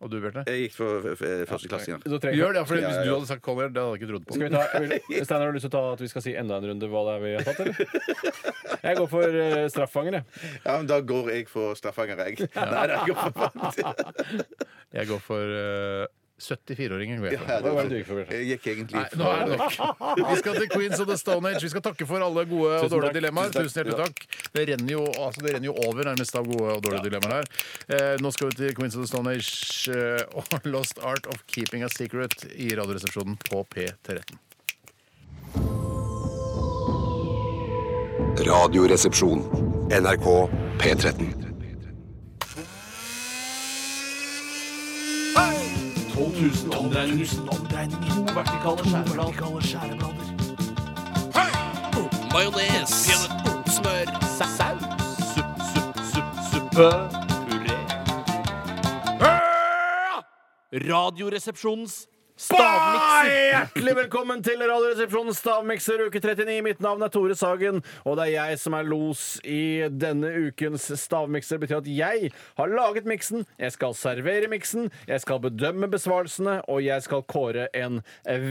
A: Og du, Bjarte?
C: Jeg gikk for f- f- førsteklassinger.
D: Da trenger-
A: Gjør det, for
C: Ja,
A: hvis
C: ja,
A: du
C: ja.
A: hadde sagt Collier, det hadde jeg ikke trodd på.
D: Skal vi ta, vil, Steiner, har du lyst til å ta at vi skal si enda en runde hva det er vi har tatt, eller? Jeg går for eh, strafffanger, jeg.
C: Ja, men da går jeg for straffanger, jeg. Nei, nei, jeg går for
A: Jeg går for eh, 74-åringer. går jeg for.
C: Ja, det
D: Hva
C: var-
D: var det du gikk for, Bjarte?
C: Jeg gikk egentlig
A: Nei, nå er det nok. Vi skal til Queens of the Stone Age. Vi skal takke for alle gode og
D: Tusen
A: dårlige
D: takk.
A: dilemmaer. Tusen hjertelig takk. Det renner jo, altså det renner jo over nærmest av gode og dårlige dilemmaer her. Eh, nå skal vi til Queens of the Stone Age eh, og Lost Art of Keeping a Secret i Radioresepsjonen på P13.
E: Radioresepsjon. NRK P13.
B: Radioresepsjonens
D: Hjertelig velkommen til Radioresepsjonens stavmikser uke 39. Mitt navn er Tore Sagen, og det er jeg som er los i denne ukens stavmikser. Det betyr at jeg har laget miksen, jeg skal servere miksen, jeg skal bedømme besvarelsene, og jeg skal kåre en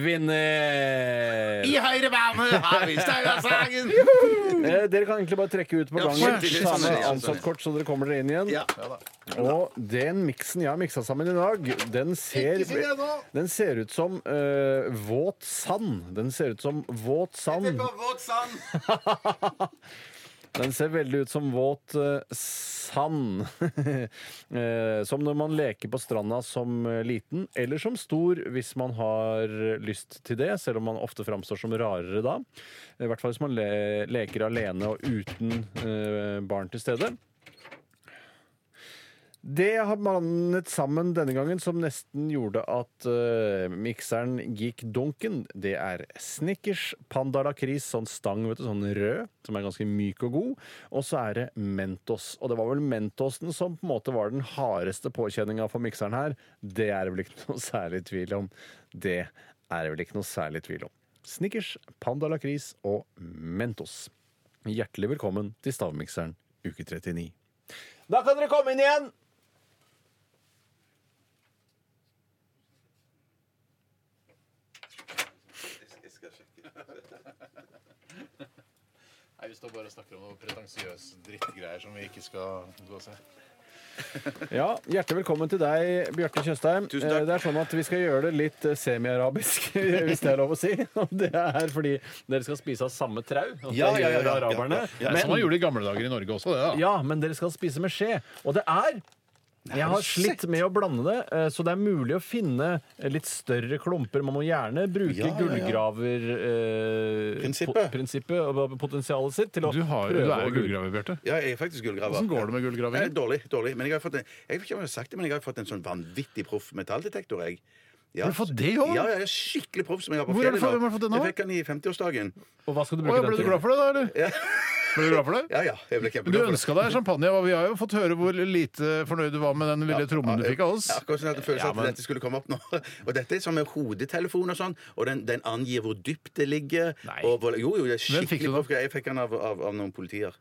D: vinner.
A: I høyre bane har vi Steinar Sagen!
D: Eh, Dere kan egentlig bare trekke ut på
C: shit,
D: gangen,
C: det er
D: ta
C: sånn,
D: med
C: ja, sånn,
D: ansattkort så dere kommer dere inn igjen.
C: Ja.
D: Og den miksen jeg har miksa sammen i dag, den ser, den ser ut som eh, våt sand. Den ser ut som våt sand. Den ser veldig ut som våt eh, sand. Eh, som når man leker på stranda som eh, liten, eller som stor hvis man har eh, lyst til det, selv om man ofte framstår som rarere da. I hvert fall hvis man le leker alene og uten eh, barn til stede. Det har blandet sammen denne gangen som nesten gjorde at eh, mikseren gikk dunken. Det er Snickers Panda Lakris, sånn stang, vet du, sånn rød, som er ganske myk og god. Og så er det Mentos. Og det var vel Mentosen som på en måte var den hardeste påkjenninga for mikseren her. Det er det vel ikke noe særlig tvil om. Det er det vel ikke noe særlig tvil om. Snickers, Panda Lakris og Mentos. Hjertelig velkommen til Stavmikseren uke 39. Da kan dere komme inn igjen!
A: Nei, Vi står bare og snakker om noe pretensiøse drittgreier som vi ikke skal gå og se.
D: Ja, Hjertelig velkommen til deg, Bjarte Tjøstheim.
C: Tusen takk.
D: Eh, Det er sånn at Vi skal gjøre det litt eh, semi-arabisk, hvis det er lov å si. Og det er fordi dere skal spise av samme trau. og
C: Ja,
D: det
C: ja, ja,
D: gjør
C: ja, ja.
D: araberne.
C: Ja,
A: Som
D: Men,
A: man gjorde i gamle dager i Norge også, det da.
D: ja, men dere skal spise med skje. Og det er jeg har slitt med å blande det, eh, så det er mulig å finne eh, litt større klumper. Man må gjerne bruke
C: Ja, ja, ja. Prinsippet.
D: gullgraverprinsippet og potensialet sitt til å
A: Du, har, du
D: prøve
A: er
D: å
A: jo gullgraver, Bjarte.
C: Ja, jeg er faktisk gullgraver.
A: Hvordan går det med
C: Nei,
A: gullgravingen?
C: Dårlig. dårlig. Men jeg har fått en, jeg vet ikke om jeg har sagt det, men jeg har fått en sånn vanvittig proff metalldetektor. jeg. Ja.
A: Har du fått det òg?
C: Ja, ja, jeg er skikkelig proff som jeg har på
A: Hvor har du
C: fjellet.
A: fått-
C: nå.
A: hvem har du fått den av?
C: Jeg fikk den i 50-årsdagen.
D: Og hva skal du
A: Å,
D: bruke
A: ja, Ble du
D: den til?
A: glad for det, da? eller? Ble du glad for det?
C: Ja, ja, jeg ble
A: Du
C: kjempeglad for det.
A: ønska deg champagne, og vi har jo fått høre hvor lite fornøyd du var med den lille trommen du fikk av oss.
C: Ja, akkurat sånn at det føles at dette skulle komme opp nå. Og dette er som med hodetelefon og sånn, og den, den angir hvor dypt det ligger.
A: Nei.
C: Og hvor, jo, jo, det er
A: Hvem fikk du
C: skikkelig
A: da?
C: proff. Jeg fikk den av, av, av noen politier.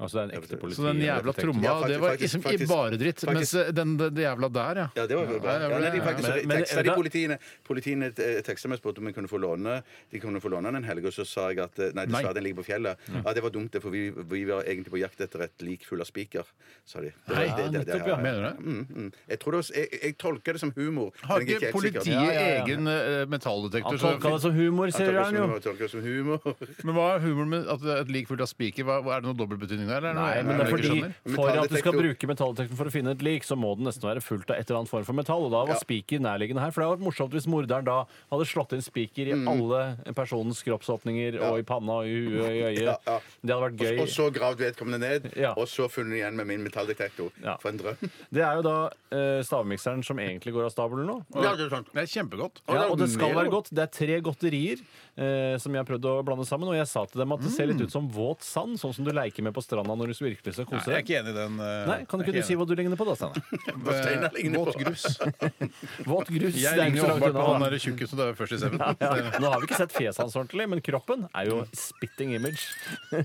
D: Altså, det er en ekte politi.
A: Så den jævla tromma,
C: Ja, faktisk,
A: det var
C: faktisk,
A: liksom i
C: faktisk,
A: bare dritt. Mens
C: faktisk.
A: den, den, den jævla der, ja.
C: Ja, det var jo bra.
A: Ja,
C: Ja,
A: det
C: nei, de
A: ble-
C: faktisk
D: men- men-
C: teksta de
D: da-
C: politiene Politiene eh, teksta meg og spurte om jeg kunne få låne De kunne få låne den en helg, og så sa jeg at eh, nei,
A: Nei.
C: dessverre, den ligger på fjellet. Ja, Det var dumt, det, for vi, vi var egentlig på jakt etter et lik full av spiker, sa de. Det var-
A: Nei,
C: det- det- det-
D: nettopp, ja.
A: Mener du det?
C: Mm, mm. Jeg, tror det var, jeg, jeg tolker det som humor.
A: Har
C: men jeg
A: ikke
C: er helt sikker.
A: politiet
D: Ja, ja, ja.
A: egen eh, metalldetektor?
D: Han
A: så-
D: tolka det som humor,
C: Jeg
D: sier
C: tolker det
D: han
C: som
D: jo.
C: humor, jeg tolker det som humor.
A: Men hva er humoren med at det er et lik fullt av spiker? Hva- Er det noen dobbeltbetydning der? eller er det noe
D: Nei,
A: jeg-
D: men det er
A: jeg ikke
D: fordi
A: skjønner?
D: For at du skal
C: Metalldetektor.
D: bruke metalldetektoren for å finne et lik, så må den nesten være fullt av et eller annet form for metall. Og da var spiker nærliggende her. For det hadde vært morsomt hvis morderen da hadde slått inn spiker i alle personens kroppsåpninger og i panna og i huet og i
C: Ja,
D: øyet.
C: ja.
D: Det hadde vært
C: Og
D: gøy.
C: så gravd vedkommende ned,
D: Ja.
C: og så funnet igjen med min metalldetektor.
D: Ja.
C: For en drøm.
D: Det er jo da eh, stavmikseren som egentlig går av stabelen nå.
C: Ja, det er sant.
A: Det er kjempegodt.
D: Ja,
C: det er
D: og det skal
C: mer
D: være
C: godt.
D: godt. Det er tre godterier eh, som jeg har prøvd å blande sammen. Og jeg sa til dem at det ser litt ut som våt sand, sånn som du leker med på stranda når du virkelig skal
A: Nei,
D: kose
A: jeg er
D: deg.
A: ikke enig i den. eh,
D: Nei, Kan
A: jeg
D: ikke
A: er
D: du si hva du ligner på, da, Steinar?
A: enig.
C: Hva Steinar ligner
A: Våt
C: på?
A: grus.
D: Våt grus.
A: Jeg
D: det er ikke
A: ligner
D: så
A: jo
D: langt
A: åpenbart på
D: unna,
A: han eh,
D: da.
A: der tjukken, så det er først i seven.
D: Ja, nå har vi ikke sett fjeset hans ordentlig, men kroppen er jo spitting image.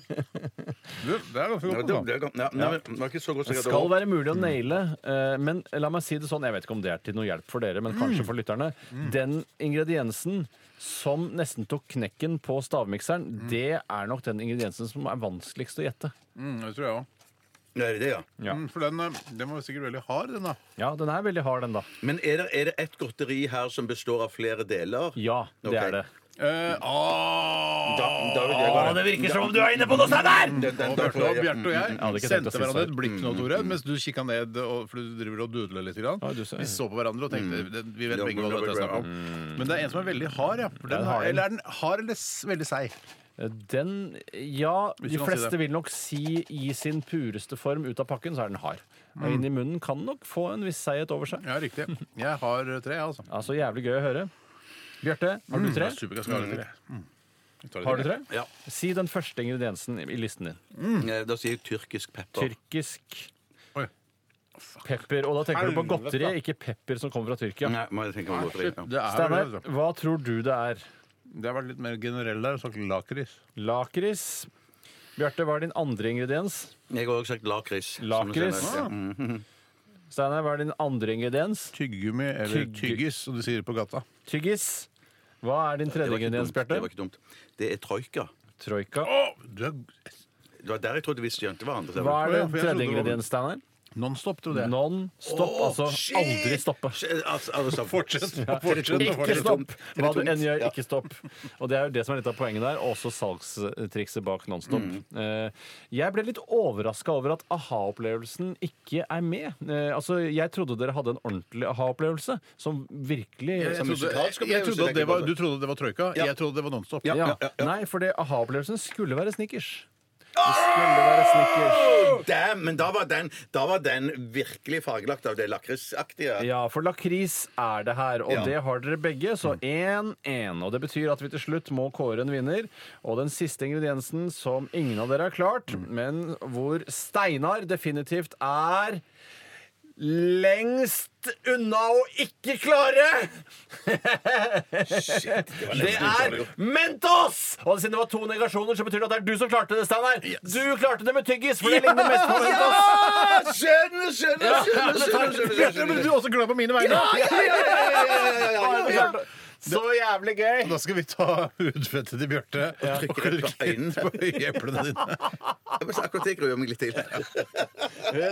A: Du, Det er ganske
C: Ja,
A: godt.
C: det,
A: da.
C: det, ja, nei, men det var ikke så godt
D: Det
C: sagt.
D: skal være mulig å naile, eh, men la meg si det sånn, jeg vet ikke om det er til noe hjelp for dere, men kanskje for lytterne. Den ingrediensen som nesten tok knekken på stavmikseren, det er nok den ingrediensen som er vanskeligst å gjette.
A: Mm, det tror jeg òg.
C: Nei, det, ja.
A: Mm, for den, eh, den var sikkert veldig hard, den da.
D: Ja, den er veldig hard, den da.
C: Men er det, er det ett godteri her som består av flere deler?
D: Ja, det
C: Ok.
D: er det.
A: Eh, ah!
C: Da, da vil jeg bare
D: virker som om du er inne på noe, Steinar!
C: den, den,
A: Og
C: da
A: Bjarte
C: får
A: og,
C: jeg-
A: Bjarte og jeg
D: hadde ikke tenkt å
A: sendte
D: si
A: hverandre
D: svar.
A: et blikk nå, Tore, mens du kikka ned, og, for du driver og dudler litt. Grann.
D: Ja, du ser.
A: Vi så på hverandre og tenkte det- Vi vet
C: Ja,
A: begge hva
C: Robert
A: dette er snakk om. Men det er en som er veldig hard, ja. For
D: Ja,
A: den
D: den har
A: har,
D: den.
A: eller er den hard eller s- veldig seig?
D: Eh, Den Ja,
A: Hvis du
D: de
A: kan si
D: fleste
A: det.
D: vil nok si i sin pureste form ut av pakken, så er den hard. Og inni munnen kan nok få en viss seighet over seg.
A: Ja, riktig. Jeg har tre, jeg, altså.
D: Altså, jævlig gøy å høre. Bjarte, har du tre?
A: Jeg er supergass, jeg har tre. Mm. Jeg tar det
D: Har du
A: til,
D: tre?
A: jeg.
C: Ja.
D: Si den første ingrediensen i listen din.
C: Eh, Da sier jeg tyrkisk pepper.
D: Tyrkisk
A: Oi.
D: pepper. Og da tenker du på
A: Helvete.
D: godteri, ikke pepper som kommer fra Tyrkia.
C: Nei, må jeg tenke
D: Ah,
C: om godteri.
A: Shit,
C: Ja.
A: Det, er,
D: Steinar,
A: vel det, altså.
D: hva tror du det er?
A: det har vært litt mer generell der. Sagt lakris.
D: Lakris? Bjarte, hva er din andre ingrediens?
C: Jeg har også sagt lakris. som
D: Lakris. Ah,
C: det senere. Mm.
D: Steinar, hva er din andre ingrediens?
A: Tyggegummi eller
D: Tygge-
A: tyggis, som de sier på gata.
D: Tyggis. Hva er din
C: Det
D: tredje
C: var ikke
D: ingrediens,
C: dumt. Det var
D: Bjarte?
C: ikke dumt. Det er troika.
D: Troika.
A: Å, du er
C: Det var der jeg trodde vi skjønte hverandre.
D: Hva er
A: Ja,
D: den
A: for jeg trodde
D: tredje
A: det var-
D: ingrediens, Steinar?
A: Nonstop, trodde jeg.
D: Non stop,
C: Åh,
D: altså
C: shit!
D: aldri stoppe.
C: Shit, altså, alle sammen.
A: Fortsett. fortsett,
D: Ikke
A: fortsett.
D: stopp! Hva du
C: tungt.
D: enn gjør,
C: Ja.
D: ikke stopp. Og det er jo det som er litt av poenget der, og også salgstrikset bak Nonstop.
C: Mm.
D: Eh, Jeg ble litt overraska over at aha-opplevelsen ikke er med. Eh, Altså, Jeg trodde dere hadde en ordentlig aha-opplevelse, som virkelig
A: Jeg
C: Som
A: trodde,
C: musikalsk
A: jeg trodde at
C: opplevelse,
A: det
C: tenker jeg
A: var,
C: på.
A: du trodde det var troika, jeg trodde det var Nonstop.
C: Ja.
D: ja. Nei, for det aha-opplevelsen skulle være snickers. Det skulle være snickers.
C: Damn, men da var, den, da var den virkelig fargelagt av det lakrisaktige.
D: Ja, for lakris er det her, og
C: Ja.
D: det har dere begge. Så 1-1. Og det betyr at vi til slutt må kåre en vinner. Og den siste ingrediensen som ingen av dere har klart, men hvor Steinar definitivt er Lengst unna å ikke klare! det er Mentos! Og siden det var to negasjoner, så betyr det at det er du som klarte det, Steinar. Du klarte det med tyggis, for det ligner mest på Mentos.
C: Ah, skjønner, skjønner, skjønner, skjønner, skjønner,
A: Bjarte, ble
C: skjønner.
A: du også glad på mine vegne?
D: Ja, ja, ja. Så jævlig gøy!
A: Da skal vi ta hudfettet til Bjarte og
C: trykke
A: klikke
C: rett på øynene.
A: på øyeeplene dine.
C: Jeg må si Akkurat det gruer jeg meg litt til.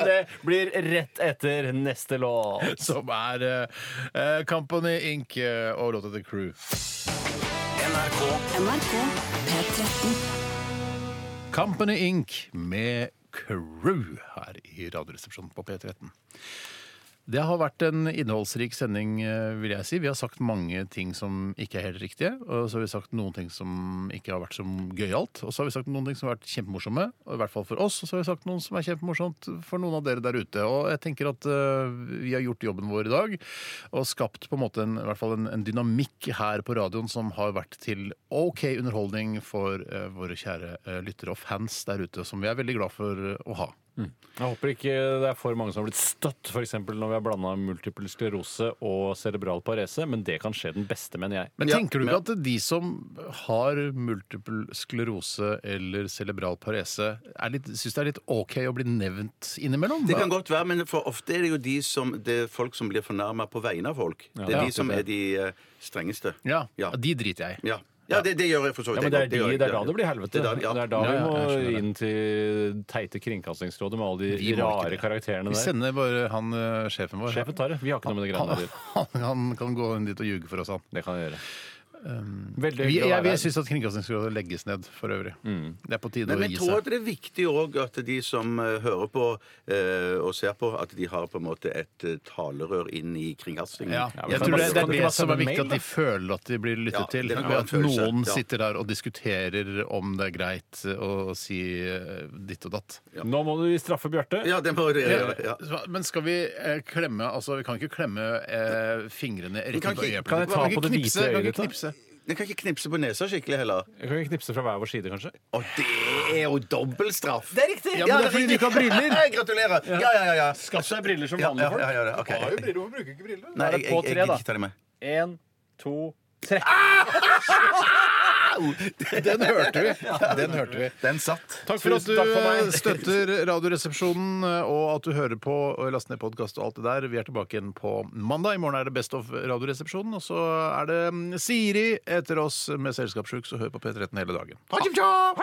D: Det blir rett etter neste låt.
A: Som er eh, Company Inc. eh, og låta til Crew.
G: NRK
H: NRK P13.
A: Company Inc. med Crew her i Radioresepsjonen på P13. Det har vært en innholdsrik sending, eh, vil jeg si. Vi har sagt mange ting som ikke er helt riktige. Og så har vi sagt noen ting som ikke har vært så gøyalt. Og så har vi sagt noen ting som har vært kjempemorsomme, og i hvert fall for oss. Og så har vi sagt noen som er kjempemorsomt for noen av dere der ute. Og jeg tenker at eh, vi har gjort jobben vår i dag, og skapt på en måte en, i hvert fall en, en dynamikk her på radioen som har vært til OK underholdning for eh, våre kjære eh, lyttere og fans der ute, som vi er veldig glad for eh, å ha.
D: Jeg håper ikke det er for mange som har blitt støtt, f.eks. når vi har blanda multiple sklerose og cerebral parese, men det kan skje den beste, mener jeg.
A: Men tenker du ikke at de som har multiple sklerose eller cerebral parese, er litt- syns det er litt OK å bli nevnt innimellom?
C: Det kan godt være, men for ofte er det jo de som, det er folk som blir fornærma på vegne av folk. Det
D: Ja,
C: er de som
D: det er
C: er de eh, strengeste.
A: Ja,
C: Ja.
A: De driter jeg i.
C: Ja, ja det, det gjør jeg for så
D: Ja,
C: vidt.
D: men det er,
C: jeg
D: de,
C: godt. gjør jeg.
D: det er da det blir helvete.
C: Det er da- ja.
D: Det er da
A: Ja,
D: vi
A: ja, jeg skjønner
D: må
A: det.
D: inn til teite Kringkastingsrådet med alle
A: Vi
D: de
A: må ikke
D: rare
A: det.
D: karakterene
A: Vi
D: der.
A: sender Ah, bare han eh, sjefen vår.
D: Sjefen tar det. Vi har ikke noe med det greiene å
A: han,
D: gjøre.
A: han, han kan gå inn dit og ljuge for oss, han.
D: Det kan jeg gjøre. Veldig
A: ah. Vi,
D: hyggelig å
A: jeg
D: være
A: jeg
D: her.
A: syns at Kringkastingsrådet legges ned for øvrig. Det er på tide
C: Men
A: å
C: jeg
A: gi
C: tror at
A: seg.
C: det er viktig òg at de som eh, hører på eh, og ser på, at de har på en måte et eh, talerør inn i kringkastingen.
A: Ja,
D: men
A: jeg tror
D: kan du
A: det, det
D: bare- kan
A: er
D: du
A: det
D: bare
A: som
D: sende
A: er viktig, at
D: mail,
A: de føler at de blir lyttet
C: Ja,
A: til.
C: det kan
A: Ved
C: være en
A: at
C: følelse,
A: noen
C: ja.
A: sitter der og diskuterer om det er greit å si eh, ditt og datt.
D: Nå må du straffe Bjarte.
C: Ja, det må dere gjøre. Ja.
A: Så- Men skal vi eh, klemme Altså, vi kan ikke klemme eh, fingrene rett
C: kan
A: inn på
C: ikke-
A: øyeeplet.
D: kan jeg ta
A: Kan vi ikke
D: på det hvite
A: knipse? Kan vi
D: øyet
A: ikke
D: ditt, da?
A: knipse?
C: Jeg kan ikke knipse på nesa skikkelig heller.
D: Jeg kan ikke knipse fra hver vår side, kanskje?
C: Og det er jo dobbel straff!
I: Det er riktig!
A: Ja, men det er fordi du ikke har briller.
C: Gratulerer! Ja, ja, ja. ja.
D: Skaff deg briller som
C: Ja,
D: vanlige
C: ja,
D: folk.
C: ja, ja, ja, ok.
D: Du har jo briller, hvorfor bruker du ikke briller?
C: Nei,
D: Da er
C: jeg,
D: det
C: jeg,
D: på
C: jeg,
D: tre,
C: gidder
D: da.
C: ikke ta dem med.
D: Én, to, tre.
A: Den hørte vi. Den hørte vi.
C: Den satt.
A: Takk for at
D: Tusen takk for meg.
A: du eh, støtter Radioresepsjonen, eh, og at du hører på og laster ned podkast og alt det der. Vi er tilbake igjen på mandag. I morgen er det Best of Radioresepsjonen. Og så er det mm, Siri etter oss med Selskapssjuk, så hør på P13 hele dagen. Ha det bra.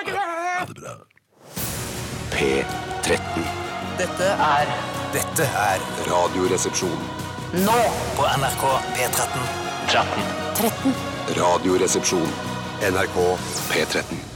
E: P13.
I: Dette er
G: Dette er
E: Radioresepsjon.
I: nå
G: på NRK P13. 13.
E: Radioresepsjon. NRK P13.